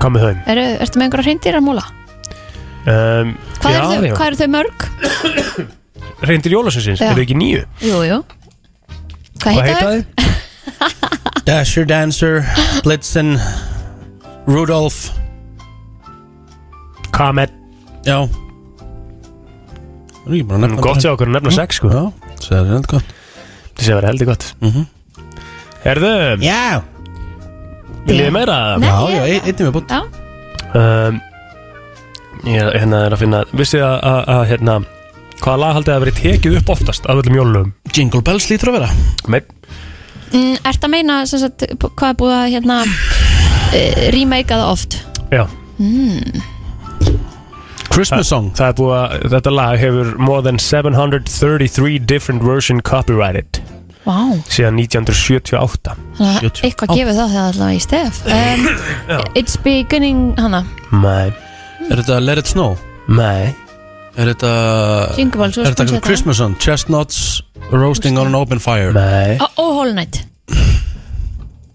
Hvað með þeim? Er, ertu með einhverja reyndir að móla? Um, Hvað, eru þau, hvað eru þau mörg? Reyndir Jólasensins, Já. eru ekki nýju? Jú, jú Hvað heita þau? Dasher Dancer, Blitzen Rudolph Comet Já Það er ekki bara að nefna Gott hjá okkur að nefna sex sko Já, það er heldur gott Mhm. Það sé að vera heldur gott Herðu Já Viljið þið meira? Nei, Já, já, ein- einnig með bútt Já um, Ég er- hérna er að finna Vissið að, að, að hérna Hvaða lag haldið að verið tekið upp oftast af öllum jólum? Jingle Bells lítur að vera Nei, Mm, ertu að meina sem sagt, b- hvað er búið að hérna e, remake það oft? já Mm. Christmas song Það er búið að þetta lag hefur more than 733 different version copyrighted Vá, síðan 1978 þannig að eitthvað gefur það þegar allavega í stef um, Já. It's beginning, hana Nei Er þetta Let It Snow? Nei Er þetta Jingle Bells, þú varst Er búin að þetta segja Christmas song? Chestnuts roasting on an open fire Eh. Nei Ó, oh, Hall Night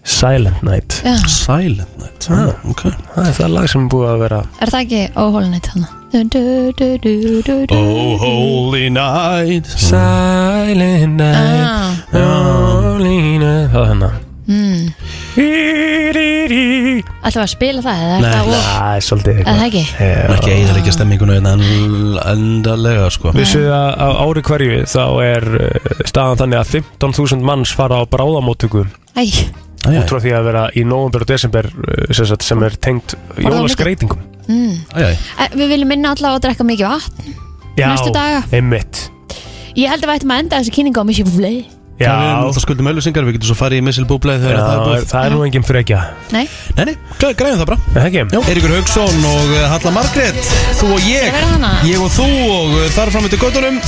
Silent Night Já. Silent Night ah, okay. Það er það lag sem er búið að vera Er það ekki Ó, Hall Night, hana du, du, du, du, du, du. Oh holy night Silent Ah. night Holy night Það er hennar Mm. Ætlum við að spila það eða er það of- Það er svolítið Er það ekki? Ekki eða ekki stemminguna en endalega sko Vissuð að á ári hverju þá er uh, staðan þannig að 15.000 manns fara á bráðamóttöku Æ, út frá því að vera í november og desember uh, sem, sagt, sem er tengt jólaskreitingum mm. Æjæj Eh, Við viljum minna allavega að drekka mikið vatn Já, Næstu daga. einmitt Ég held að við ættum að enda þessi kynninga á Mission Play Já. Við erum alltaf skuldum öllusingar, við getum svo farið í Missile Bublé þegar Já, það er búið það er nú engin frekja Nei, Nei, nei, græ- græðum það bara Það ekki Jó. Eiríkur Haugsson og eh, Halla Margrét Þú og ég, Ég verð hana. ég og þú og eh, þar fram eftir göttunum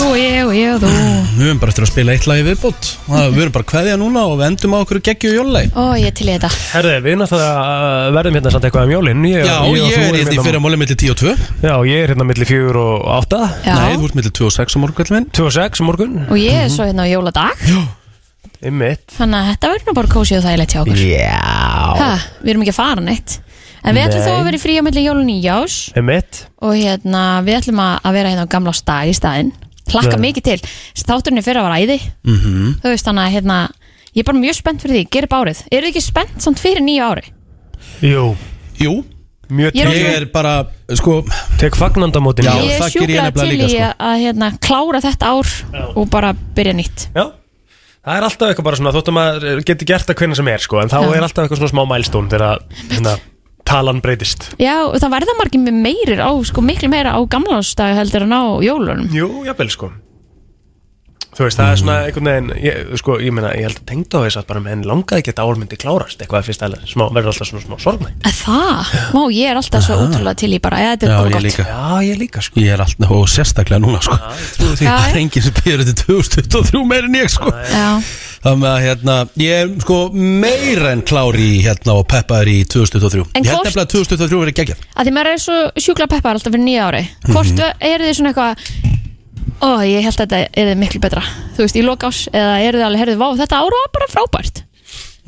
þú og ég og ég og þú Við erum bara eftir að spila eitt lagi viðbútt Við erum bara að kveðja núna og við endum á okkur geggju jólulegi Ó, ég er til í þetta Herði, við náttúrulega uh, verðum hérna samt eitthvað um jólinn ég, Já, ég, og þú er erum hérna í fyrra mólið millir 10 og 2 Já, ég er hérna milli 4 og 8 Já. Nei, þú ert millir 2 og 6 á morgun kallinn minn 2 og 6 morgun Og ég er svo hérna á jóladag Einmitt Þannig að þetta verður nú bara kósið og þægilegt hjá okkur Já ha, Við erum ekki að fara neitt En við ætlum Nei. þó að vera í frí á milli jólun í jás Einmitt Og hérna, við ætlum að að vera hérna á gamla stað í staðinn Hlakka Nei. mikið til Þátturinn í fyrra var æði Mhm. Þú veist þannig að hérna Ég er bara mjög spennt fyrir því, gera bárið Eru þið ekki spennt samt fyrir nýju ári? Jú Jú Mjög Ég er Ég er bara, sko Tek fagnandamótin Já, ég er það ger ég sjúklega nefnilega til líka í sko. að hérna, klára þetta ár og bara byrja nýtt Já Það er alltaf eitthvað bara svona, þóttum að geti gert það hvernig sem er sko, en þá Já. er alltaf eitthvað svona smá mælstón þegar hérna, talan breytist. Já, og það verða margir með meirir á, sko, miklu meira á gamlánsdag heldur en á jólunum Jú, jafnvel sko. Þú veist, það er Mm. svona einhvern veginn, ég, sko, ég meina, ég held að tengd á þess að bara menn langaði ekki að þetta ár myndi klárast eitthvað fyrst aðlega, smá, verður alltaf svona smá sorgmætt. Að Það, má, ég er alltaf svo útrúlega til í bara, eða þetta Já, er bara ég gott líka Já, ég líka sko Ég er allt, og sérstaklega núna sko Já, ég trúi því. Já, Það er já. enginn sem býður þetta 2023 meir en ég sko Já, Þannig að hérna, ég er sko meira en klári í hérna og peppaður í 2023 En Ég held hvort- nefnilega að 2023 verið geggjað að því maður er svo sjúkla peppar alltaf fyrir nýja ári hvort Mhm. mm er þið svona eitthvað ó, ég held að þetta er miklu betra þú veist, í lokás, eða er þið alveg, herðið, vá, þetta ára var bara frábært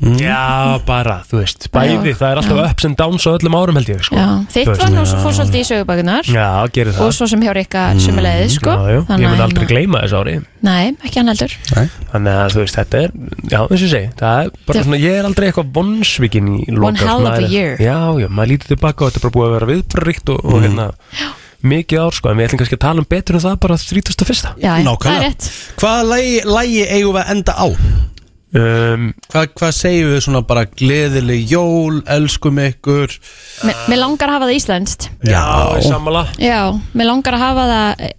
Já, bara, þú veist, bæði, Mm. Já. það er alltaf Já. ups and downs á öllum árum held ég, sko já, þitt Þú var veist. nú svo fór svolítið í sögubakunar Já, gerir það Mm, og svo sem hjá Rikka sömulegði, sko Já, já, ég mun að- aldrei gleyma þessu ári nei, ekki hann heldur Þannig að þú veist, þetta er, já, eins og ég segi, það er bara Það- svona, ég er aldrei eitthvað vonsvikin í loka One hell of a year. Já, já, maður lítið tilbaka og þetta er bara búið að vera viðbröðrikt og, Mm. og hérna, mikið ár, sko, en við ætlum kannski að tala um betur en það bara 31. Já, já, Nákvæmlega. það er rétt. Hvaða lægi, lægi eigum við að enda á? Um, Hva, hvað segjum við svona bara gleðileg jól, elskum ykkur mér, mér langar að hafa það íslenskt Já, sammála já, mér langar að hafa það eh,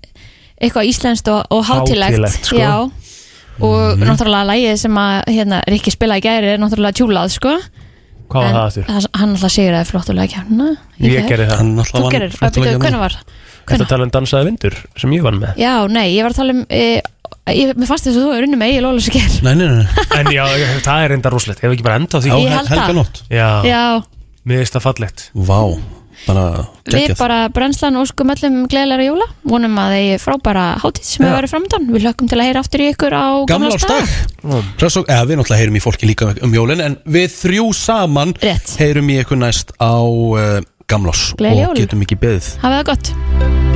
eitthvað íslenskt og, og hátilegt Hátíðlegt, sko. já Mhm. og náttúrulega lægið sem að hérna, Rikki spila í gæri er náttúrulega tjúlað, sko Hvað var það aftur? Það- Hann alltaf segir að flottulega kjærna Ég gerði það Þú gerir, byrjuðu, hvernig var það? Þetta tala um dansaði vindur sem ég vann með Já, nei, ég var að tala um e, ég, Mér fannst þess að þú er unni með Egil Ólafsgeir Nei, nei, nei En já, ég- það er enda roslegt, hefur ekki bara enda á því Já, Ég held Helga það. nótt. Já, Já, mér finnst það fallegt Vá, bara við bara brennslan óskum öllum gleðilega jóla vonum að þeir frábæra hátíð sem Já. hefur verið framdann Við hlökkum til að heyra aftur í ykkur á Gamlársdag Hress og, eða við náttúrulega heyrum í fólki líka um jólin En við þrjú saman Rétt. heyrum í ykkur næst á uh, Gamlás Gleðileg Og jól. getum ekki beðið Hafið það gott